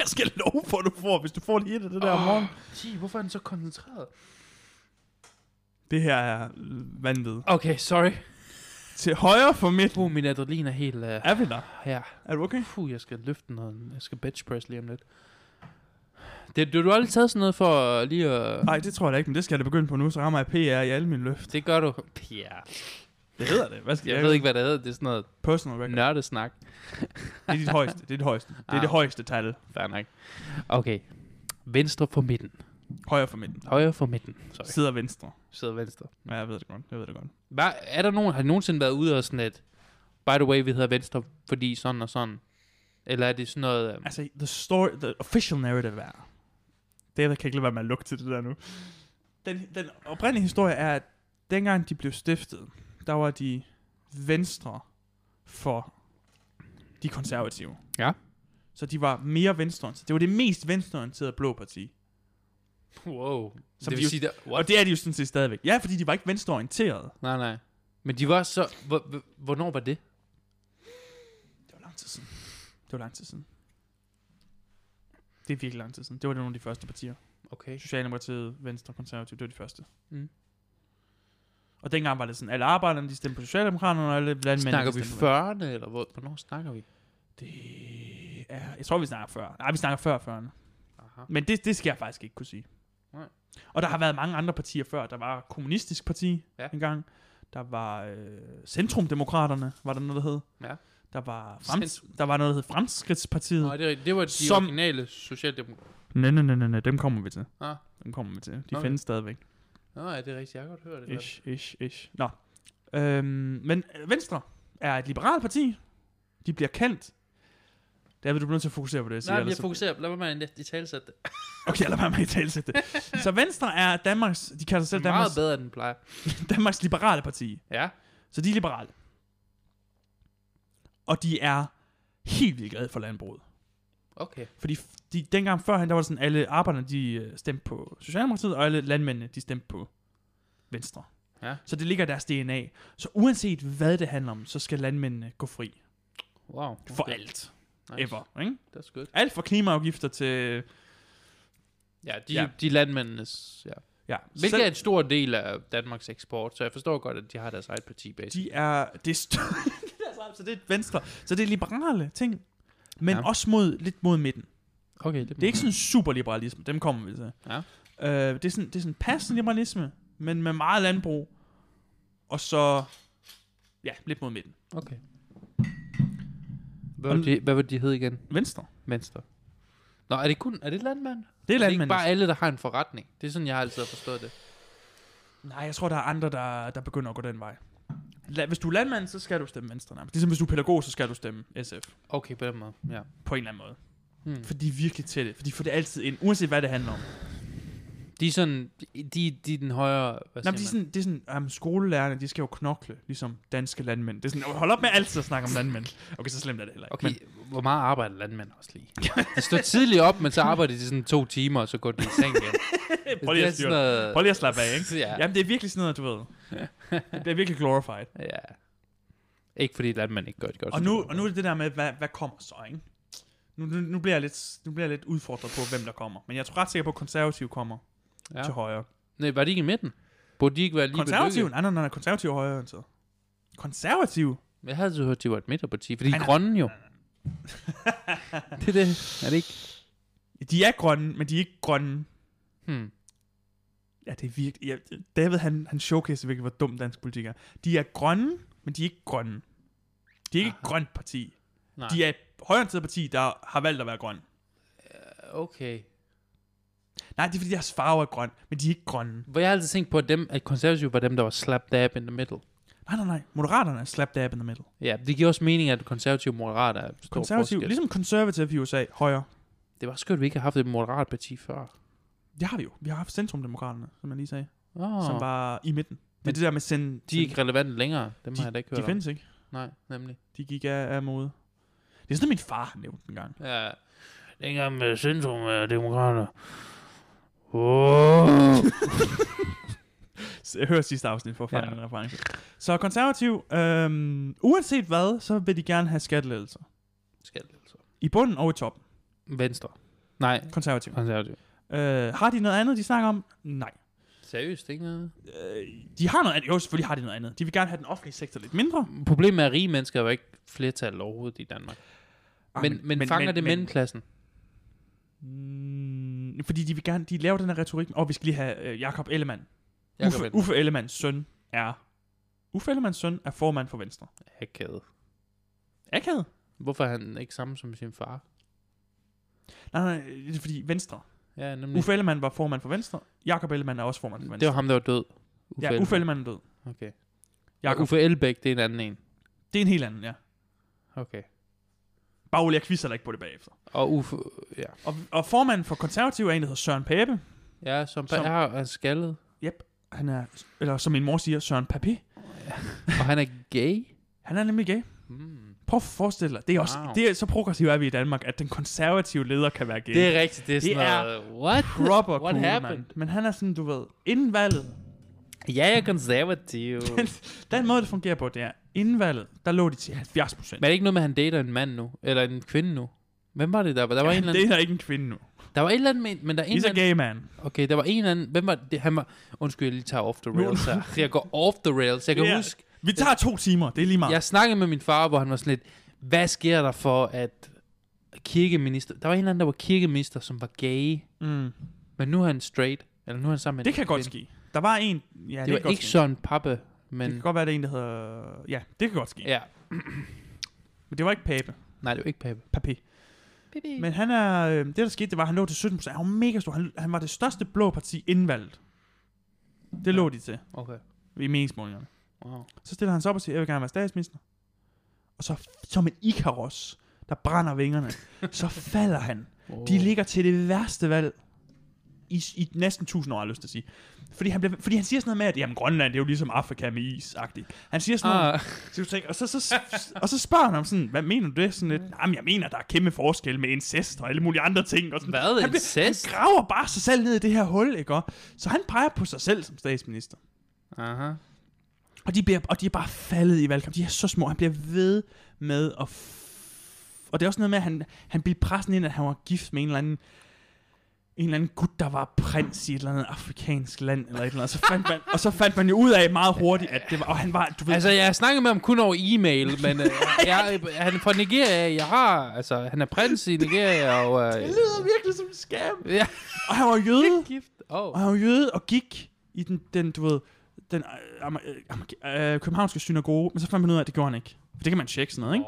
S1: Jeg skal love for, at du får, hvis du får lige et af det der om morgenen.
S2: Sige, hvorfor er den så koncentreret?
S1: Det her er vanvittigt.
S2: Okay, sorry.
S1: Til højre for midt.
S2: Uh, min adrenalin er helt... Uh,
S1: Er vi der?
S2: her.
S1: Er du okay?
S2: Puh, jeg skal løfte noget. Jeg skal bench press lige om lidt. Det, du, du har aldrig taget sådan noget for øh, lige at...
S1: Nej, det tror jeg da ikke, men det skal jeg da begynde på nu, så rammer jeg PR i alle mine løft.
S2: Det gør du. Ja.
S1: Det hedder det. Hvad skal
S2: Jeg ved ikke, hvad det hedder. Det er sådan noget
S1: Personal record.
S2: nørdesnak.
S1: Det er dit højeste. Det er dit højeste. Det er
S2: Ah.
S1: det højeste tal.
S2: Fair nok. Okay. Venstre for midten.
S1: Højre for midten.
S2: Højre for midten. Sorry.
S1: Sidder venstre.
S2: Sidder venstre.
S1: Ja, jeg ved det godt. Jeg ved det godt.
S2: Hvad, er der nogen, har I nogensinde været ude og sådan et... By the way, vi hedder venstre, fordi sådan og sådan. Eller er det sådan noget... øhm,
S1: Altså, the story, the official narrative er... Det er, der kan ikke lade være med at lukke til det der nu. Den, den oprindelige historie er, at dengang de blev stiftet, der var de venstre for de konservative.
S2: Ja.
S1: Så de var mere venstreorienterede. Det var det mest venstreorienterede blå parti.
S2: Wow.
S1: Som
S2: Som det
S1: de
S2: vil
S1: jo-
S2: sige, der,
S1: Og det er de jo sådan set stadigvæk. Ja, fordi de var ikke venstreorienterede.
S2: Nej, nej. Men de var så... Hvor, hvor- hvornår var det?
S1: Det var lang tid siden. Det var lang tid siden. Det er virkelig lang tid siden. Det var nogle af de første partier.
S2: Okay.
S1: Socialdemokratiet, Venstre, Konservative, det var de første.
S2: Mm.
S1: Og dengang var det sådan, alle arbejderne, de stemte på Socialdemokraterne, og alle landmændene,
S2: Snakker
S1: de
S2: vi
S1: stemte
S2: 40'erne, eller hvor, hvornår snakker vi?
S1: på Det er, jeg tror, vi snakker før. Nej, vi snakker før 40'erne.
S2: Aha.
S1: Men det, det skal jeg faktisk ikke kunne sige.
S2: Nej.
S1: Og der har været mange andre partier før. Der var Kommunistisk Parti
S2: Ja.
S1: ja. engang. Der var øh, Centrumdemokraterne, var der noget, der hed.
S2: Ja.
S1: Der var, Frems- der var noget, der hed Fremskridtspartiet.
S2: Nå, det, er rigtigt. det var de
S1: Som-
S2: Som... originale socialdemokrater.
S1: Nej, nej, nej, nej, nej, dem kommer vi til.
S2: Ah.
S1: Dem kommer vi til. De
S2: Okay.
S1: okay. findes stadigvæk.
S2: Nå, ja, det er rigtigt. Jeg har godt hørt det. der.
S1: Ish, ish, ish. Nå. Øhm, men øh, Venstre er et liberalt parti. De bliver kendt. Der vil du blive nødt til at fokusere på det. Altså, jeg siger,
S2: Nej, men
S1: ellers
S2: jeg
S1: så-
S2: fokuserer. Lad mig med at i talsætte det.
S1: Okay, lad være med at talsætte det. Så Venstre er Danmarks, de kalder sig
S2: Det
S1: selv
S2: er meget
S1: Danmarks,
S2: bedre, end den plejer.
S1: Danmarks liberale parti.
S2: Ja.
S1: Så de er liberale. Og de er helt vildt glade for landbruget.
S2: Okay.
S1: Fordi f- de, dengang førhen, der var det sådan, alle arbejderne, de øh, stemte på Socialdemokratiet, og alle landmændene, de stemte på Venstre.
S2: Ja.
S1: Så det ligger i deres DNA. Så uanset hvad det handler om, så skal landmændene gå fri.
S2: Wow. Okay.
S1: For alt.
S2: Nice.
S1: Nice. Ever. Ikke?
S2: That's good.
S1: Alt fra klimaafgifter til...
S2: Ja, de,
S1: Ja.
S2: ja. de landmændenes... Ja.
S1: Ja,
S2: Hvilket er
S1: selv-
S2: en stor del af Danmarks eksport, så jeg forstår godt, at de har deres eget parti bag.
S1: de er... Det er stø- så det er venstre. Så det er liberale ting. Men
S2: Ja.
S1: ja. også mod, lidt mod midten.
S2: Okay,
S1: Det er ikke sådan super liberalisme. Dem kommer vi til.
S2: Ja.
S1: Øh, det, er sådan, det er sådan passende liberalisme, men med meget landbrug. Og så... Ja, lidt mod midten.
S2: Okay. Hvad var, de, hvad var de hed igen?
S1: Venstre.
S2: Venstre. Nå, er det kun... Er det landmænd?
S1: Det er
S2: Det er Altså, ikke
S1: landmændene.
S2: bare alle, der har en forretning. Det er sådan, jeg har altid har forstået det.
S1: Nej, jeg tror, der er andre, der, der begynder at gå den vej. La- Hvis du er landmand, så skal du stemme venstre nærmest. Ligesom hvis du er pædagog, så skal du stemme SF.
S2: Okay, på den måde, ja.
S1: På en eller anden måde.
S2: Hmm.
S1: For de er virkelig til det. For de får det altid ind, uanset hvad det handler om.
S2: De er sådan, de, de er den højere, hvad
S1: Nej, men de er
S2: siger man?
S1: sådan, det er sådan um, skolelærerne, de skal jo knokle, ligesom danske landmænd. Det er sådan, hold op med altid at snakke om landmænd. Okay, så slemt er det heller ikke.
S2: Okay, men. hvor meget arbejder landmænd også lige? De står tidligt op, men så arbejder de sådan to timer, og så går de i seng igen.
S1: Men, prøv, lige
S2: Det er
S1: at
S2: sådan
S1: styre.
S2: noget-
S1: prøv lige at slappe af, ikke?
S2: Ja.
S1: Jamen, det er virkelig sådan noget, du ved. Det bliver virkelig glorified.
S2: ja. Ikke fordi landmænd ikke gør det godt.
S1: Og
S2: så
S1: nu,
S2: det går
S1: og nu er det det der med, hvad, hvad kommer så, ikke? Nu, nu, nu, bliver jeg lidt, nu bliver jeg lidt udfordret på, hvem der kommer. Men jeg er ret sikker på, at konservative kommer
S2: godt.
S1: ja. til højre.
S2: ja. Nej, var de ikke i midten? Burde de ikke være lige
S1: Konservative? Nej, nej, nej, nej, konservative er højere end så. Konservative?
S2: Belykket? Jeg havde altid hørt, de var et midterparti, fordi de
S1: Nej,
S2: er
S1: nej.
S2: grønne jo. det er det. Er det ikke?
S1: De er grønne, men de er ikke grønne.
S2: Hmm.
S1: Ja, det er virkelig... Ja, David, han, han showcaser virkelig, hvor dum dansk politik er. De er grønne, men de er ikke grønne. De er ikke et grønt parti.
S2: Nej.
S1: De er et højreorienteret parti, der har valgt at være grøn.
S2: Øh, Okay.
S1: Nej, det er fordi, deres farve er grøn, men de er ikke grønne.
S2: Hvor jeg har altid tænkt på, at, dem, at konservative var dem, der var slap dab in the middle.
S1: Nej, nej, nej. Moderaterne er slap dab in the middle.
S2: Ja, det giver også mening, at konservativ og moderat er stor
S1: Konservativ,
S2: forskel.
S1: ligesom konservativ i USA, højre. ligesom-
S2: Det var skørt, at vi ikke har haft et moderat parti før.
S1: Det har vi jo. Vi har haft centrumdemokraterne, som jeg lige sagde,
S2: Oh,
S1: oh. som var i midten. Det er
S2: Men
S1: det der med send...
S2: de er ikke relevante længere. Dem de, har jeg da ikke hørt
S1: de
S2: om.
S1: findes ikke.
S2: Nej, nemlig.
S1: De gik af, af mode. Det er sådan, min far har nævnt en gang.
S2: Ja. Dengang med centrum af demokrater. Oh.
S1: S- Hør sidste afsnit for at fange
S2: Ja.
S1: ja. en reference. Så konservativ, øhm, uanset hvad, så vil de gerne have skattelettelser.
S2: Skattelettelser.
S1: I bunden og i toppen.
S2: altså. Venstre. Nej,
S1: Konservativ.
S2: konservativ.
S1: Øh, har de noget andet, de snakker om? Nej.
S2: Seriøst, ikke noget?
S1: Øh, de har noget andet. Jo, selvfølgelig har de noget andet. De vil gerne have den offentlige sektor lidt mindre.
S2: Problemet er, at rige mennesker er jo ikke flertal overhovedet i Danmark.
S1: Ah,
S2: men, men, men fanger men, det mellemklassen?
S1: men, mm, Fordi de vil gerne, de laver den her retorik. Og vi skal lige have øh, Jakob Ellemann.
S2: Jakob
S1: Uffe,
S2: Ellemann.
S1: Uffe Ellemanns søn er... Uffe Ellemanns søn er formand for Venstre.
S2: Akavet.
S1: Akavet?
S2: Hvorfor er han ikke sammen som sin far?
S1: Nej, nej, det er fordi Venstre.
S2: Ja, nemlig.
S1: Uffe Ellemann var formand for Venstre. Jakob Ellemann er også formand for
S2: Mm. Det
S1: Venstre.
S2: var ham, der var død.
S1: Uffe ja, Uffe Ellemann er død.
S2: Okay.
S1: Jakob,
S2: Uffe Elbæk, det er en anden en.
S1: det er en helt anden, ja.
S2: Okay.
S1: Bare Ole, jeg quizzer dig ikke på det bagefter.
S2: Og Uffe, ja.
S1: Og, og formanden for konservative er en, der hedder Søren Pape.
S2: Ja, som,
S1: Som-
S2: som. er, er skaldet.
S1: Han er, eller som min mor siger, Søren Pape.
S2: Og han er gay.
S1: Han er nemlig gay.
S2: Mm.
S1: Prøv at forestille dig, det er, også, wow.
S2: Wow.
S1: det er så progressivt er vi i Danmark, at den konservative leder kan være gay.
S2: Det er rigtigt, det er
S1: Det
S2: sådan
S1: er-
S2: noget, what?
S1: proper
S2: What
S1: cool,
S2: happened?
S1: mand. Men han er sådan, du ved, inden valget,
S2: Ja, jeg er konservativ.
S1: den, den måde, det fungerer på, det er, inden valget, der lå de til 70 procent.
S2: Men er det ikke noget med, at han dater en mand nu? Eller en kvinde nu? Hvem var det der? var- Der var, ja, en eller anden,
S1: det er ikke en kvinde nu.
S2: der var et eller andet med, men der er en
S1: He's
S2: eller
S1: a
S2: anden,
S1: gay man.
S2: Okay, der var en eller anden... Hvem var det? Han var... Undskyld, jeg lige tager off the
S1: Nu-
S2: rails her. Jeg går off the rails. Jeg kan
S1: Det er-
S2: yeah. huske,
S1: Vi tager to timer, det er lige meget.
S2: jeg snakkede med min far, hvor han var sådan lidt... Hvad sker der for, at kirkeminister... Der var en eller anden, der var kirkeminister, som var gay.
S1: Mm.
S2: Men nu er han straight. Eller nu er han sammen med
S1: Det
S2: en
S1: kan godt
S2: kvinde.
S1: ske. Der var en, ja, det,
S2: det,
S1: kan
S2: var
S1: godt
S2: ikke
S1: ske.
S2: Søren Pappe, men...
S1: Det kan godt være, det er en, der hedder... Ja, det kan godt ske.
S2: Ja.
S1: Men det var ikke Pape.
S2: Nej, det var ikke Pappe.
S1: Papé. Men han er... Øh, det, der skete, det var, at han lå til 17 Han var mega stor. Han, han var det største blå parti inden valget. Det lå de til
S2: Okay.
S1: i meningsmålingerne.
S2: Wow.
S1: Så stiller han sig op og siger, jeg vil gerne være statsminister. Og så som en ikaros, der brænder vingerne, så falder han.
S2: wow.
S1: De ligger til det værste valg i, i næsten 1000 år, har jeg lyst til at sige. Fordi han, bliver, fordi han siger sådan noget med, at jamen, Grønland, det er jo ligesom Afrika med is -agtigt. Han siger sådan noget,
S2: Ah,
S1: så du tænker, og, så, så, og så spørger han ham sådan, hvad mener du det? Sådan lidt,
S2: Mm.
S1: jamen jeg mener, der er kæmpe forskel med incest og alle mulige andre ting. Og sådan,
S2: hvad?
S1: han, bliver-
S2: Incest?
S1: han graver bare sig selv ned i det her hul, ikke? Og, så han peger på sig selv som statsminister.
S2: Aha.
S1: Og de, bliver, og de er bare faldet i valgkamp. De er så små. Han bliver ved med at... F- og det er også noget med, at han, han blev pressen ind, at han var gift med en eller anden en eller anden gut, der var prins i et eller andet afrikansk land, eller et eller andet. Så fandt man, og så fandt man jo ud af meget hurtigt, at det var, og han var, du ved,
S2: Altså, jeg har snakket med ham kun over e-mail, men øh, jeg, han er fra Nigeria. Jeg har, altså, han er prins i Nigeria, og... Øh,
S1: det lyder virkelig som en skam.
S2: ja,
S1: Og han var jøde,
S2: gift. Oh.
S1: og han var jøde og gik i den, den du ved, den øh, amer- øh, amer- øh, københavnske synagoge, men så fandt man ud af, at det gjorde han ikke. For det kan man tjekke sådan noget, ikke?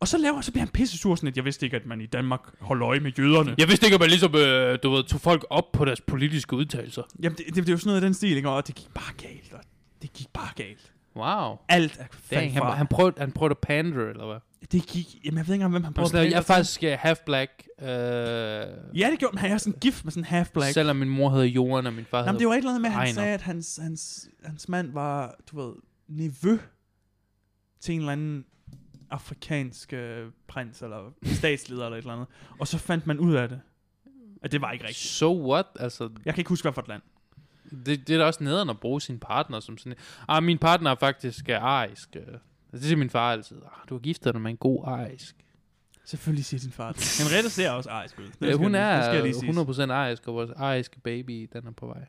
S1: Og så laver så bliver han pissesur sådan lidt, jeg vidste ikke, at man i Danmark holder øje med jøderne.
S2: Jeg vidste ikke, at man ligesom, øh, du ved, tog folk op på deres politiske udtalelser.
S1: Jamen, det, det, det er jo sådan noget af den stil, ikke? Og det gik bare galt, og det gik bare galt.
S2: Wow.
S1: Alt er
S2: Dang,
S1: faldt
S2: han,
S1: fra.
S2: han, prøvede, han prøvede at pandre, eller hvad?
S1: Det gik, jamen jeg ved ikke engang, hvem han
S2: Han var
S1: prøvede
S2: sådan,
S1: at
S2: jeg er
S1: plante.
S2: faktisk øh, half black. Øh, yeah,
S1: Ja, det gjorde men han. er sådan gift med sådan en half-black.
S2: Selvom min mor hedder Joran, og min far
S1: Jamen,
S2: hedder...
S1: det var et eller andet med, at han
S2: Ejner.
S1: sagde, at hans, hans, hans mand var, du ved, nevø til en eller anden afrikansk øh, prins eller statsleder eller et eller andet. Og så fandt man ud af det. At det var ikke rigtigt.
S2: So what? Altså,
S1: Jeg kan ikke huske, hvad for et land.
S2: Det, det er da også nederen at bruge sin partner som sådan... Ah, min partner er faktisk uh, arisk. øh. Altså, det siger min far altid. Ah, du har giftet dig med en god arisk.
S1: Selvfølgelig siger din far det. Henriette ser også arisk ud. Det
S2: Ja, hun
S1: jeg- det
S2: er
S1: skal jeg lige sige.
S2: 100% arisk, og vores ariske baby, den er på vej.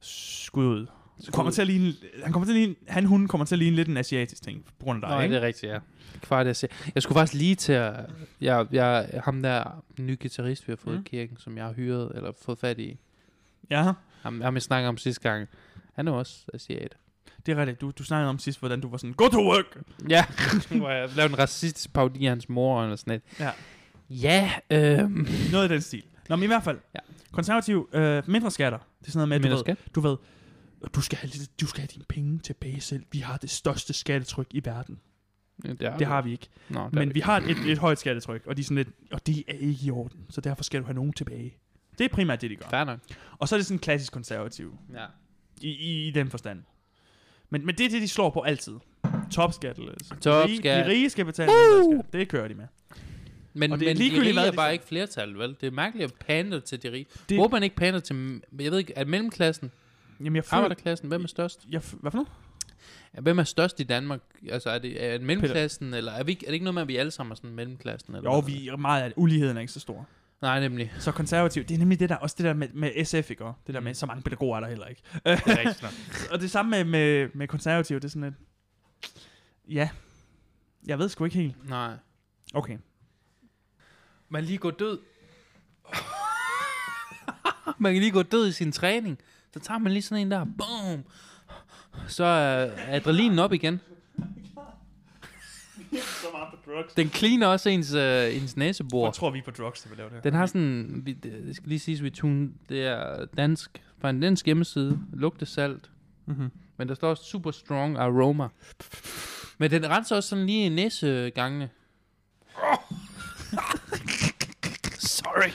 S1: Skud ud. Så kommer til at ligne, han kommer til at ligne, han hun kommer til at ligne lidt en asiatisk ting, på grund af dig,
S2: Nej, det
S1: ikke?
S2: er rigtigt, ja. Kvart, jeg, siger. jeg skulle faktisk lige til at... Jeg, jeg, ham der nye guitarist, vi har fået
S1: Mm.
S2: mm. i kirken, som jeg har hyret, eller fået fat i.
S1: Ja,
S2: Ham, ham jeg snakker om sidste gang. Han er også asiat.
S1: det er rigtigt. Du, du snakkede om sidst, hvordan du var sådan, go to work!
S2: Ja, hvor jeg lavede en racistisk parodi af hans mor, eller sådan et.
S1: Ja.
S2: Ja, øhm...
S1: Noget i den stil. Nå, men i hvert fald, ja.
S2: Ja.
S1: konservativ, øh, mindre skatter. Det er sådan noget med, at
S2: Mindre
S1: du, ved,
S2: skat?
S1: du ved, du skal, have, lidt- du skal have dine penge tilbage selv. Vi har det største skattetryk i verden.
S2: Ja,
S1: Det har vi ikke.
S2: Nå, der er
S1: Men vi har et, et højt skattetryk, og, de er sådan lidt, og det er ikke i orden. Så derfor skal du have nogen tilbage. Det er primært det, de gør.
S2: Fair nok.
S1: Og så er det sådan klassisk konservativ.
S2: Ja.
S1: I, i, i den forstand. Men, men det er det, de slår på altid. Topskatteløse.
S2: Topskat.
S1: De rige skal betale uh! skat. Det kører de med.
S2: Men,
S1: Og
S2: men
S1: det er
S2: de
S1: ligegyldigt,
S2: rige
S1: hvad
S2: er
S1: de
S2: bare
S1: siger.
S2: ikke flertal, vel? Det er mærkeligt at pande til de rige.
S1: Det-
S2: Det... Håber man ikke pander til, jeg ved ikke, er mellemklassen,
S1: Jamen, jeg føler...
S2: arbejderklassen, hvem er størst?
S1: Jeg, f- hvad for noget?
S2: Hvem er størst i Danmark? Altså, er det, er det mellemklassen, eller er, vi, ikke- er det ikke noget med, at vi alle sammen er sådan mellemklassen? Eller
S1: Jo,
S2: hvad?
S1: vi er meget af det. Uligheden er ikke så stor.
S2: Nej, nemlig.
S1: Så konservativt, det er nemlig det der, også det der med, med SF, ikke? Og Det der med, så mange pædagoger er der heller ikke.
S2: Mm. Det er rigtigt nok.
S1: Og det samme med, med, med konservative, det er sådan lidt... Ja, jeg ved sgu ikke helt.
S2: Nej.
S1: Okay.
S2: Man kan lige går død. man kan lige gå død i sin træning. Så tager man lige sådan en der. Boom. Så er adrenalinen op igen.
S1: så meget på drugs.
S2: Den cleaner også ens, øh, ens næsebor.
S1: Jeg tror, vi er på drugs, der vil lave det her.
S2: Den har sådan, vi, det det skal lige siges, vi tune, det er dansk, fra en dansk hjemmeside, lugte salt,
S1: Mm-hmm.
S2: men der står også super strong aroma. Men den renser også sådan lige i næsegangene. Sorry.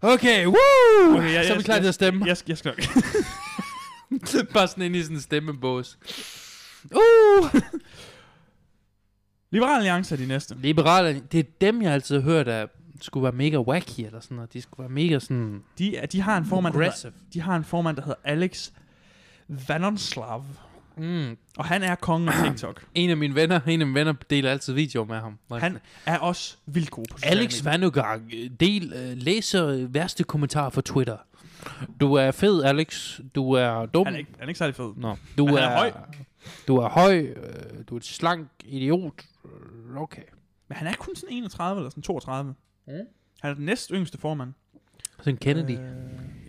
S2: Okay, woo!
S1: Okay,
S2: Okay,
S1: jeg-
S2: så er vi
S1: jeg-
S2: klar til at stemme.
S1: Jeg, skal- jeg skal nok.
S2: Bare sådan ind i sådan en stemmebås. Uh!
S1: Liberal Alliance er de næste.
S2: Liberale, det er dem, jeg altid har hørt, der skulle være mega wacky eller sådan noget. De skulle være mega sådan
S1: De, er- de, har en formand, der hedder,
S2: aggressive.
S1: de har en formand, der hedder Alex Vanonslav.
S2: Mm.
S1: Og han er kongen af TikTok.
S2: En af mine venner, en af mine venner deler altid videoer med ham. Hvor jeg
S1: Han er også vildt god på sociale
S2: Alex
S1: medier.
S2: Vanugang, del, øh, læser øh, værste kommentar fra Twitter. Du er fed, Alex. Du er dum.
S1: han er, ikke, han er ikke særlig fed.
S2: Nå, du
S1: Men
S2: er,
S1: han er høj.
S2: Du er høj. Øh, du er et slank idiot. Øh, Okay.
S1: Men han er kun sådan 31 eller sådan 32.
S2: Mm.
S1: Han er den næst yngste formand.
S2: Sådan Kennedy.
S1: Øh,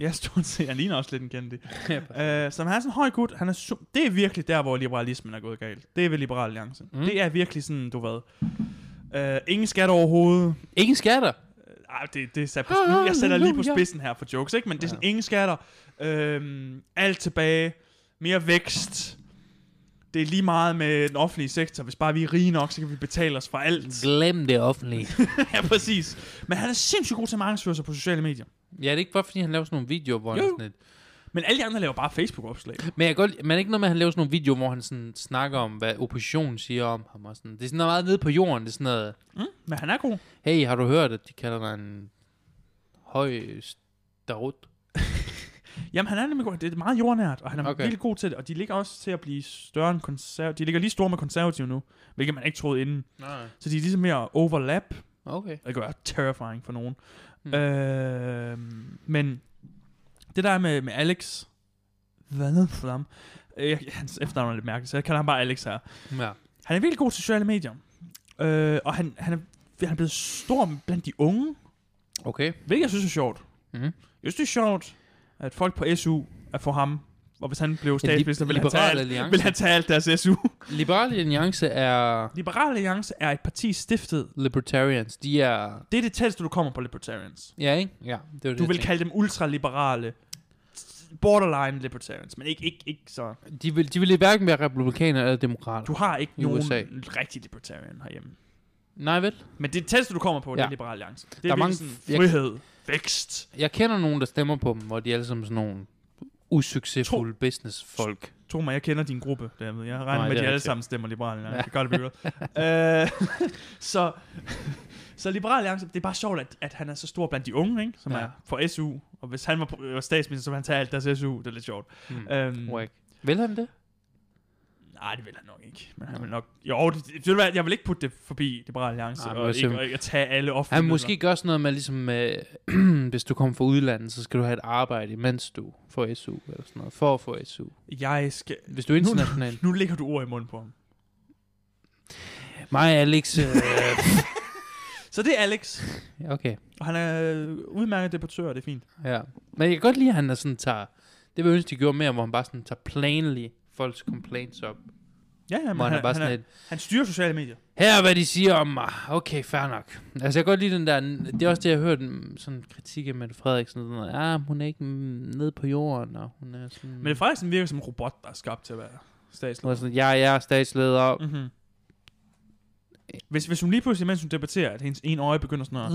S1: ja, stort set. Han ligner også lidt en Kennedy.
S2: Ja,
S1: Øh, så han er sådan en høj gut. Han er su- det er virkelig der, hvor liberalismen er gået galt. Det er ved Liberal Alliance. Mm.
S2: Mm.
S1: Det er virkelig sådan, du ved. Øh, ingen skat overhovedet.
S2: Ingen skatter.
S1: Ej, det, det er sat på, nu, jeg sætter lige på
S2: Halleluja.
S1: spidsen her for jokes, ikke? Men det er sådan, ingen skatter. Øh, alt tilbage. Mere vækst. Det er lige meget med den offentlige sektor. Hvis bare vi er rige nok, så kan vi betale os for alt.
S2: Glem det offentlige.
S1: ja, præcis. Men han er sindssygt god til at markedsføre sig på sociale medier.
S2: ja, det er ikke bare, fordi han laver sådan nogle videoer, hvor
S1: Jo,
S2: han
S1: jo.
S2: sådan lidt...
S1: Men alle de andre laver bare Facebook-opslag.
S2: Men jeg kan godt, men er det ikke noget med, at han laver sådan nogle videoer, hvor han sådan snakker om, hvad oppositionen siger om ham og sådan. Det er sådan noget meget nede på jorden. Det er sådan noget...
S1: Mm, men han er god.
S2: Hey, har du hørt, at de kalder dig en høj starut?
S1: Jamen, han er nemlig god. Det er meget jordnært, og han er okay.
S2: Okay.
S1: virkelig god til det. Og de ligger også til at blive større end konservative. De ligger lige store med konservative nu, hvilket man ikke troede inden.
S2: Nej.
S1: Så de er ligesom mere overlap.
S2: Okay.
S1: Det kan være terrifying for nogen.
S2: Hmm.
S1: Hmm. Øh, men det der med, med Alex... Hvad for ham? Øh, hans efternavn er lidt mærkeligt, så jeg kalder ham bare Alex her.
S2: Ja.
S1: Han er virkelig god til sociale medier. Øh, og han, han, er, han er blevet stor blandt de unge,
S2: Okay.
S1: hvilket jeg synes er sjovt.
S2: Mm.
S1: Jeg synes, det er sjovt, at folk på SU er for ham. Og hvis han blev statsminister, ville han, tage
S2: Liberal
S1: alt,
S2: Alliance.
S1: ville han tage alt deres SU.
S2: Liberal Alliance er
S1: Liberal Alliance er et parti stiftet.
S2: libertarians. De er...
S1: Det er det tætteste, du kommer på libertarians.
S2: Ja, ikke? Ja, det var det,
S1: Du
S2: jeg
S1: vil
S2: tænkte.
S1: kalde dem ultraliberale. Borderline libertarians, men ikke, ikke, ikke så...
S2: de, vil, de vil hverken være republikaner eller demokrater.
S1: Du har ikke
S2: I
S1: nogen
S2: USA.
S1: rigtig libertarian herhjemme.
S2: Nej, vel?
S1: Men det tætteste, du kommer på, ja. det
S2: Ja.
S1: er Liberal Alliance. Det er,
S2: Der er
S1: virkelig
S2: mange-
S1: sådan
S2: jeg-
S1: frihed, vækst.
S2: Jeg kender nogen, der stemmer på dem, hvor de er alle sammen sådan nogle usuccesfulde businessfolk.
S1: Tro mig, jeg kender din gruppe, David. Jeg regner
S2: Nej,
S1: Nej, med,
S2: det
S1: at
S2: er
S1: de alle
S2: rigtigt.
S1: sammen stemmer Liberal Alliance.
S2: Ja.
S1: Det gør det begyndt. øh, så, så Liberal Alliance, det er bare sjovt, at, at han er så stor blandt de unge, ikke? som
S2: Ja.
S1: ja. er for SU. Og hvis han var, på- var statsminister, så ville han tage alt deres SU. Det er lidt sjovt.
S2: Mm.
S1: Øhm,
S2: Wack. Vil han det?
S1: nej, det vil han nok ikke. Men han vil nok... Jo, det, det, ved du hvad, jeg vil ikke putte det forbi Liberal Alliance.
S2: Nej,
S1: Nej,
S2: men
S1: og,
S2: jeg
S1: ikke,
S2: ser-
S1: og ikke at tage alle offentlige
S2: Han
S1: midler.
S2: måske gøre sådan noget med, ligesom, øh, hvis du kommer fra udlandet, så skal du have et arbejde, mens du får SU, eller sådan noget, for at få SU.
S1: Jeg skal...
S2: Hvis du er international.
S1: Nu lægger du ord i munden på ham.
S2: Mig og Alex, øh,
S1: Så det er Alex.
S2: okay,
S1: Og han er øh, udmærket debattør, og det er fint.
S2: ja. Men jeg kan godt lide, at han er sådan tager, det vil jeg ønske, de gjorde mere, hvor han bare sådan tager plainly folks complaints op.
S1: Ja, ja, men
S2: hvor han,
S1: han,
S2: er bare sådan Mm.
S1: han,
S2: lidt,
S1: han styrer sociale medier.
S2: her er, hvad de siger om mig. Okay, fair nok. Altså, jeg kan godt lide den der, det er også det, jeg har hørt mm, sådan kritik af Mette Frederiksen. og Sådan noget. Ja, hun er ikke mm, nede på jorden, og hun er sådan...
S1: Mette Frederiksen virker som en robot, der er skabt til at være
S2: hun er
S1: statsleder.
S2: sådan, ja, jeg er statsleder.
S1: Mm-hmm. Hvis, hvis hun lige pludselig, mens hun debatterer, at hendes ene øje begynder sådan at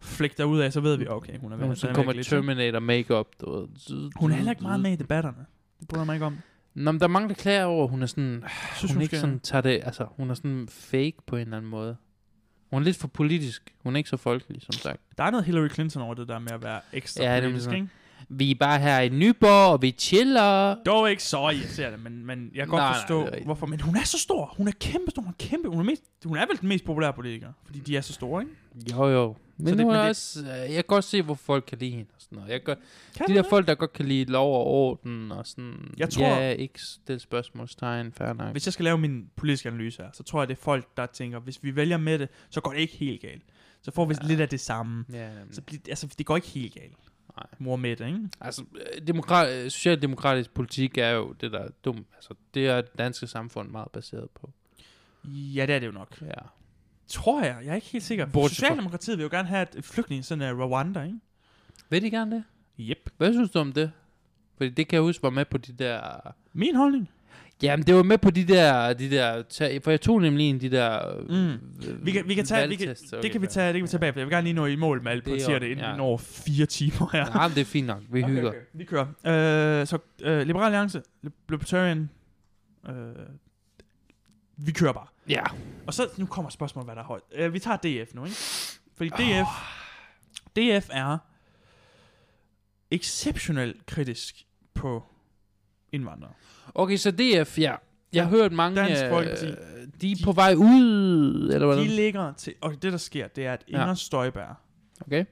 S1: flække derud af, så ved vi, okay, hun er ved
S2: Når hun
S1: at
S2: så
S1: være
S2: kommer
S1: virkelig-
S2: Terminator makeup, du ved.
S1: Hun er heller ikke meget med i debatterne. Det bryder jeg mig ikke om.
S2: Nå, men der er mange, der klager over, at hun er sådan...
S1: Jeg
S2: Synes, hun, hun ikke sådan tager det... Altså, hun er sådan fake på en eller anden måde. Hun er lidt for politisk. Hun er ikke så folkelig, som sagt.
S1: Der er noget Hillary Clinton over det der med at være ekstra
S2: Ja, det
S1: ja,
S2: er
S1: politisk,
S2: sådan.
S1: ikke?
S2: vi er bare her i Nyborg, og vi chiller.
S1: Dog ikke så irriterende, men, men jeg kan godt
S2: Nej, nej,
S1: nej, forstå,
S2: det er
S1: nej,
S2: rigtigt.
S1: hvorfor. Men hun er så stor. Hun er kæmpe stor. Hun er, kæmpe. Hun er, mest, hun er vel den mest populære politiker, fordi de er så store, ikke?
S2: Jo, jo. Men
S1: det-
S2: nu
S1: men
S2: er
S1: det-
S2: også, øh, jeg kan godt se, hvor folk kan lide hende og sådan noget. Jeg kan,
S1: Kan
S2: de
S1: man
S2: der
S1: det?
S2: folk, der godt kan lide lov og orden og sådan.
S1: Jeg tror-
S2: Ja, ikke stille spørgsmålstegn, fair nok.
S1: Hvis jeg skal lave min politiske analyse her, så tror jeg, det er folk, der tænker, hvis vi vælger med det, så går det ikke helt galt. Så får vi ja. lidt af det samme.
S2: Ja, jamen,
S1: Så bliver- altså, det går ikke helt galt.
S2: Mm. Nej.
S1: Mor med det, ikke?
S2: altså, øh, demokra- øh, socialdemokratisk politik er jo det, der er dumt. Altså, det er det danske samfund meget baseret på.
S1: Ja, det er det jo nok.
S2: Ja.
S1: Tror jeg. Jeg er ikke helt sikker.
S2: Bortset fra-
S1: Socialdemokratiet vil jo gerne have et flygtning, sådan af Rwanda, ikke?
S2: Vil de gerne det?
S1: Yep.
S2: Hvad synes du om det? Fordi det kan jeg huske var med på de der...
S1: Min holdning.
S2: Jamen, det var med på de der... De der ta- for jeg tog nemlig en af de der... øh,
S1: Mm. Vi kan, vi kan tage, vi kan, det, kan vi tage, det kan vi tage bagefter. Jeg vil gerne lige nå i mål med alle
S2: Det er
S1: partierne
S2: jo-
S1: inden
S2: ja.
S1: ja. over fire timer her.
S2: Ja, men det er fint nok. Vi hygger.
S1: Okay, okay. Vi kører. Øh, så øh, Liberal Alliance, Lib- Libertarian, øh, vi kører bare.
S2: Ja.
S1: Og så, nu kommer spørgsmålet, hvad der er højt. Øh, vi tager DF nu, ikke? Fordi
S2: Ah.
S1: DF, DF er exceptionelt kritisk på indvandrere.
S2: Okay, så DF, ja. Jeg har hørt mange...
S1: Dansk
S2: øh,
S1: Folkeparti.
S2: De er
S1: De-
S2: på vej ud, eller
S1: De
S2: hvordan?
S1: ligger til, og det der sker, det er, at Inger
S2: Ja.
S1: Støjberg,
S2: Okay.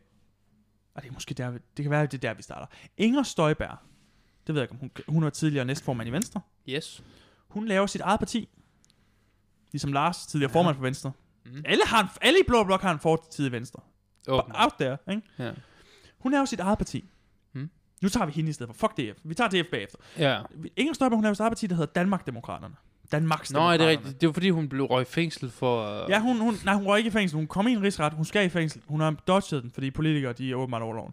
S1: og det er måske der, vi- det kan være, det er der, vi starter. Inger Støjberg, det ved jeg ikke, om hun, hun var tidligere næstformand i Venstre.
S2: Yes.
S1: Hun laver sit eget parti. Ligesom Lars, tidligere
S2: Ja.
S1: formand for Venstre.
S2: Mhm.
S1: Alle, har en, alle i Blå Blok har en fortid i Venstre.
S2: Åben.
S1: Out there, ikke?
S2: Ja.
S1: Hun laver sit eget parti.
S2: Mhm.
S1: Nu tager vi hende i stedet for. Fuck DF. Vi tager DF bagefter.
S2: ja.
S1: Inger Støjberg, hun laver sit eget parti, der hedder Danmarkdemokraterne. Danmarks
S2: Nå, er det rigtigt? Det var fordi, hun blev røg i fængsel for... øh,
S1: Ja, hun, hun, nej, hun røg ikke i fængsel. Hun kom i en rigsret. Hun skal i fængsel. Hun har dodget den, fordi politikere, de er åbenbart over loven.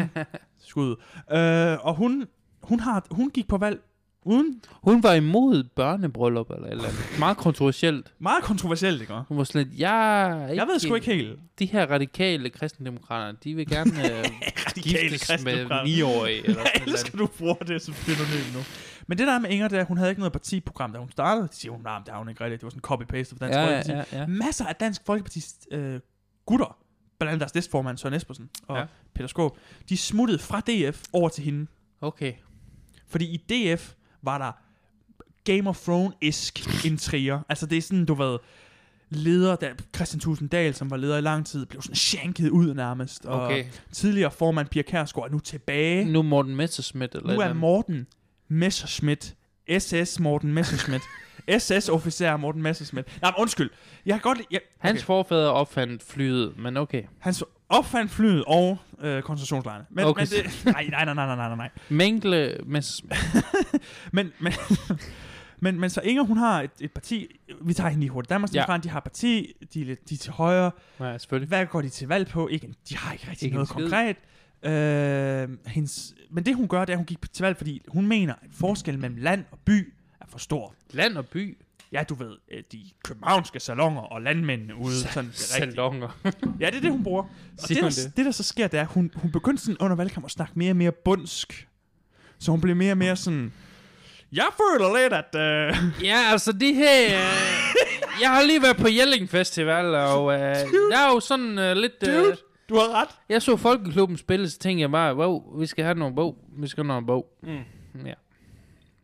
S1: Øhm, skud. Øh, og hun, hun, har, hun gik på valg uden...
S2: Hun var imod børnebryllup eller et eller andet. Meget kontroversielt.
S1: Meget kontroversielt, ikke?
S2: Hun var slet, jeg, er ikke,
S1: Jeg ved sgu ikke helt.
S2: De her radikale kristendemokrater, de vil gerne øh, giftes med
S1: kristendemokrater.
S2: 9-årige. Eller sådan et
S1: Jeg
S2: eller
S1: elsker, du bruger det som synonym nu. Men det der er med Inger, det er, at hun havde ikke noget partiprogram, da hun startede. De siger, hun, nej, men det har hun ikke rigtigt. Det var sådan en copy-paste fra Dansk
S2: andet.
S1: Folkeparti.
S2: ja, ja, ja.
S1: Masser af Dansk Folkeparti's øh, gutter, blandt andet deres næstformand Søren Espersen og
S2: Ja.
S1: ja. Peter Skåb, de smuttede fra DF over til hende.
S2: Okay.
S1: Fordi i DF var der Game of Thrones-isk intriger. Altså det er sådan, du ved, leder, der, Christian Tusinddal, som var leder i lang tid, blev sådan shanket ud nærmest. Og
S2: Okay. Mm.
S1: tidligere formand Pia Kærsgaard er nu tilbage.
S2: Nu er Morten Messerschmidt eller
S1: Nu
S2: et
S1: er
S2: eller
S1: Morten Messerschmidt, SS Morten Messerschmidt, SS-officer Morten Messerschmidt. Nej, men undskyld. Jeg kan godt lide- jeg,
S2: andet. Hans forfædre opfandt flyet, men okay.
S1: Han så opfandt flyet og øh, koncentrationslejrene. Men,
S2: Okay,
S1: men det, nej, nej, nej, nej, nej, nej, nej.
S2: Mængle Messerschmidt.
S1: Men, men, men, men så Inger, hun har et, et parti. Vi tager hende lige hurtigt. Danmarks ja. de har et parti. De er, lidt, de er til højre.
S2: Ja, selvfølgelig.
S1: Hvad går de til valg på? Ikke, en- de har ikke rigtig
S2: Ikke
S1: ikke
S2: en
S1: noget
S2: skid.
S1: konkret. Øh, hendes, men det hun gør, det er, at hun gik til valg, fordi hun mener, at forskellen mellem land og by er for stor.
S2: Land og by.
S1: ja, du ved, øh, de københavnske salonger og landmændene ude. Sådan, rigtigt.
S2: Salonger.
S1: Ja, det er det, hun bruger. Og
S2: Siger
S1: det
S2: hun
S1: der,
S2: det?
S1: det, der så sker, det er, hun, hun begyndte sådan under valgkampen at snakke mere og mere bundsk. Så hun blev mere og mere sådan... Jeg føler lidt, at... Øh,
S2: Ja, altså det her... Øh, jeg har lige været på Jelling Festival, og øh, jeg er jo sådan øh, lidt... Øh,
S1: dude, du har ret.
S2: jeg så Folkeklubben spille, så tænkte jeg bare, wow, vi skal have nogle bog. Vi skal have nogle bog. Mm. Ja.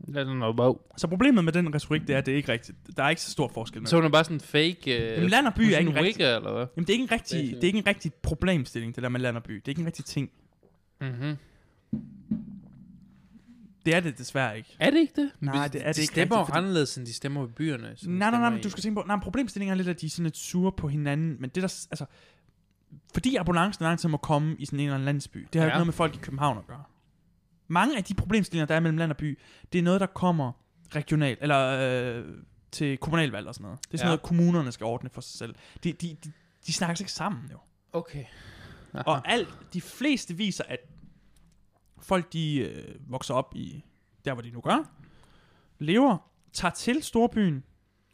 S2: Lad os noget bog.
S1: Så problemet med den retorik, det er, at det er ikke rigtigt. Der er ikke så stor forskel.
S2: Så
S1: Så,
S2: hun er bare sådan fake... Øh,
S1: Jamen, land og by er
S2: sådan
S1: ikke rigtig-
S2: wigger, eller hvad?
S1: Jamen, det er, ikke en
S2: Det er
S1: rigtig,
S2: sådan-
S1: det er ikke en rigtig problemstilling, det der med land og by. Det er ikke en rigtig ting.
S2: Mm-hmm.
S1: Det er det desværre ikke.
S2: Er det ikke det?
S1: Nej,
S2: Hvis-
S1: det er det
S2: de
S1: ikke
S2: stemmer
S1: rigtigt,
S2: fordi...
S1: fordi-
S2: anderledes, end de stemmer i byerne. øh, som
S1: Nej,
S2: de
S1: nej,
S2: stemmer
S1: nej, men
S2: i-
S1: du skal tænke på, nej, men problemstillingen er lidt, at de er sådan lidt sure på hinanden, men det der, altså, fordi ambulancen lang tid må komme i sådan en eller anden landsby, det har jo
S2: Ja.
S1: ikke noget med folk i København at gøre. Mange af de problemstillinger, der er mellem land og by, det er noget, der kommer regionalt, eller øh, til kommunalvalg og sådan noget. Det er sådan
S2: Ja.
S1: ja. noget, kommunerne skal ordne for sig selv. De, de, de, de snakker sig ikke sammen, jo.
S2: Okay.
S1: Og alt, de fleste viser, at folk, de øh, vokser op i der, hvor de nu gør, lever, tager til storbyen,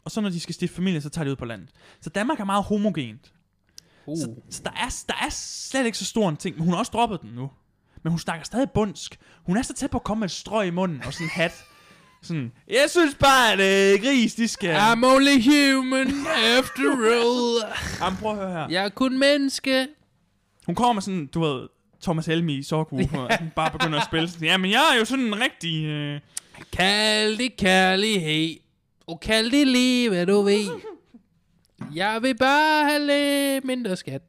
S1: og så når de skal stifte familie, så tager de ud på landet. Så Danmark er meget homogent.
S2: Uh.
S1: Så, så der, er, der er slet ikke så stor en ting, men hun har også droppet den nu. Men hun snakker stadig bundsk. Hun er så tæt på at komme med et strøg i munden og sådan en hat. Sådan, jeg synes bare, at øh, gris, de skal...
S2: I'm only human after all.
S1: Jamen, prøv at høre her.
S2: Jeg er kun menneske.
S1: Hun kommer med sådan, du ved, Thomas Helmi i Sorku, og sådan bare begynder at spille. Sådan, Jamen, jeg er jo sådan en rigtig... Øh...
S2: Kald det kærlighed, og kald det lige, hvad du ved. Jeg vil bare have lidt mindre skat.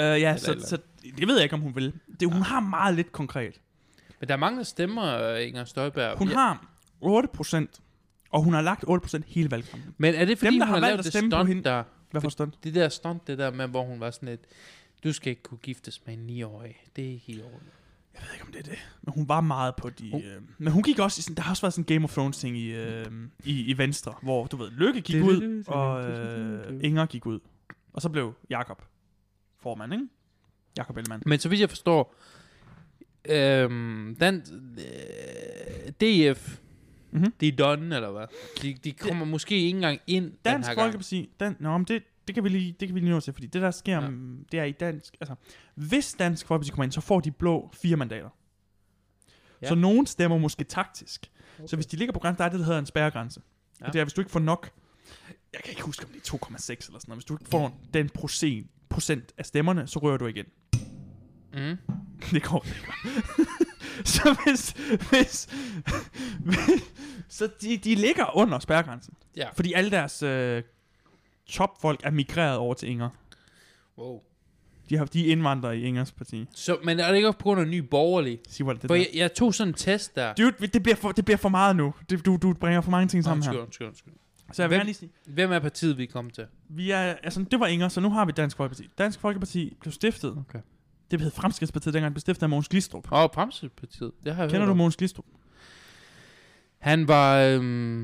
S1: Øh, ja, så,
S2: eller-
S1: så, det ved jeg ikke, om hun vil. Det, hun har meget lidt konkret.
S2: Men der er mange, der stemmer, øh, Inger Støjberg.
S1: Hun
S2: Ja.
S1: har 8 procent, og hun har lagt 8 procent hele valgkampen.
S2: Men er det fordi,
S1: Dem, der har
S2: hun har
S1: valgt
S2: lavet
S1: at
S2: det
S1: stemme på
S2: stunt
S1: hende-
S2: der?
S1: Hvad forstår du?
S2: Det der stunt, det der med, hvor hun var sådan lidt, du skal ikke kunne giftes med en 9-årig. Det er ikke i orden.
S1: Jeg ved ikke, om det er det. Men hun var meget på de...
S2: Hun-
S1: Øh... Men hun gik også... i Sådan, der har også været sådan en Game of Thrones-ting i, øh, i, i Venstre, hvor, du ved, Lykke gik ud, og øh, Inger gik ud. Og så blev Jakob formand, ikke? Jakob Ellemann.
S2: Men så vidt jeg forstår, øhm, den, øh, DF,
S1: Mhm.
S2: de er done, eller hvad? De, de kommer måske ikke engang ind den
S1: Dansk
S2: her gang.
S1: Folkeparti, dan, nå, men det, det, kan vi lige, det kan vi lige nå til, fordi det der sker,
S2: Ja.
S1: ja. det er i dansk, altså, hvis Dansk Folkeparti kommer ind, så får de blå fire mandater.
S2: Ja.
S1: Ja. Så nogen stemmer måske taktisk. Okay. Så hvis de ligger på grænsen, der er det, der hedder en spærregrænse. Ja.
S2: Ja.
S1: Og det er, hvis du ikke får nok, jeg kan ikke huske, om det er 2,6 eller sådan noget, hvis du ikke får den procent, procent af stemmerne, så rører du igen.
S2: Mm.
S1: Det går ikke. så hvis, hvis, hvis så de, de ligger under spærregrænsen.
S2: Ja.
S1: Fordi alle deres øh, topfolk er migreret over til Inger.
S2: Wow.
S1: De, har, de er indvandrere i Ingers parti.
S2: Så, men er det ikke også på grund af ny borgerlig?
S1: Sig, hvor er det
S2: For
S1: der.
S2: jeg, jeg tog sådan en test der.
S1: Dude, det bliver, for, det bliver for meget nu. Det, du, du bringer for mange ting sammen
S2: undskyld,
S1: her.
S2: undskyld, undskyld.
S1: Så jeg vil
S2: Hvem-
S1: gerne lige sige,
S2: Hvem er partiet, vi kom til?
S1: vi er, altså, det var Inger, så nu har vi Dansk Folkeparti. Dansk Folkeparti blev stiftet.
S2: Okay.
S1: Det hed Fremskridspartiet, dengang det blev stiftet af Mogens Glistrup.
S2: Åh, oh, Bremsepartiet. Det har jeg
S1: Kender
S2: hørt
S1: du
S2: om.
S1: Mogens Glistrup?
S2: Han var øhm,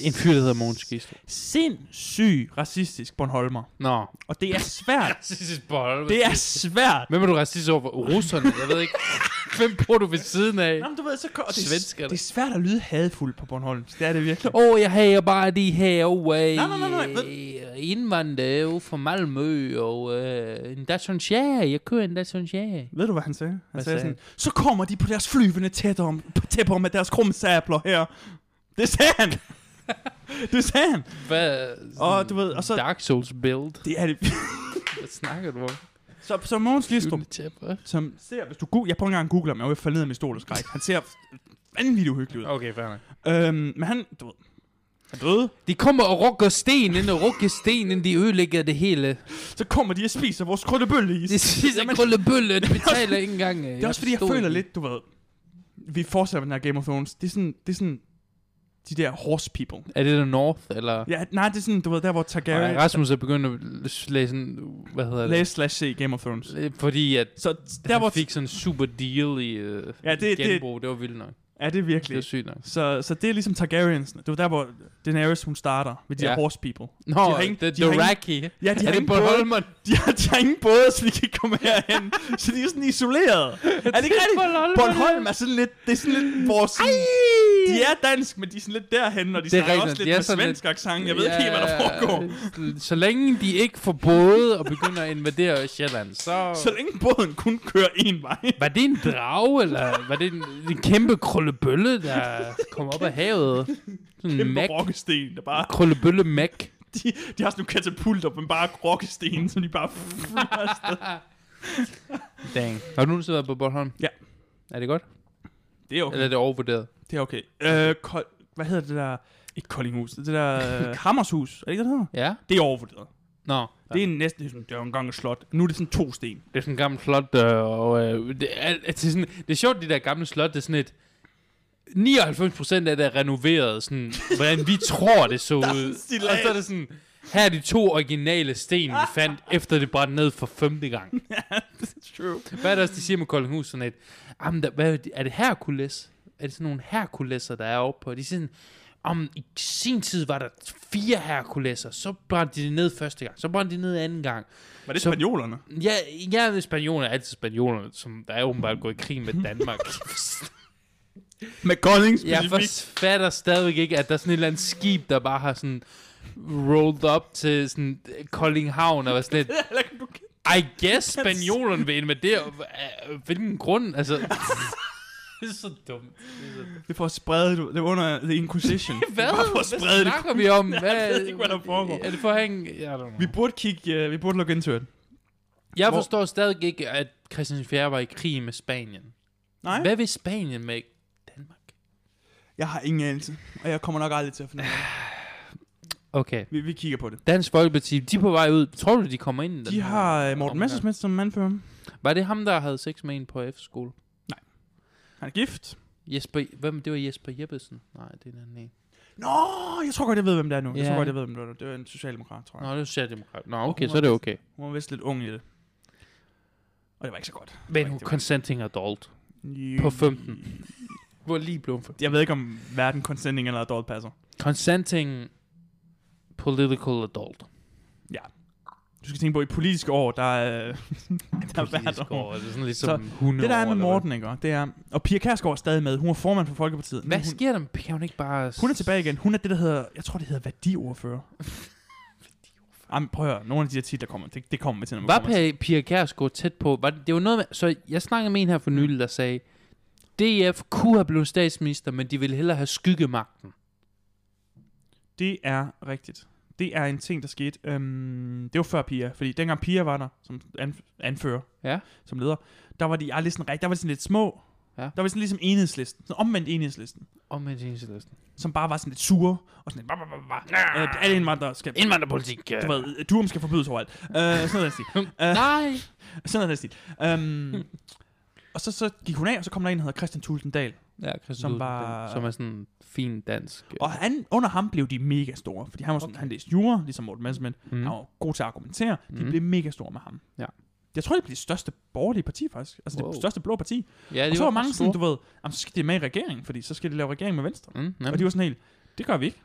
S2: en fyr, der hedder Mogens Gisle.
S1: Sindssyg racistisk Bornholmer.
S2: Nå.
S1: Og det er svært.
S2: Racistisk bold.
S1: det er svært.
S2: Hvem er du racist over? Russerne? Jeg ved ikke. Hvem bor du ved siden af?
S1: Nå,
S2: Åh,
S1: men du ved, så og det,
S2: Svensker,
S1: det er svært at lyde hadfuld på Bornholm. Det er det virkelig.
S2: oh, jeg hager bare de her way.
S1: Nej, nej, nej, nej,
S2: Indvandrere jo fra Malmø, og øh, en Datsun ja, jeg kører en Datsun ja.
S1: Ved du, hvad han sagde? Han
S2: Hvad
S1: sagde,
S2: sagde
S1: sådan, så kommer de på deres flyvende tæt om, tæpper med deres krumsabler her. Det sagde han. det sagde han.
S2: Hvad?
S1: Og du ved, og så-
S2: Dark Souls build.
S1: Det er det.
S2: Hvad snakker du om?
S1: så, så Mogens Glistrup,
S2: Juletæpper.
S1: som ser, hvis du, gu- jeg prøver ikke engang at google ham, jeg var faldet ned af min stol og skræk. Han ser vanvittigt uhyggelig ud.
S2: Okay, fair nok.
S1: Øhm, men han, du ved, han døde.
S2: De kommer og rukker sten, inden og rukker sten, inden de ødelægger det hele.
S1: Så kommer de og spiser vores krøllebølleis.
S2: Det sidste
S1: Jamen-
S2: krøllebølle, det betaler ikke engang. øh.
S1: Det er også fordi, jeg føler lidt, du ved, vi fortsætter med den her Game of Thrones. Det er sådan, det er sådan de der horse people.
S2: Er det der North, eller...
S1: Ja, nej, det er sådan, du ved, der hvor Targaryen
S2: Nej, Rasmus er begyndt at l- læse sådan... Hvad hedder
S1: læste slash se Game of Thrones.
S2: det? Øh, Fordi at
S1: Så
S2: der
S1: der
S2: han
S1: hvor...
S2: fik sådan en super deal i øh,
S1: Ja, det- det-
S2: genbrug. Det, var vildt nok.
S1: Ja, det er
S2: Det var
S1: virkelig.
S2: sygt nok.
S1: Så, så det er ligesom Targaryens. Det var der, hvor Daenerys, hun starter med de
S2: Ja.
S1: ja. her horse people.
S2: Nå,
S1: har ingen-
S2: det
S1: de har
S2: er
S1: ingen-
S2: Raki.
S1: Ja, de har
S2: Er det
S1: ingen
S2: på
S1: både,
S2: Holmen?
S1: de har, de har ingen både, så de kan ikke komme herhen. så de er sådan isoleret. er det ikke rigtigt?
S2: Bornholm.
S1: Bornholm er sådan lidt, det er sådan lidt vores... Sådan, de er dansk, men de er sådan lidt derhen, og de
S2: Det er
S1: snakker
S2: rigtigt,
S1: også
S2: de
S1: lidt
S2: er
S1: med
S2: sådan lidt-
S1: svensk accent. Jeg ved ikke helt, hvad der foregår.
S2: Så længe de ikke får både og begynder at invadere Sjælland, så...
S1: Så længe båden kun kører en vej.
S2: Var det en drage, eller var det en, en kæmpe krøllebølle, der kom op af havet? Sådan en
S1: Kæmpe
S2: mæk.
S1: rokkesten, der bare...
S2: Krøllebølle mæk.
S1: De, de har sådan nogle katapulter, men bare rokkesten, som de bare... flyver afsted.
S2: Dang. Har du nogensinde været på Bornholm?
S1: Ja.
S2: Er det godt? Okay.
S1: det er okay.
S2: Eller er det overvurderet?
S1: Det er okay. Øh, kol- hvad hedder det der... Ikke Koldinghus, det der øh, Hammershus, er det ikke, det det hedder?
S2: Ja?
S1: Det er overvurderet.
S2: Nå.
S1: Ja. Det er næsten, det er sådan- det er jo engang et slot. Nu er det sådan to sten.
S2: det er sådan en gammel slot, øh, og øh, det, er, det, er sådan, det er sjovt, de der gamle slot, det er sådan et... 99% af det er renoveret, sådan, hvordan vi tror, det så
S1: er sådan
S2: ud.
S1: stillads.
S2: Og så er det sådan, her er de to originale sten, vi fandt, efter det brændte ned for femte gang.
S1: True.
S2: Hvad er det også, de siger med Koldinghus? Sådan et, jamen, der, hvad, er det- er det Herkules? Er det sådan nogle Herkuleser, der er oppe på? De siger sådan, om i sin tid var der fire Herkuleser, så brændte de det ned første gang, så brændte de ned anden gang.
S1: Var det
S2: Så-
S1: spanjolerne?
S2: Ja, ja spanioler er altid spanioler, som der er åbenbart gået i krig med Danmark.
S1: Med Kolding
S2: jeg
S1: specifikt.
S2: forfatter stadigvæk ikke, at der er sådan et eller andet skib, der bare har sådan rolled up til sådan øh, Koldinghavn og var sådan lidt,
S1: Eller kan du kende?
S2: I guess spanjolerne vil invadere. Af øh, Hvilken grund? Altså, det er så dumt. Det er så dumt.
S1: Det er for at sprede, du- det er under The Inquisition. Det er
S2: Hvad?
S1: Bare for
S2: Hvad
S1: at sprede det.
S2: snakker vi om? Hvad,
S1: ved ikke, hvad der foregår.
S2: Er det for at hænge? Jeg don't know.
S1: Vi burde kigge, øh, vi burde lukke into it.
S2: Jeg
S1: Hvor-
S2: forstår stadig ikke, at Christian 4. var i krig med Spanien.
S1: Nej,
S2: Hvad vil Spanien med Danmark?
S1: jeg har ingen anelse, og jeg kommer nok aldrig til at finde ud af det.
S2: Okay.
S1: Vi, vi kigger på det.
S2: Dansk Folkeparti, de er på vej ud. Tror du, de kommer ind? i den
S1: De
S2: her
S1: har øh, Morten
S2: omgang?
S1: Messerschmidt som mandfører.
S2: Var det ham, der havde sex med en på F-skole?
S1: Han er gift.
S2: Jesper, hvem? Det var Jesper Jeppesen. Nej, det er en anden en.
S1: Nå, jeg tror godt, jeg ved, hvem det er nu. Jeg tror
S2: Ja.
S1: godt, jeg ved, hvem det er nu. Det er en socialdemokrat, tror jeg.
S2: Nå, det er socialdemokrat. Nå, okay,
S1: hun
S2: så er det okay.
S1: Hun var vist lidt ung i det. Og det var ikke så godt.
S2: Men hun consenting adult. På 15. Hvor lige blev hun for-
S1: Jeg ved ikke, om hverken consenting eller adult passer.
S2: Consenting political adult.
S1: Du skal tænke på, at i politiske år, der er... der er hvert
S2: Politisk
S1: år.
S2: år, det er sådan ligesom hundeår,
S1: Det der er med
S2: eller
S1: Morten, ikke? og Det er, og Pia Kærsgaard er stadig med. Hun er formand for Folkepartiet.
S2: Hvad, hvad
S1: Men hun,
S2: sker der? med- Kan hun ikke bare... s-
S1: hun er tilbage igen. Hun er det, der hedder... Jeg tror, det hedder værdiordfører. Jamen, prøv at høre. Nogle af de her titler, der kommer, det, det kommer vi til, når vi
S2: Var
S1: kommer til.
S2: Pia- Pia Kærsgaard tæt på? Var det, det var noget med, så jeg snakkede med en her for nylig, der sagde, DF kunne have blevet statsminister, men de ville hellere have skyggemagten.
S1: Det er rigtigt. Det er en ting, der skete. Øhm, det var før Pia, fordi dengang Pia var der, som anf- anfører,
S2: Ja.
S1: som leder, der var de aldrig sådan rigtig, der var de sådan lidt små.
S2: Ja.
S1: Der var de sådan ligesom enhedslisten, sådan omvendt enhedslisten,
S2: Og med enhedslisten.
S1: som bare var sådan lidt sure, og sådan lidt, bah, bah, bah, bah.
S2: Ah.
S1: Øh, alle indvandrere skal,
S2: Indvandrerpolitik.
S1: du ved, Durum skal forbydes overalt. Øh, sådan noget, der
S2: Nej.
S1: Sådan noget næstigt. Um, og så, så gik hun af, og så kom der en, der hedder Christian Tulsendal.
S2: Ja, Christian
S1: Som
S2: som,
S1: var-
S2: var... som er sådan fin dansk. øh,
S1: Og han, under ham blev de mega store, fordi han var sådan, okay. han læste jura, ligesom Morten Messerschmidt. Mm.
S2: Mm.
S1: Han var god til at argumentere. De
S2: Mm.
S1: blev mega store med ham.
S2: Ja. Jeg
S1: Jeg tror, det blev det største borgerlige parti, faktisk. Altså wow.
S2: Wow.
S1: det største blå parti. Ja,
S2: Ja,
S1: og så var mange
S2: store.
S1: sådan, du ved, jamen, så skal de med i regeringen, fordi så skal de lave regering med Venstre.
S2: Mm,
S1: Ja.
S2: nem.
S1: Og de var sådan helt, det gør vi ikke.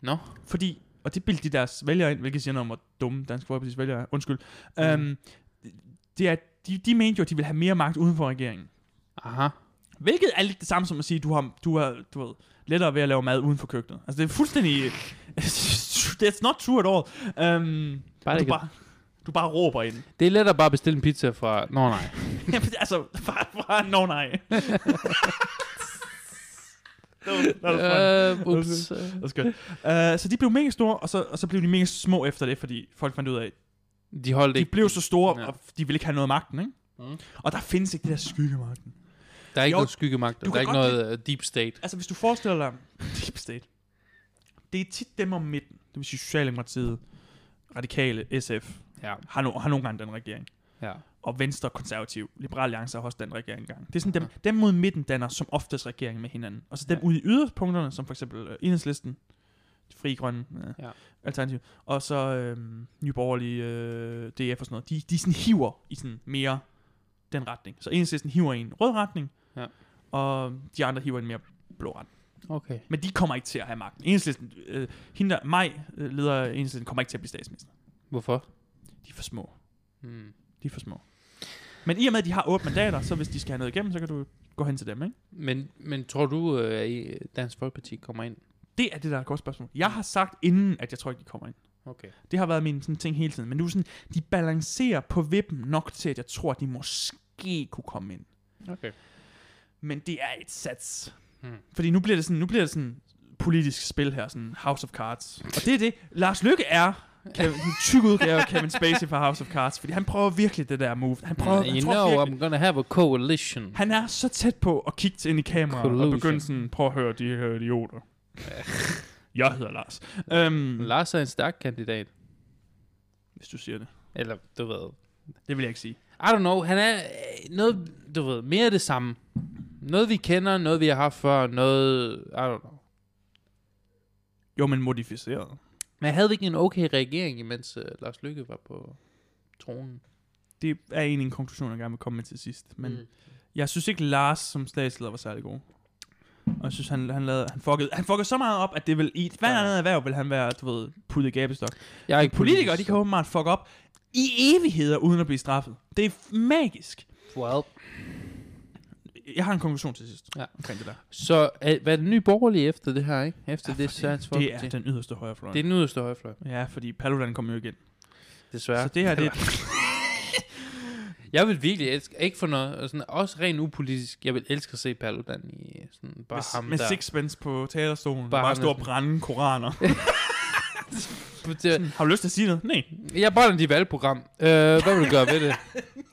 S2: Nå.
S1: Fordi, og det bildte de deres vælgere ind, hvilket siger noget om, hvor dumme Dansk Folkeparti's vælgere er. Undskyld. Mm. Um, det er, de, de mente jo, at de ville have mere magt uden for regeringen.
S2: Aha.
S1: Hvilket er lidt det samme som at sige, du har, du har du ved, lettere ved at lave mad uden for køkkenet. Altså, det er fuldstændig... That's not true at all. Um,
S2: Bare
S1: du,
S2: ikke.
S1: bare, du bare råber ind.
S2: Det er let at bare bestille en pizza fra... Nå nej.
S1: Jamen, altså, bare, bare no, nej. that was, that was funny.
S2: Øh, ups.
S1: That was good. Uh, så de blev mega store, og så, og så blev de mega små efter det, fordi folk fandt ud af,
S2: De holdt
S1: de
S2: ikke.
S1: blev så store,
S2: Ja.
S1: og de ville ikke have noget af magten, ikke?
S2: Mm.
S1: Og der findes ikke det der skyggemagten.
S2: Der er ikke
S1: Jo,
S2: noget skyggemagt. Der
S1: kan
S2: er ikke
S1: godt
S2: noget øh, deep state.
S1: Altså, hvis du forestiller dig... Deep State. Det er tit dem om midten. Det vil sige Socialdemokratiet, Radikale, SF,
S2: Ja.
S1: har, no, har nogle gange den regering.
S2: ja.
S1: Og Venstre, Konservativ, Liberal Alliance har også den regering engang. Det er sådan dem, dem mod midten danner som oftest regering med hinanden. Og så dem
S2: Ja.
S1: ude i yderpunkterne, som for eksempel øh, Enhedslisten, De Fri Grønne, øh, ja.
S2: Ja.
S1: Alternativ, og så øh, Nye Borgerlige, øh, DF og sådan noget. De, de sådan hiver i sådan mere den retning. Så Enhedslisten hiver i en rød retning,
S2: Ja.
S1: og de andre hiver i en mere blå retning.
S2: Okay.
S1: Men de kommer ikke til at have magten. Enhedslisten, øh, hende der, mig, øh, leder af Enhedslisten, kommer ikke til at blive statsminister.
S2: Hvorfor?
S1: De er for små.
S2: Hmm.
S1: De er for små. Men i og med, at de har otte mandater, så hvis de skal have noget igennem, så kan du gå hen til dem, ikke?
S2: Men, men tror du, øh, at I- Dansk Folkeparti kommer ind?
S1: Det er det, der er et godt spørgsmål. Jeg har sagt inden, at jeg tror ikke, de kommer ind.
S2: Okay.
S1: Det har været min sådan, ting hele tiden. Men nu er sådan, de balancerer på vippen nok til, at jeg tror, at de måske kunne komme ind.
S2: Okay.
S1: Men det er et sats. Hmm.
S2: Hmm.
S1: Fordi nu bliver det sådan, nu bliver det sådan politisk spil her, sådan House of Cards. Og det er det. Lars Lykke er Kevin, en tyk udgave af Kevin Spacey fra House of Cards, fordi han prøver virkelig det der move. Han prøver,
S2: you
S1: jeg
S2: know
S1: tror virkelig,
S2: I'm gonna have a coalition.
S1: han er så tæt på at kigge til ind i kameraet og
S2: Collusion.
S1: begynde sådan, prøv at høre de her idioter. jeg hedder Lars. Øhm,
S2: Lars er en stærk kandidat.
S1: hvis du siger det.
S2: Eller, du ved.
S1: Det vil jeg ikke sige.
S2: I don't know. Han er øh, noget, du ved, mere af det samme. Noget, vi kender, noget, vi har haft før, noget... I don't know.
S1: Jo, men modificeret.
S2: Men havde vi ikke en okay regering, imens øh, Lars Lykke var på tronen?
S1: Det er egentlig en konklusion, jeg gerne vil komme med til sidst. Men
S2: Mm.
S1: Jeg synes ikke, Lars som statsleder var særlig god. Og jeg synes, han, han, lavede, han, fuckede, han fuckede så meget op, at det vil i et hvert
S2: Ja.
S1: andet erhverv, vil han være, du ved, puttet i gabestok.
S2: Jeg er ikke
S1: Politikere, de kan åbenbart fuck op i evigheder, uden at blive straffet. Det er f- magisk.
S2: Well.
S1: Jeg har en konklusion til sidst
S2: Ja.
S1: omkring det der.
S2: Så øh, hvad er den nye borgerlige efter det her, ikke? Efter ja, det Sands
S1: Det er
S2: Folkeparti.
S1: den yderste højrefløj.
S2: Det er den yderste højrefløj,
S1: Ja, fordi Paludan kom jo igen.
S2: desværre.
S1: Så det her, det er...
S2: Jeg vil virkelig elske, ikke for noget, og sådan, også rent upolitisk, jeg vil elske at se Paludan i øh, sådan, bare
S1: Med,
S2: ham
S1: med
S2: der.
S1: sixpence på talerstolen.
S2: Bare
S1: Bare, bare
S2: ham
S1: stå og
S2: der.
S1: brænde koraner.
S2: det,
S1: Har du lyst til at sige noget? Nej.
S2: jeg brænder dit valgprogram. Øh, hvad vil du gøre ved det?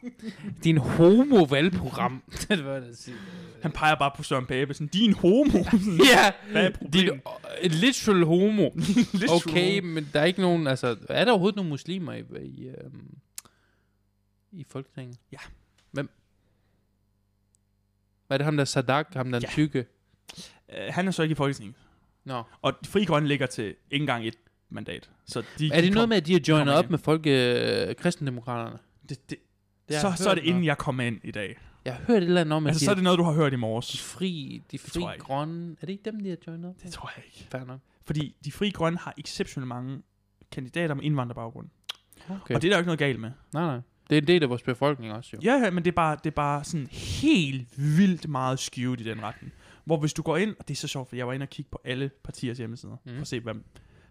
S2: Din homo-valgprogram. det var det, jeg siger.
S1: Han peger bare på Søren Pape, sådan, din homo. Sådan,
S2: Ja,
S1: Hvad er
S2: din
S1: problemet?
S2: øh, literal homo.
S1: lidt
S2: Okay,
S1: true.
S2: men der er ikke nogen, altså, er der overhovedet nogen muslimer i, i, øhm, i Folketinget?
S1: Ja.
S2: Hvem? Var det ham der Sadak, ham der ja.
S1: Ja.
S2: tykke?
S1: Øh, han er så ikke i Folketinget.
S2: Nå.
S1: Og Fri Grønne ligger til ikke engang et mandat. Så de,
S2: Er det
S1: de
S2: noget med, at de har joinet
S1: kommer
S2: op
S1: ind.
S2: med folk, øh, kristendemokraterne?
S1: Det, det,
S2: Det har
S1: så,
S2: jeg
S1: så er
S2: hørt
S1: det inden
S2: noget.
S1: jeg kom ind i dag.
S2: Jeg har hørt et eller andet om, at
S1: Altså,
S2: de,
S1: så er det noget, du har hørt i
S2: de
S1: morges.
S2: fri, de
S1: tror jeg
S2: fri
S1: ikke.
S2: grønne... Er det ikke dem, de har joinet op?
S1: Det tror jeg ikke.
S2: Fair nok.
S1: Fordi de frie grønne har exceptionelt mange kandidater med indvandrerbaggrund.
S2: Okay.
S1: Og det er der jo ikke noget galt med.
S2: Nej, nej. Det er en del af vores befolkning også, jo.
S1: Ja, ja, men det er, bare, det er bare sådan helt vildt meget skevet i den retning. Hvor hvis du går ind, og det er så sjovt, for jeg var inde og kigge på alle partiers hjemmesider,
S2: Mm.
S1: mm. for at se, hvem,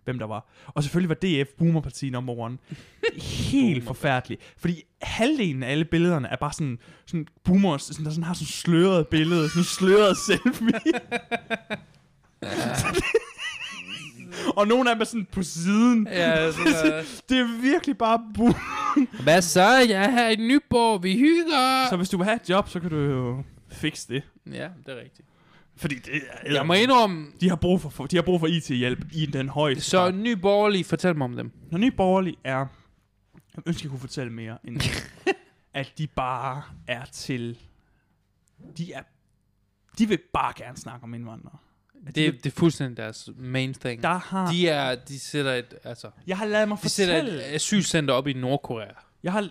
S1: hvem der var. Og selvfølgelig var DF boomerparti number one. helt forfærdeligt. Fordi halvdelen af alle billederne er bare sådan, sådan boomers, sådan, der sådan har sådan sløret billede, sådan sløret selfie. og nogle af dem er sådan på siden.
S2: Ja,
S1: altså,
S2: så,
S1: Det er virkelig bare boom.
S2: Hvad så? Jeg er her i Nyborg, vi hygger!
S1: Så hvis du vil have et job, så kan du jo fikse det.
S2: Ja, det er rigtigt.
S1: Fordi det er,
S2: Jeg må indrømme,
S1: de har brug for- for, de har brug for IT-hjælp i den højde.
S2: Så Ny Borgerlig, fortæl mig om dem.
S1: Når Nye Borgerlige er... Jeg ønsker, jeg kunne fortælle mere, end at de bare er til... De er... De vil bare gerne snakke om indvandrere. At de vil-
S2: Det, det er fuldstændig deres main thing.
S1: der har...
S2: De, er, de sætter et, altså,
S1: jeg har lavet mig
S2: de sætter
S1: fortælle...
S2: et asylcenter op i Nordkorea.
S1: Jeg har,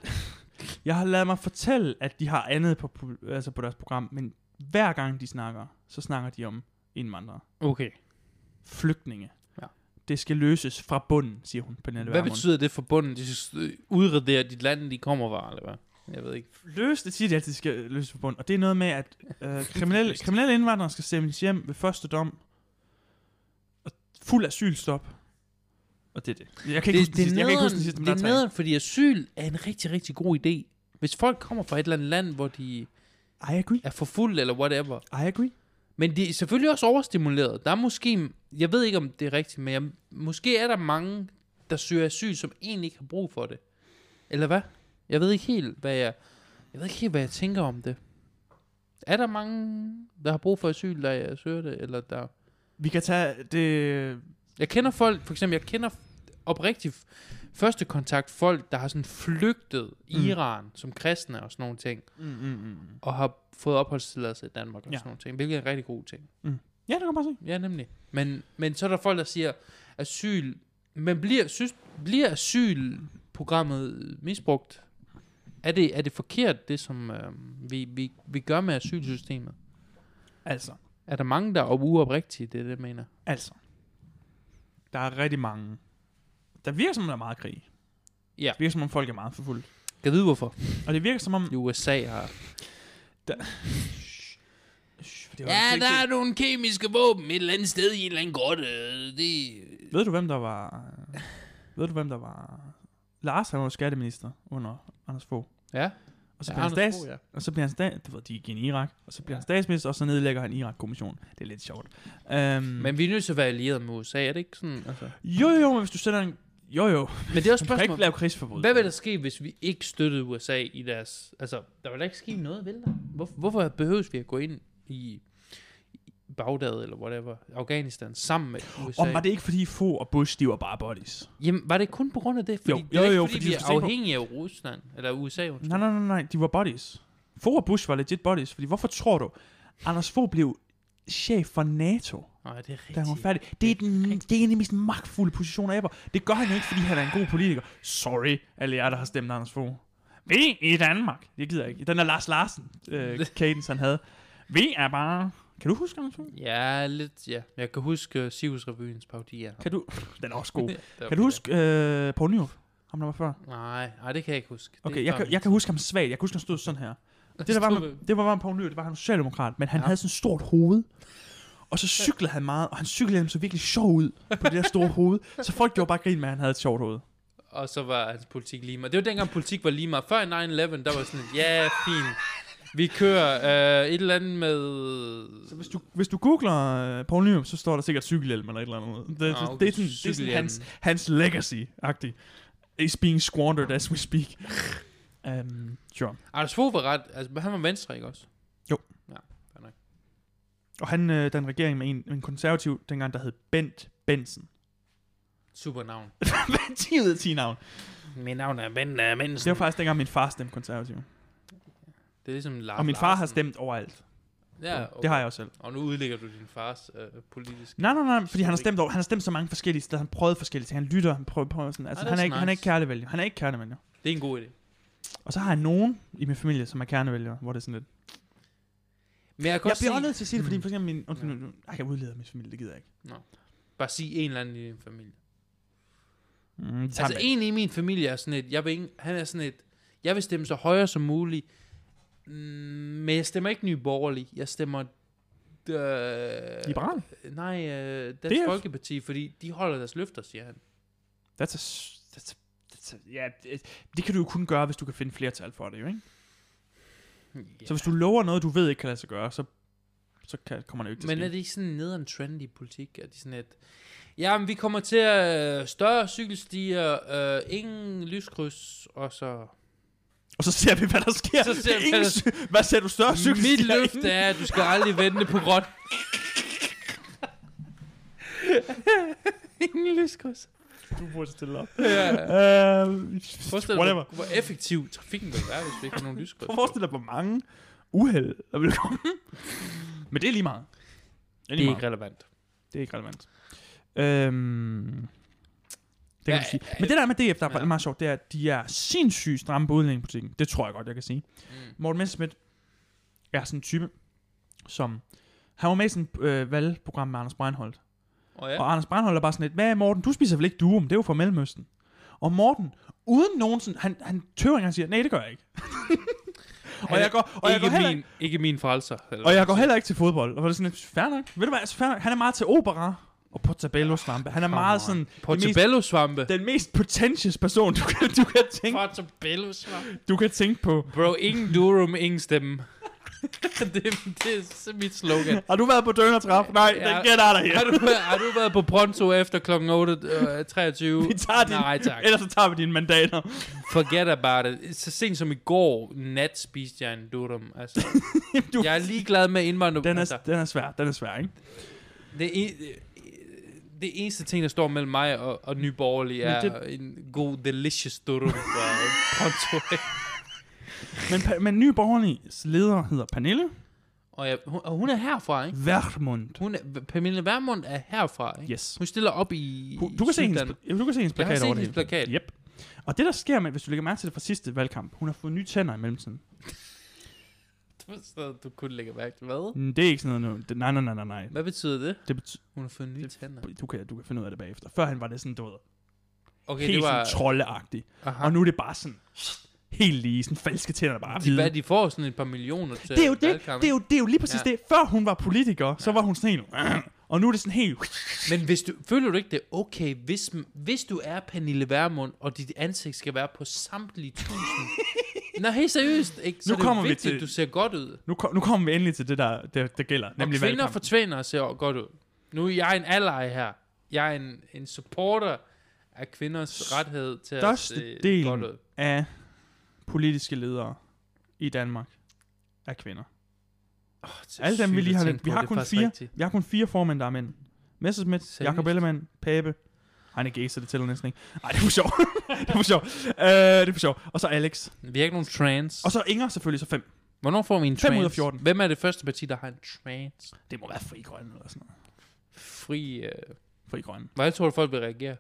S1: jeg har lavet mig fortælle, at de har andet på, pu- altså på deres program, men hver gang de snakker, så snakker de om indvandrere.
S2: Okay.
S1: Flygtninge.
S2: Ja.
S1: Det skal løses fra bunden, siger hun, Pernille
S2: Hvad
S1: Vermund.
S2: betyder det for bunden? De skal øh, udradere dit land, de kommer fra, eller hvad? Jeg ved ikke.
S1: løse, det siger de altid, de skal løse på bund. Og det er noget med, at øh, kriminelle, kriminelle indvandrere skal stemmes hjem ved første dom. Og fuld asylstop. Og det er det. Jeg kan ikke huske den
S2: Det, det,
S1: sidste.
S2: er
S1: Jeg kan ikke huske
S2: nederen,
S1: den sidste, men
S2: det
S1: der
S2: er
S1: er tre.
S2: nederen, fordi asyl er en rigtig, rigtig god idé. Hvis folk kommer fra et eller andet land, hvor de
S1: I agree.
S2: er forfulgt eller whatever.
S1: I agree.
S2: Men de er selvfølgelig også overstimuleret. Der er måske, jeg ved ikke om det er rigtigt, men jeg, måske er der mange, der søger asyl, som egentlig ikke har brug for det. Eller hvad? Jeg ved ikke helt, hvad jeg, jeg ved ikke helt, hvad jeg tænker om det. Er der mange, der har brug for asyl, der jeg søger det? Eller der...
S1: Vi kan tage det... øh,
S2: Jeg kender folk, for eksempel, jeg kender oprigtigt f- første kontakt folk, der har sådan flygtet i
S1: Mm.
S2: Iran som kristne og sådan nogle ting,
S1: Mm, mm, mm.
S2: og har fået opholdstilladelse i Danmark og
S1: Ja.
S2: sådan nogle ting, hvilket er en rigtig god ting.
S1: Ja, det kan man bare se.
S2: Ja, nemlig. Men, men så er der folk, der siger, asyl... Men bliver, synes, bliver asylprogrammet misbrugt? Er det, er det forkert, det som øh, vi, vi, vi gør med asylsystemet?
S1: Altså.
S2: Er der mange, der er uoprigtige, det er det, jeg mener?
S1: Altså. Der er rigtig mange. Der virker som om, der er meget krig.
S2: Ja.
S1: Det virker som om, folk er meget forfulgt.
S2: Kan vide, hvorfor?
S1: Og det virker som om...
S2: I USA har...
S1: Det var altså ikke det.
S2: nogle kemiske våben et eller andet sted i en eller anden grotte. Det...
S1: Ved du, hvem der var... Ved du, hvem der var... Lars, han var jo skatteminister under Anders Fogh.
S2: Ja,
S1: Og så
S2: ja,
S1: bliver han
S2: Anders
S1: stats...
S2: Fogh, ja.
S1: Og så bliver han stat... Du ved, de gik ind i Irak. Og så bliver
S2: Ja.
S1: han statsminister, og så nedlægger han Irak-kommissionen. Det er lidt sjovt. Um,
S2: Men vi er nødt til at være allieret med USA, er det ikke sådan? Altså.
S1: Jo, jo, men hvis du sender en... Jo, jo.
S2: Men det er også
S1: Du kan
S2: spørgsmål.
S1: ikke lave krigsforbud.
S2: Hvad vil der ske, hvis vi ikke støttede USA i deres... Altså, der vil da ikke ske noget, vel der? Hvor, hvorfor behøves vi at gå ind i, i Bagdad eller whatever, Afghanistan, sammen med USA?
S1: Og var det ikke fordi Fogh og Bush, de var bare buddies?
S2: Jamen, var det kun på grund af det? Fordi
S1: Jo,
S2: det er
S1: jo,
S2: ikke,
S1: jo,
S2: fordi,
S1: fordi
S2: vi
S1: du
S2: er
S1: skal tænke på-
S2: afhængige af Rusland, eller USA. undskyld.
S1: Nej, nej, nej, nej. De var buddies. Fogh og Bush var legit buddies. Fordi hvorfor tror du, Anders Fogh blev chef for NATO?
S2: Nej, det er rigtigt.
S1: da han var færdig. Det er, den, det er en af de mest magtfulde positioner ever. Det gør han ikke, fordi han er en god politiker. Sorry, alle jer, der har stemt Anders Fogh. Vi i Danmark. Jeg gider ikke. Den er Lars Larsen, øh, cadence, han havde. Vi er bare... Kan du huske Anders Fogh?
S2: Ja, lidt, ja. Jeg kan huske øh, Sirius-revyens parodier.
S1: Kan du... Den er også god.
S2: Der
S1: Kan du
S2: var-
S1: huske øh, Poul Nyrup? Ham der var før.
S2: Nej, nej, det kan jeg ikke huske. Det
S1: Okay,
S2: er
S1: jeg
S2: før
S1: kan, jeg kan huske ham svagt. Jeg kan huske, han stod sådan her. Det,
S2: min-
S1: der var
S2: Stod
S1: med,
S2: ved-
S1: det var, var med Poul Nyrup, det var, han var socialdemokrat, men han
S2: Ja.
S1: havde sådan et stort hoved. Og så cyklede han meget, og han cyklede ham så virkelig sjov ud på det der store hoved. Så folk gjorde bare grin med, at han havde et sjovt hoved.
S2: Og så var hans politik lige meget. Det var dengang politik var lige meget. Før 9-11, der var sådan, et, ja, fint. Vi kører øh, et eller andet med...
S1: Så hvis du, hvis du googler øh, Paul Nyrup, så står der sikkert cykelhjelm eller et eller andet. Det, det,
S2: Ah,
S1: okay.
S2: okay,
S1: det, er, sådan, det er sådan
S2: cykelhjelm.
S1: hans, hans legacy-agtig. Is being squandered as we speak. um, sure.
S2: Anders Fogh var ret... Altså, han var venstre, ikke også?
S1: Og han, øh, der er en regering med en, en konservativ, dengang der hed Bent Bensen.
S2: Super navn.
S1: 10 ud af 10 navn.
S2: Mit navn er Ben uh,
S1: Det var faktisk dengang min far stemte konservativ.
S2: Det er ligesom Lars
S1: Og min far har
S2: Ah, Larsen.
S1: stemt overalt.
S2: Ja, okay.
S1: Det har jeg også selv.
S2: Og nu udlægger du din fars øh, politiske...
S1: Nej, nej, nej, fordi han har stemt over, han har stemt så mange forskellige steder, han prøvede forskellige ting, han lytter, han prøver, prøver sådan, altså
S2: Ah, det er
S1: han er,
S2: så
S1: ikke, han er
S2: nice.
S1: ikke kernevælger, han er ikke kernevælger.
S2: Det er en god idé.
S1: Og så har jeg nogen i min familie, som er kernevælgere, hvor det er sådan lidt.
S2: Men jeg kan
S1: Jeg
S2: også
S1: bliver også
S2: sige,
S1: nødt til at sige det, fordi
S2: Mm.
S1: for eksempel min, undskyld,
S2: Ja.
S1: nu- nu- ej, jeg udleder min familie, det gider jeg ikke.
S2: bare sige en eller anden i din familie.
S1: Mm, det tager
S2: Altså
S1: man ikke.
S2: en i min familie er sådan et, jeg vil ikke, han er sådan et, jeg vil stemme så højre som muligt, mm, men jeg stemmer ikke nye borgerlige, jeg stemmer... Øh,
S1: Liberal?
S2: Nej, øh, Dansk
S1: DF.
S2: Folkeparti, fordi de holder deres løfter, siger han.
S1: That's a, s- that's a, that's a, ja, det, det kan du jo kun gøre, hvis du kan finde flertal for det, jo, ikke?
S2: Ja.
S1: Så hvis du lover noget, du ved ikke kan lade sig gøre, så, så kan, kommer det jo ikke til
S2: Men
S1: at
S2: er det
S1: ske.
S2: ikke sådan en nederen trend i politik? Er det sådan et, jamen vi kommer til at øh, større cykelstier, øh, ingen lyskryds, og så...
S1: Og så ser vi, hvad der sker.
S2: Så
S1: Så
S2: ser
S1: ser
S2: vi,
S1: vi, ingen,
S2: hvad
S1: sy- hvad ser du større cykel?
S2: Mit løfte er, at du skal aldrig vente på grøn. ingen lyskryds.
S1: Du burde stille op.
S2: Ja.
S1: Uh,
S2: Forestil dig,
S1: whatever.
S2: hvor, hvor effektiv trafikken ville være, hvis vi ikke havde nogen lyskryds.
S1: Prøv at forestille dig, hvor mange uheld der vil komme. Men det er lige meget. Det er,
S2: Det
S1: lige
S2: er
S1: meget.
S2: ikke relevant.
S1: det er ikke relevant. Øhm, det kan
S2: Ja,
S1: ja, sige.
S2: ja,
S1: Men det der med DF, der er
S2: ja.
S1: ja. meget sjovt, det er, at de er sindssygt stramme på udlændingepolitikken. Det tror jeg godt, jeg kan sige.
S2: Mm.
S1: Morten Messerschmidt er sådan en type, som... Han var med i sådan et øh, valgprogram med Anders Breinholt.
S2: Og
S1: Ja.
S2: ja,
S1: Og Anders Breinholt er bare sådan lidt, hvad Morten, du spiser vel ikke durum, det er jo fra Mellemøsten. Og Morten, uden nogensinde, han, han tøver ikke, han siger, nej, det gør jeg ikke. og jeg går, og jeg går
S2: ikke,
S1: heller,
S2: min, ikke min frelser. eller
S1: og jeg går
S2: hvad man
S1: heller ikke til fodbold. Og var det sådan lidt, fair nok. Ved du hvad, altså, fair nok. Han er meget til opera og portabello-svampe. Han er
S2: Come
S1: meget
S2: on.
S1: sådan
S2: siger. Portobello-svampe.
S1: den mest potentious person, du kan, du kan, tænke,
S2: Portobello-svampe.
S1: du kan tænke på.
S2: Bro, ingen durum, ingen stemme. det, er- det er s- mit slogan.
S1: Har du været på Dønertrap? Nej,
S2: Ja.
S1: ja. den gætter dig her.
S2: Har du, har du været på Pronto efter kl. 8.23?
S1: Vi tager din-
S2: Nej, tak.
S1: Ellers så tager vi dine mandater.
S2: Forget about it. Så sent som i går nat spiste jeg en durum. Altså,
S1: Du,
S2: jeg er ligeglad med indvandrer.
S1: den,
S2: altså,
S1: er, den er svær, den er svær, ikke?
S2: det, en, det- det eneste ting, der står mellem mig og, og Nye Borgerlige, er
S1: Men
S2: en god, delicious durum fra Pronto.
S1: Men, pa- men Nye Borgerliges leder hedder Pernille
S2: og, jeg, hun, og hun er herfra, ikke?
S1: Vermund.
S2: Hun er, Pernille Vermund er herfra, ikke?
S1: Yes.
S2: Hun stiller op i
S1: Hun- Du kan, se hendes,
S2: Syddanmark.
S1: ja, du kan se hendes
S2: Jeg
S1: plakat
S2: har set
S1: over det
S2: hendes
S1: hele.
S2: plakat.
S1: Yep. Og det, der sker med, hvis du lægger mærke til det fra sidste valgkamp, hun har fået nye tænder i mellemtiden.
S2: Så du kunne lægge mærke til hvad?
S1: Mm, Det er ikke sådan noget, nu. Det- nej, nej, nej, nej, nej.
S2: Hvad betyder det?
S1: Det betyder,
S2: Hun har fået nye tænder.
S1: du kan, du kan finde ud af det bagefter. Før han var det sådan, du ved,
S2: Okay,
S1: helt
S2: det var...
S1: sådan troldeagtigt.
S2: Aha.
S1: Og nu er det bare sådan, helt lige, sådan falske tænder, der bare er
S2: De, hvad,
S1: hvide.
S2: de får sådan et par millioner til
S1: Det er jo det,
S2: valgkampen.
S1: det er jo, det er jo lige præcis ja.
S2: Ja.
S1: det. Før hun var politiker, ja. så
S2: Ja.
S1: var hun sådan helt, og nu er det sådan helt,
S2: Men hvis du, føler du ikke det er okay, hvis, hvis du er Pernille Vermund, og dit ansigt skal være på samtlige tusind? Nå, helt seriøst, ikke? Så
S1: Nu
S2: det er jo
S1: kommer vi
S2: vigtigt,
S1: til-
S2: at du ser godt ud.
S1: nu, kom, nu kommer vi endelig til det, der, der, der gælder, nemlig
S2: og kvinder
S1: valgkampen.
S2: fortvinder og ser godt ud. Nu er jeg en ally her. Jeg er en, en supporter af kvinders rettighed til at se
S1: Størstedelen
S2: godt ud.
S1: af politiske ledere i Danmark er kvinder.
S2: Oh, det er
S1: Alle dem, vi
S2: sygt
S1: lige
S2: at
S1: har
S2: tænke
S1: lidt-
S2: på,
S1: vi har
S2: det er
S1: kun
S2: faktisk
S1: fire.
S2: rigtigt.
S1: Vi har kun fire formænd, der er mænd. Messerschmidt,
S2: Seriøst?
S1: Jakob Ellemann, Pape. Han er gay, så det tæller næsten ikke. Nej, det er for sjov. det er for sjov. Uh, det er for sjov. Og så Alex.
S2: Vi har ikke nogen trans.
S1: Og så Inger selvfølgelig, så fem.
S2: Hvornår får vi en
S1: Fem
S2: trans?
S1: ud af 14.
S2: Hvem er det første parti, der har en trans?
S1: Det må være fri grønne eller sådan noget.
S2: Fri... Øh...
S1: Fri grønne.
S2: Hvordan tror du, folk vil reagere?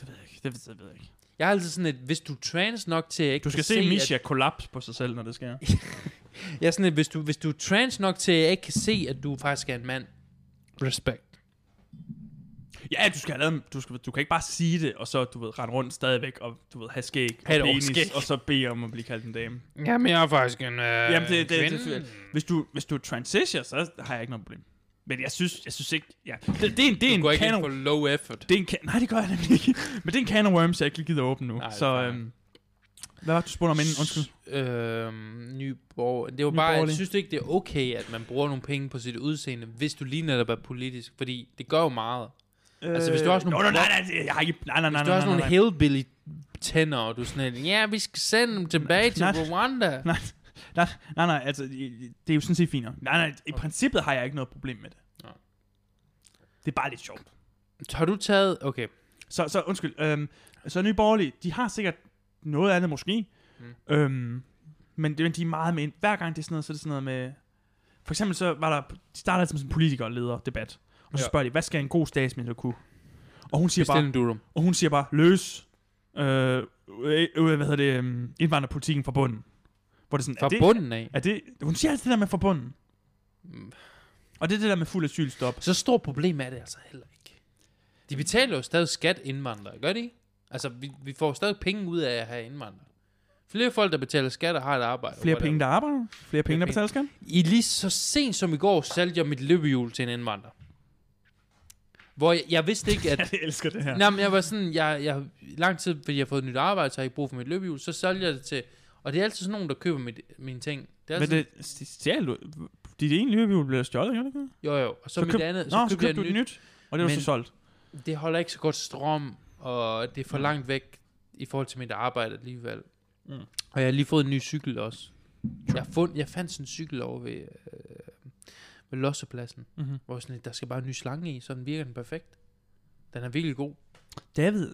S1: Det ved jeg ikke. Det, det ved jeg ikke.
S2: Jeg er altid sådan et, hvis du er trans nok til at jeg ikke
S1: Du skal
S2: kan
S1: se
S2: At,
S1: Misha kollapse på sig selv, når det sker.
S2: jeg er sådan et, hvis du, hvis du er trans nok til at jeg ikke kan se, at du faktisk er en mand. Respekt.
S1: Ja, du skal have lavet, en- du, skal, du kan ikke bare sige det, og så, du ved, rende rundt stadigvæk, og du ved, have skæg og
S2: Ha' et
S1: penis,
S2: overskæg.
S1: og så bede om at blive kaldt en dame.
S2: Jamen, jeg er faktisk en øh,
S1: Jamen, det, det, det,
S2: kvinde.
S1: det, hvis, du, hvis du er transition, så har jeg ikke noget problem. Men jeg synes, jeg synes ikke... Ja. Det, det, er en, det er
S2: Du går
S1: en
S2: ikke ind for
S1: canon...
S2: low effort.
S1: Det er en kan, nej, det gør jeg nemlig ikke. Men det er en can of worms, jeg ikke lige gider åbne nu.
S2: Nej,
S1: så,
S2: fair.
S1: øhm, Hvad var det, du spurgte om inden? Undskyld.
S2: Øhm, Nyborg. Det var
S1: Nye
S2: bare, jeg
S1: Borgerlige.
S2: synes du ikke, det er okay, at man bruger nogle penge på sit udseende, hvis du lige netop er politisk? Fordi det gør jo meget. Altså, hvis du også nogle-
S1: Nå, nej, nej, nej, jeg har ikke... Nej, nej, nej,
S2: Hvis du
S1: nej,
S2: har
S1: nej,
S2: sådan
S1: nej,
S2: nogle hillbilly tænder, og du er sådan en, ja, vi skal sende dem tilbage til
S1: Nej.
S2: Rwanda.
S1: Nej, nej, nej, nej, altså, i- det er jo sådan set fint nok. Nej, nej, i princippet har jeg ikke noget problem med det.
S2: Nej.
S1: Det er bare lidt sjovt.
S2: Har du taget... Okay.
S1: Så, så undskyld, øhm, så Nye Borgerlige, de har sikkert noget andet måske,
S2: Mm.
S1: mm. øhm, men, det- men de er meget med, ind. hver gang det er sådan noget, så er det sådan noget med, for eksempel så var der, de starter altid med sådan en politikerleder-debat, og så
S2: Ja.
S1: spørger de, hvad skal en god statsminister kunne? Og hun siger
S2: Bestil
S1: bare,
S2: en durum.
S1: og hun siger bare løs, øh, øh, øh, hvad hedder det, øh, indvandrerpolitikken fra bunden. Hvor det sådan,
S2: Fra
S1: er det,
S2: bunden af.
S1: er det, hun siger altid det der med fra bunden,
S2: Mm.
S1: og det er det der med fuld asylstop.
S2: Så stort problem er det altså heller ikke. De betaler jo stadig skat indvandrere, gør de ikke? Altså, vi, vi får stadig penge ud af at have indvandrere. Flere folk, der betaler skat og har et arbejde.
S1: Flere
S2: whatever.
S1: penge, der arbejder, flere penge, der
S2: penge.
S1: betaler skat.
S2: I lige så sent som i går solgte jeg mit løbehjul til en indvandrer. Hvor jeg, jeg vidste ikke, at...
S1: Jeg elsker det her.
S2: Nej, men jeg var sådan, jeg, jeg, i lang tid, fordi jeg har fået et nyt arbejde, så har jeg ikke brug for mit løbehjul, så solgte jeg det til... Og det er altid sådan nogen, der køber mit, mine ting. Det er
S1: Men
S2: altid,
S1: det, stjal du? Dit ene løbehjul blev stjålet, gjorde det ikke?
S2: Jo, jo. Og så,
S1: så
S2: mit
S1: køb-
S2: andet,
S1: Nå,
S2: så,
S1: så
S2: købte jeg
S1: købte du
S2: et
S1: et
S2: nyt.
S1: nyt, og det var
S2: Men-
S1: så solgt.
S2: Det holder ikke så godt strøm, og det er for langt væk i forhold til mit arbejde alligevel. Mm.
S1: Mm.
S2: Og jeg har lige fået en ny cykel også. Jeg, fund, jeg fandt sådan en cykel over ved, øh, ved lossepladsen.
S1: Mm-hmm.
S2: Hvor sådan, lidt, der skal bare en ny slange i, så den virker den perfekt. Den er virkelig god.
S1: David,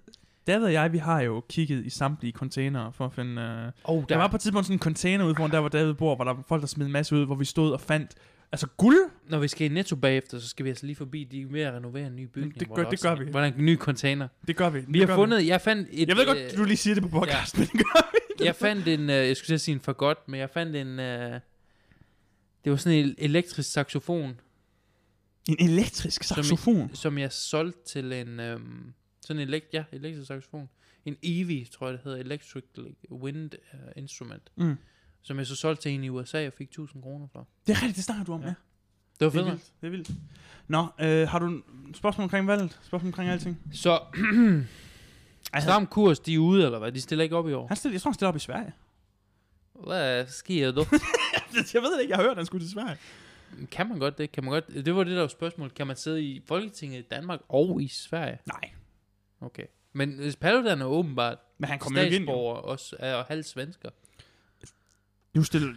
S1: David og jeg, vi har jo kigget i samtlige containere for at finde... Øh,
S2: Oh,
S1: der var på et tidspunkt sådan en container ude foran der, hvor David bor, hvor der var folk, der smed en masse ud, hvor vi stod og fandt... Altså guld?
S2: Når vi skal i Netto bagefter, så skal vi altså lige forbi, de er ved at renovere en ny bygning.
S1: det
S2: hvor
S1: gør-
S2: der
S1: det
S2: også-
S1: gør vi.
S2: Hvor der er en ny container.
S1: Det gør vi.
S2: Vi
S1: det
S2: har
S1: gør
S2: fundet, jeg fandt et...
S1: Vi. Jeg ved
S2: øh,
S1: godt, du lige siger det på podcasten, men det gør vi.
S2: jeg fandt en, øh, jeg skulle til at sige en for godt, men jeg fandt en, øh, det var sådan en el- elektrisk saxofon,
S1: En elektrisk
S2: Som i-
S1: saxofon.
S2: som jeg solgte til en, øh, sådan en elekt- ja, elektrisk saxofon. En EV, tror jeg det hedder, Electric Wind øh, Instrument,
S1: Mm.
S2: som jeg så solgte til en i USA og fik 1000 kroner for.
S1: Det er rigtigt, det snakker du om,
S2: Ja.
S1: ja.
S2: Det var
S1: Det er
S2: fedt.
S1: vildt. Det er vildt. Nå, øh, har du en spørgsmål omkring valget? Spørgsmål omkring alting?
S2: Så
S1: Ej, han,
S2: Stram Altså, Kurs, de er ude, eller hvad? De stiller ikke op i år.
S1: han stiller, jeg tror, han stiller op i Sverige.
S2: Hvad sker der?
S1: jeg ved det ikke, jeg har hørt, han skulle til Sverige.
S2: kan man godt det? Kan man godt? Det var det, der var spørgsmålet. Kan man sidde i Folketinget i Danmark og i Sverige?
S1: Nej,
S2: Okay. Men øh, Paludan er åbenbart
S1: men han kommer jo ikke ind. jo.
S2: statsborger også, er og halv svensker.
S1: Nu stiller...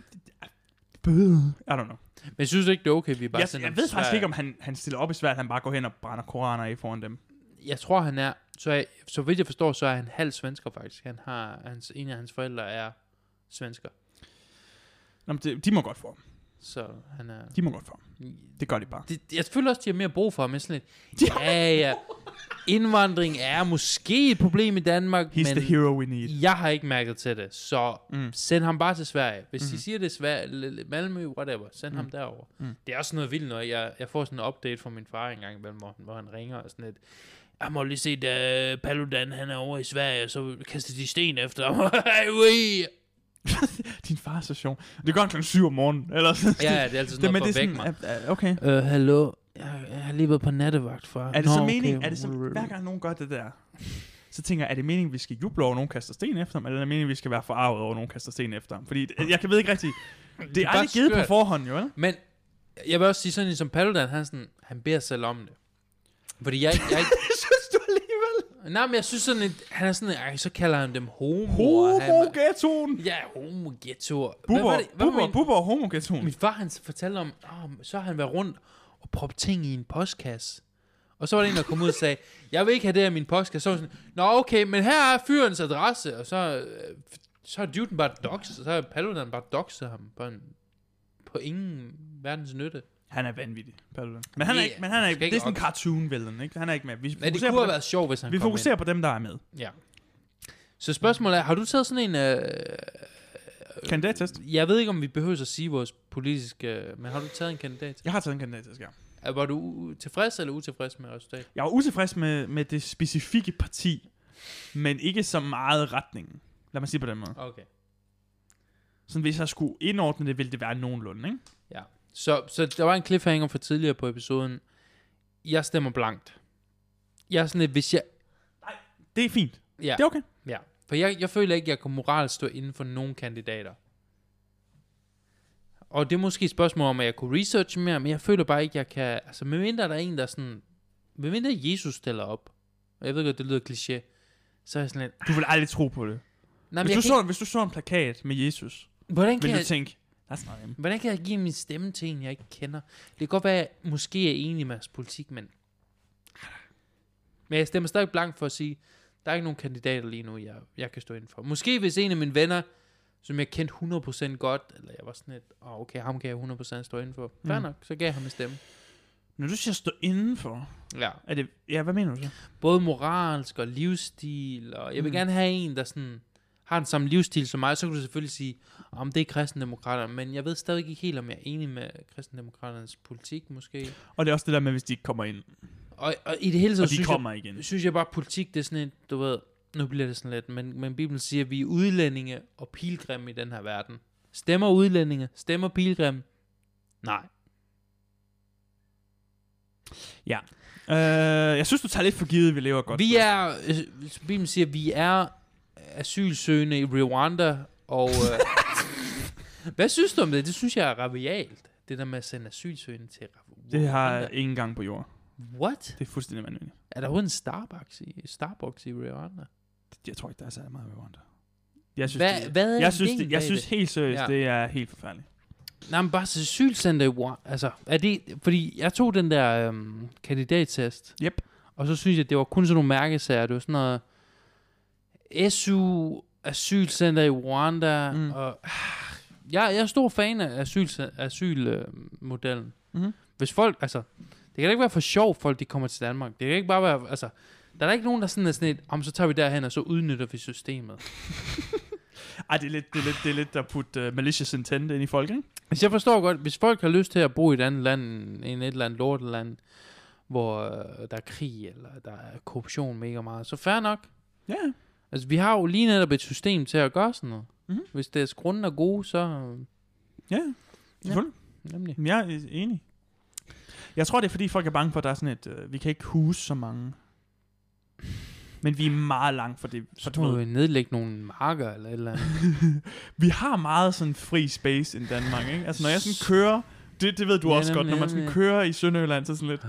S1: Bøde. I don't know.
S2: Men synes du ikke, det er okay, vi bare
S1: Jeg,
S2: sender
S1: jeg
S2: ham
S1: ved
S2: til
S1: faktisk
S2: Sverige?
S1: ikke, om han, han stiller op i svært, han bare går hen og brænder koraner af foran dem.
S2: Jeg tror, han er... Så, er, så vidt jeg forstår, så er han halv svensker, faktisk. Han har, hans, en af hans forældre er svensker.
S1: Nå, men det, de må godt få ham.
S2: Så han er...
S1: De må godt få ham. Det gør de bare.
S2: Det, jeg føler også, de har mere brug for ham. Jeg er sådan lidt,
S1: De
S2: ja, ja, indvandring er måske et problem i Danmark,
S1: He's the
S2: men
S1: hero we need.
S2: jeg har ikke mærket til det. Så
S1: Mm.
S2: send ham bare til Sverige. Hvis mm. de
S1: Mhm.
S2: siger, det er Sverige, l- l- Malmø, whatever, send mm. ham derover. Mm.
S1: Mm.
S2: Det er også noget vildt, når jeg, jeg får sådan en update fra min far engang, imellem, hvor, han- hvor han ringer og sådan lidt, jeg må lige se, at uh, Paludan han er over i Sverige, og så kaster de sten efter ham. Ej, ui.
S1: Din far er så sjov. Det gør han klokken 7 om morgenen. Eller sådan.
S2: ja, ja, det er altid
S1: det,
S2: sådan
S1: men
S2: noget
S1: det
S2: for
S1: er
S2: at vække
S1: sådan,
S2: mig.
S1: øh, øh, okay.
S2: Øh, hallo, jeg, jeg har lige været på nattevagt for.
S1: Er det så meningen, er det så, hver gang nogen gør det der, så tænker jeg, er det meningen, vi skal juble over, at nogen kaster sten efter ham, eller er det meningen, vi skal være forarvet over, at nogen kaster sten efter ham? Fordi det- jeg kan ved ikke rigtigt, det er
S2: bare
S1: aldrig givet på
S2: skørt.
S1: forhånd, jo, vel?
S2: Men jeg vil også sige sådan en som Paludan, han, sådan, han beder selv om det. Fordi jeg, jeg,
S1: Det synes du alligevel.
S2: Nej, men jeg synes sådan, at han er sådan, ej, så kalder han dem homo.
S1: Homo-ghettoen.
S2: Ja, homo ghetto.
S1: Bubber, bubber,
S2: min,
S1: bubber og homogatoen.
S2: min far, han fortalte om, oh, så har han været rundt og proppet ting i en postkasse. Og så var der en, der kom ud og sagde, jeg vil ikke have det her i min postkasse. Så var jeg sådan, nå okay, men her er fyrens adresse. Og så, øh, så har duden bare doxet, så har Paludan bare doxet ham på, en, på ingen verdens nytte.
S1: Han er vanvittig, Paludan. Men han er
S2: Det-
S1: ikke, men han er
S2: skal
S1: ikke, det
S2: ikke
S1: er sådan en
S2: op-
S1: cartoon villain, ikke? Han er ikke med. Vi
S2: Men det
S1: fokuserer,
S2: kunne have
S1: på,
S2: været sjovt, hvis han
S1: dem, vi
S2: kom
S1: fokuserer på dem, der er med.
S2: ind. Ja. Så spørgsmålet er, har du taget sådan en... Øh,
S1: Kandidattest.
S2: Jeg ved ikke, om vi behøver at sige vores politiske... Men har du taget en kandidat?
S1: Jeg har taget en kandidattest, ja.
S2: Er- Øh, Var du u- tilfreds eller utilfreds med resultatet?
S1: Jeg var utilfreds med, med det specifikke parti, men ikke så meget retningen. Lad mig sige på den måde.
S2: Okay.
S1: Sådan, hvis jeg skulle indordne det, ville det være nogenlunde, ikke?
S2: Ja. Så, så der var en cliffhanger for tidligere på episoden. Jeg stemmer blankt. Jeg er sådan lidt, hvis jeg...
S1: Det er fint.
S2: Ja.
S1: Det er okay.
S2: Ja. For jeg, jeg føler ikke, jeg kan moralsk stå inden for nogen kandidater. Og det er måske et spørgsmål om, at jeg kunne researche mere, men jeg føler bare ikke, jeg kan... Altså, medmindre der er en, der er sådan... Medmindre Jesus stiller op, og jeg ved godt, det lyder kliché, så er jeg sådan lidt...
S1: Du vil aldrig tro på det.
S2: Nej, men
S1: hvis,
S2: jeg
S1: du
S2: kan
S1: så, hvis du så en plakat med Jesus,
S2: ikke, hvordan, kan
S1: vil du
S2: jeg,
S1: tænke, that's not him.
S2: hvordan kan jeg give min stemme til en, jeg ikke kender? Det kan godt være, at jeg måske er enig med hans politik, men... Men jeg stemmer stadig blank for at sige, der er ikke nogen kandidater lige nu, jeg, jeg kan stå inden for. Måske hvis en af mine venner, som jeg kendte 100% godt, eller jeg var sådan lidt, oh, okay, ham kan jeg 100% stå inden for. Fair
S1: Mm.
S2: nok, så gav jeg ham en stemme.
S1: Når du siger stå indenfor,
S2: Ja.
S1: er det, ja, hvad mener du så?
S2: både moralsk og livsstil, og jeg vil
S1: Mm.
S2: mm. gerne have en, der sådan har den samme livsstil som mig, så kan du selvfølgelig sige, om det er kristendemokraterne, men jeg ved stadig ikke helt, om jeg er enig med kristendemokraternes politik, måske.
S1: Og det er også det der med, hvis de ikke kommer ind,
S2: Og, og i det hele
S1: og
S2: taget,
S1: de
S2: synes,
S1: kommer igen.
S2: jeg, synes jeg bare, at politik, det er sådan et, du ved, nu bliver det sådan lidt, men, men Bibelen siger, at vi er udlændinge og pilgrimme i den her verden. Stemmer udlændinge? Stemmer pilgrimme? Nej.
S1: Øh, jeg synes, du tager lidt for givet, vi lever godt.
S2: Vi er, øh, som Bibelen siger, vi er asylsøgende i Rwanda, og... Øh, hvad synes du om det? Det synes jeg er rabialt, det der med at sende asylsøgende til Rwanda.
S1: Det har jeg ingen gang på jord.
S2: What?
S1: Det er fuldstændig vanvittigt.
S2: Er der overhovedet en Starbucks i, Starbucks i Rwanda?
S1: Jeg tror ikke, der er særlig meget ved Rwanda. Jeg synes,
S2: Hvad,
S1: det,
S2: hvad er
S1: jeg synes,
S2: ideen
S1: det, jeg
S2: bag
S1: synes helt seriøst,
S2: Ja.
S1: det er helt forfærdeligt.
S2: det? Nej, men bare så asylcenter i Rwanda. Altså, er det... Fordi jeg tog den der øhm, kandidattest,
S1: Yep.
S2: Og så synes jeg, det var kun sådan nogle mærkesager. Det var sådan noget SU, asylcenter i Rwanda.
S1: Mm.
S2: Mm. Og, ah, jeg, jeg er stor fan af asylmodellen. Asyl, øh, modellen.
S1: Mhm.
S2: Hvis folk, altså, det kan da ikke være for sjovt, folk de kommer til Danmark. Det kan ikke bare være, altså, der er da ikke nogen, der sådan er sådan et, om så tager vi derhen, og så udnytter vi systemet.
S1: Ej, det er lidt, det er lidt, det er lidt at putte uh, malicious intent ind i folk, ikke?
S2: Hvis jeg forstår godt, hvis folk har lyst til at bo i et andet land, end et eller andet lorteland, hvor øh, der er krig, eller der er korruption mega meget, så fair nok.
S1: Ja.
S2: Altså, vi har jo lige netop et system til at gøre sådan noget.
S1: Mhm.
S2: Mm-hmm. Hvis deres grunde er gode, så... øh,
S1: Ja, selvfølgelig.
S2: Nemlig.
S1: Jamen, Jeg er enig. Jeg tror, det er fordi, folk er bange for, at der er sådan et, øh, vi kan ikke huse så mange. Men vi er meget langt for det. For
S2: Så
S1: du
S2: må
S1: ved,
S2: vi nedlægge nogle marker eller et eller andet.
S1: vi har meget sådan fri space i Danmark, ikke? Altså, når jeg sådan kører, det, det ved du
S2: Ja,
S1: også godt, når man
S2: nemlig,
S1: sådan
S2: nemlig.
S1: kører i Sønderjylland, så er sådan lidt,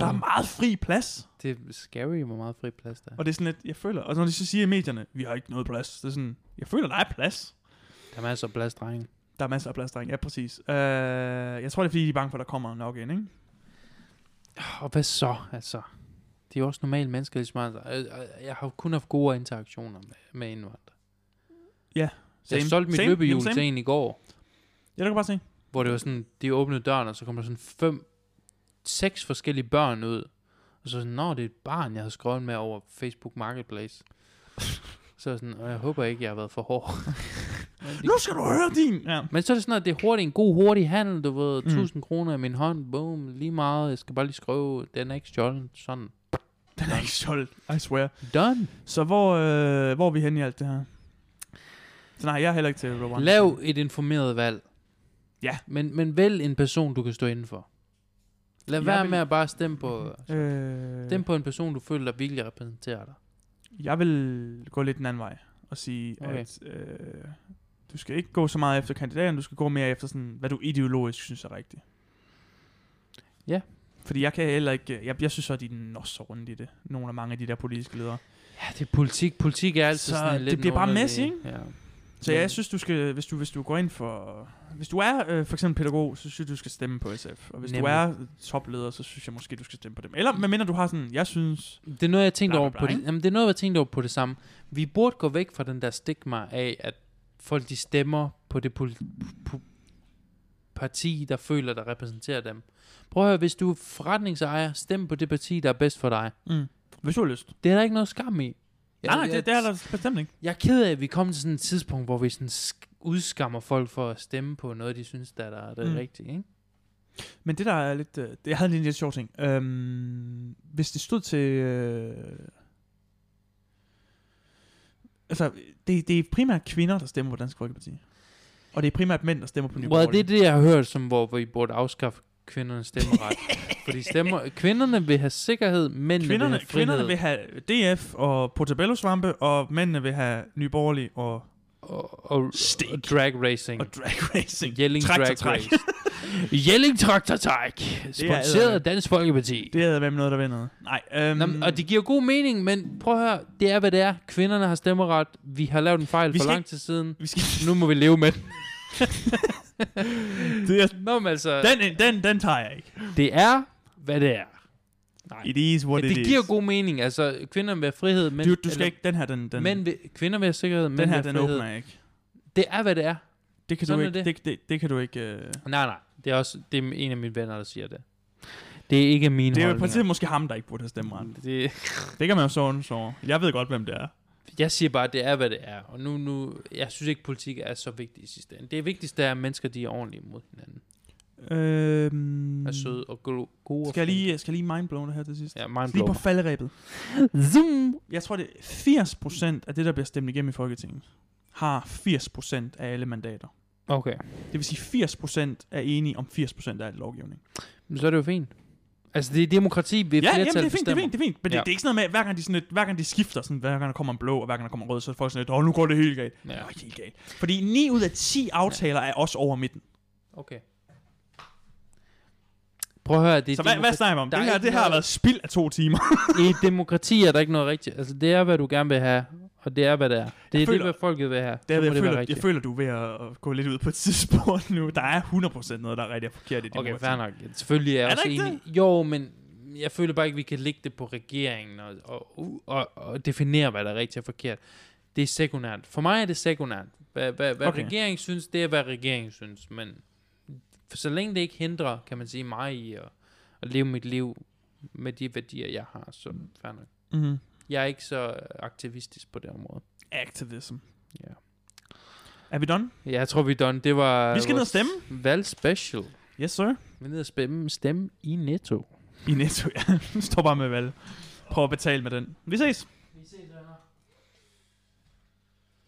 S1: der er meget fri plads.
S2: det er scary, hvor meget fri plads der er.
S1: Og det er sådan lidt, jeg føler, og når de så siger i medierne, vi har ikke noget plads, det er sådan, jeg føler, der er plads.
S2: Der er masser af plads, drenge.
S1: Der er masser af plads, dreng. Ja, præcis. Øh, jeg tror, det er fordi, de er bange for, at der kommer nok ind, ikke?
S2: Og hvad så, altså? Det er jo også normale mennesker, ligesom altså. Øh, øh, Jeg har jo kun haft gode interaktioner med, med indvandrere. Jeg solgte mit
S1: Same.
S2: løbehjul
S1: Jamen, same.
S2: til en i går,
S1: Ja, du kan bare se.
S2: hvor det var sådan, de åbnede døren, og så kom der sådan fem, seks forskellige børn ud. Og så sådan, nå, det er et barn, jeg havde skrevet med over Facebook Marketplace. så er jeg sådan, og jeg håber ikke, jeg har været for hård. Men det-
S1: Nu skal du høre din! Ja.
S2: Men så er det sådan, at det er hurtigt en god, hurtig handel, du ved,
S1: Mm.
S2: 1000 kroner i min hånd, boom, lige meget, jeg skal bare lige skrive, den er ikke stjålet, sådan,
S1: Den er ikke solgt, I swear.
S2: done.
S1: Så hvor, øh, hvor er vi henne i alt det her? Så nej, jeg er heller ikke til Rwanda.
S2: Lav et informeret valg.
S1: Ja.
S2: Men, men vælg en person, du kan stå indenfor. Lad
S1: Jeg
S2: være
S1: vil-
S2: med at bare stemme på,
S1: Øh,
S2: stemme på en person, du føler, der virkelig repræsenterer dig.
S1: Jeg vil gå lidt den anden vej og sige, okay.
S2: Okay.
S1: at øh, du skal ikke gå så meget efter kandidaten, du skal gå mere efter, sådan, hvad du ideologisk synes er rigtigt.
S2: Ja.
S1: Fordi jeg kan heller ikke, jeg, jeg synes så, at de når så rundt i det, nogle af mange af de der politiske ledere.
S2: Ja, det er politik. Politik er altid
S1: Så
S2: sådan
S1: det
S2: lidt en
S1: bliver bare
S2: underlig-
S1: messy, ikke?
S2: Ja.
S1: Så ja,
S2: Men-
S1: jeg synes, du skal, hvis du, hvis du går ind for... Hvis du er øh, for eksempel pædagog, så synes jeg, du skal stemme på SF. Og hvis Nemlig. Mm.
S2: Nemlig.
S1: du er topleder, så synes jeg måske, du skal stemme på dem. Eller medmindre du har sådan, jeg synes...
S2: Det er noget, jeg tænkte
S1: Bla, bla,
S2: over
S1: bla,
S2: på det.
S1: ikke?
S2: Jamen, det er noget, jeg tænkte over på det samme. Vi burde gå væk fra den der stigma af, at folk de stemmer på det pol- po- parti, der føler, der repræsenterer dem. Prøv at høre, hvis du er forretningsejer, stem på det parti, der er bedst for dig.
S1: Mm. Hvis du har lyst.
S2: Det er der ikke noget skam i.
S1: Ja, nej, nej, det, det er der bestemt ikke.
S2: Jeg er ked af, at vi kommer til sådan et tidspunkt, hvor vi sådan sk- udskammer folk for at stemme på noget, de synes, der er, der er det
S1: Mm.
S2: rigtige. Ikke?
S1: Men det der er lidt... Øh, det- jeg havde en lidt sjov ting. Øhm, hvis det stod til... Øh, altså, det, det er primært kvinder, der stemmer på Dansk Folkeparti. Og det er primært mænd, der stemmer på Nye
S2: Well, det er
S1: Borgerlige.
S2: det, jeg har hørt, som, hvor vi burde afskaffe kvinderne stemmeret. Fordi stemmer, kvinderne vil have sikkerhed, mændene kvinderne, vil
S1: Kvinderne,
S2: have frihed.
S1: kvinderne vil have DF og Portobello-svampe, og mændene vil have nyborgerlig og,
S2: og, og,
S1: Steak.
S2: og drag racing.
S1: og drag racing.
S2: Jelling Drag
S1: Traktortræk.
S2: Race. Jelling Traktor Træk. Sponsoreret af
S1: æderligt.
S2: Dansk Folkeparti.
S1: Det havde været med noget, der vinder. Nej, øhm,
S2: Nå, men- og det giver god mening, men prøv at høre, det er, hvad det er. Kvinderne har stemmeret. Vi har lavet en fejl
S1: Vi
S2: for
S1: skal
S2: lang tid siden.
S1: vi skal,
S2: Nu må vi leve med den.
S1: det er,
S2: Nå, men altså,
S1: den, den, den tager jeg ikke.
S2: det er, hvad det er.
S1: It is what
S2: Det,
S1: it
S2: det giver
S1: is.
S2: god mening. Altså, kvinder vil have frihed, men...
S1: du, du skal ikke, den her, den, den,
S2: Mænd vil, kvinder vil have sikkerhed, mænd
S1: den her,
S2: vil have
S1: den
S2: frihed.
S1: åbner jeg ikke.
S2: Det er, hvad det er.
S1: Det kan, du
S2: Sådan er
S1: ikke, det. Det, det, det kan du ikke... Øh...
S2: Nej, nej. Det er også det er en af mine venner, der siger det. Det er ikke mine
S1: Det er jo i
S2: holdninger.
S1: princippet måske ham, der ikke burde have stemmeret.
S2: det,
S1: Det kan man jo sådan så. Jeg ved godt, hvem det er.
S2: Jeg siger bare, at det er, hvad det er. Og nu, nu, jeg synes ikke, politik er så vigtigt i sidste ende. Det vigtigste er, at mennesker de er ordentlige mod hinanden.
S1: Øhm,
S2: Er søde og gode. gode
S1: Skal jeg lige, skal jeg lige mindblown det her til sidst?
S2: Ja, mind
S1: Lige på falderæbet.
S2: Zoom!
S1: Jeg tror, det er 80% af det, der bliver stemt igennem i Folketinget, har 80% af alle mandater.
S2: Okay,
S1: Det vil sige, 80% er enige om 80% af al lovgivning.
S2: men så er det jo fint. Altså, det er demokrati ved
S1: Ja,
S2: flertal
S1: jamen, det er fint, det er
S2: bestemmer.
S1: fint, det er fint. Men ja.
S2: Ja.
S1: det, det, er ikke sådan noget med, at hver gang de, sådan lidt, hver gang de skifter, sådan, hver gang der kommer en blå, og hver gang der kommer en rød, så er folk sådan lidt, åh, nu går det helt galt. Ja.
S2: Ja.
S1: Det er ikke helt galt. Fordi 9 ud af 10 aftaler er også over midten.
S2: Okay. Prøv at høre, det er
S1: Så hvad, hvad
S2: demokrati.
S1: snakker vi om?
S2: Der
S1: Det
S2: er
S1: her,
S2: ikke
S1: det her har
S2: noget-
S1: været spild af to timer.
S2: I et demokrati er der ikke noget rigtigt. Altså, det er, hvad du gerne vil have, og det er, hvad det er. Det er
S1: føler-
S2: det, hvad folket vil have.
S1: Det er,
S2: så
S1: jeg,
S2: må det være
S1: føler, jeg
S2: rigtigt.
S1: føler, du er ved at, at gå lidt ud på et tidspunkt nu. Der er 100% noget, der er rigtig og forkert i det.
S2: Okay, fair nok. Selvfølgelig er jeg
S1: Er
S2: også
S1: der ikke
S2: enig. Jo, men jeg føler bare ikke, vi kan lægge det på regeringen og, og, og, og definere, hvad der er rigtigt og forkert. Det er sekundært. For mig er det sekundært. Hvad, hvad, hvad
S1: Okay.
S2: okay. regeringen synes, det er, hvad regeringen synes. Men for så længe det ikke hindrer, kan man sige, mig i at, at leve mit liv med de værdier, jeg har, så fair nok.
S1: Mm-hmm.
S2: Jeg er ikke så aktivistisk på det område.
S1: Activism.
S2: Ja.
S1: Er vi done?
S2: Jeg tror, vi er done. Det var
S1: vi skal ned og
S2: vores
S1: stemme.
S2: valgspecial.
S1: Yes, sir.
S2: Vi er ned og stemme, stemme i Netto.
S1: I Netto, ja. Står bare med valg. Prøv at betale med den. Vi ses.
S2: Vi ses,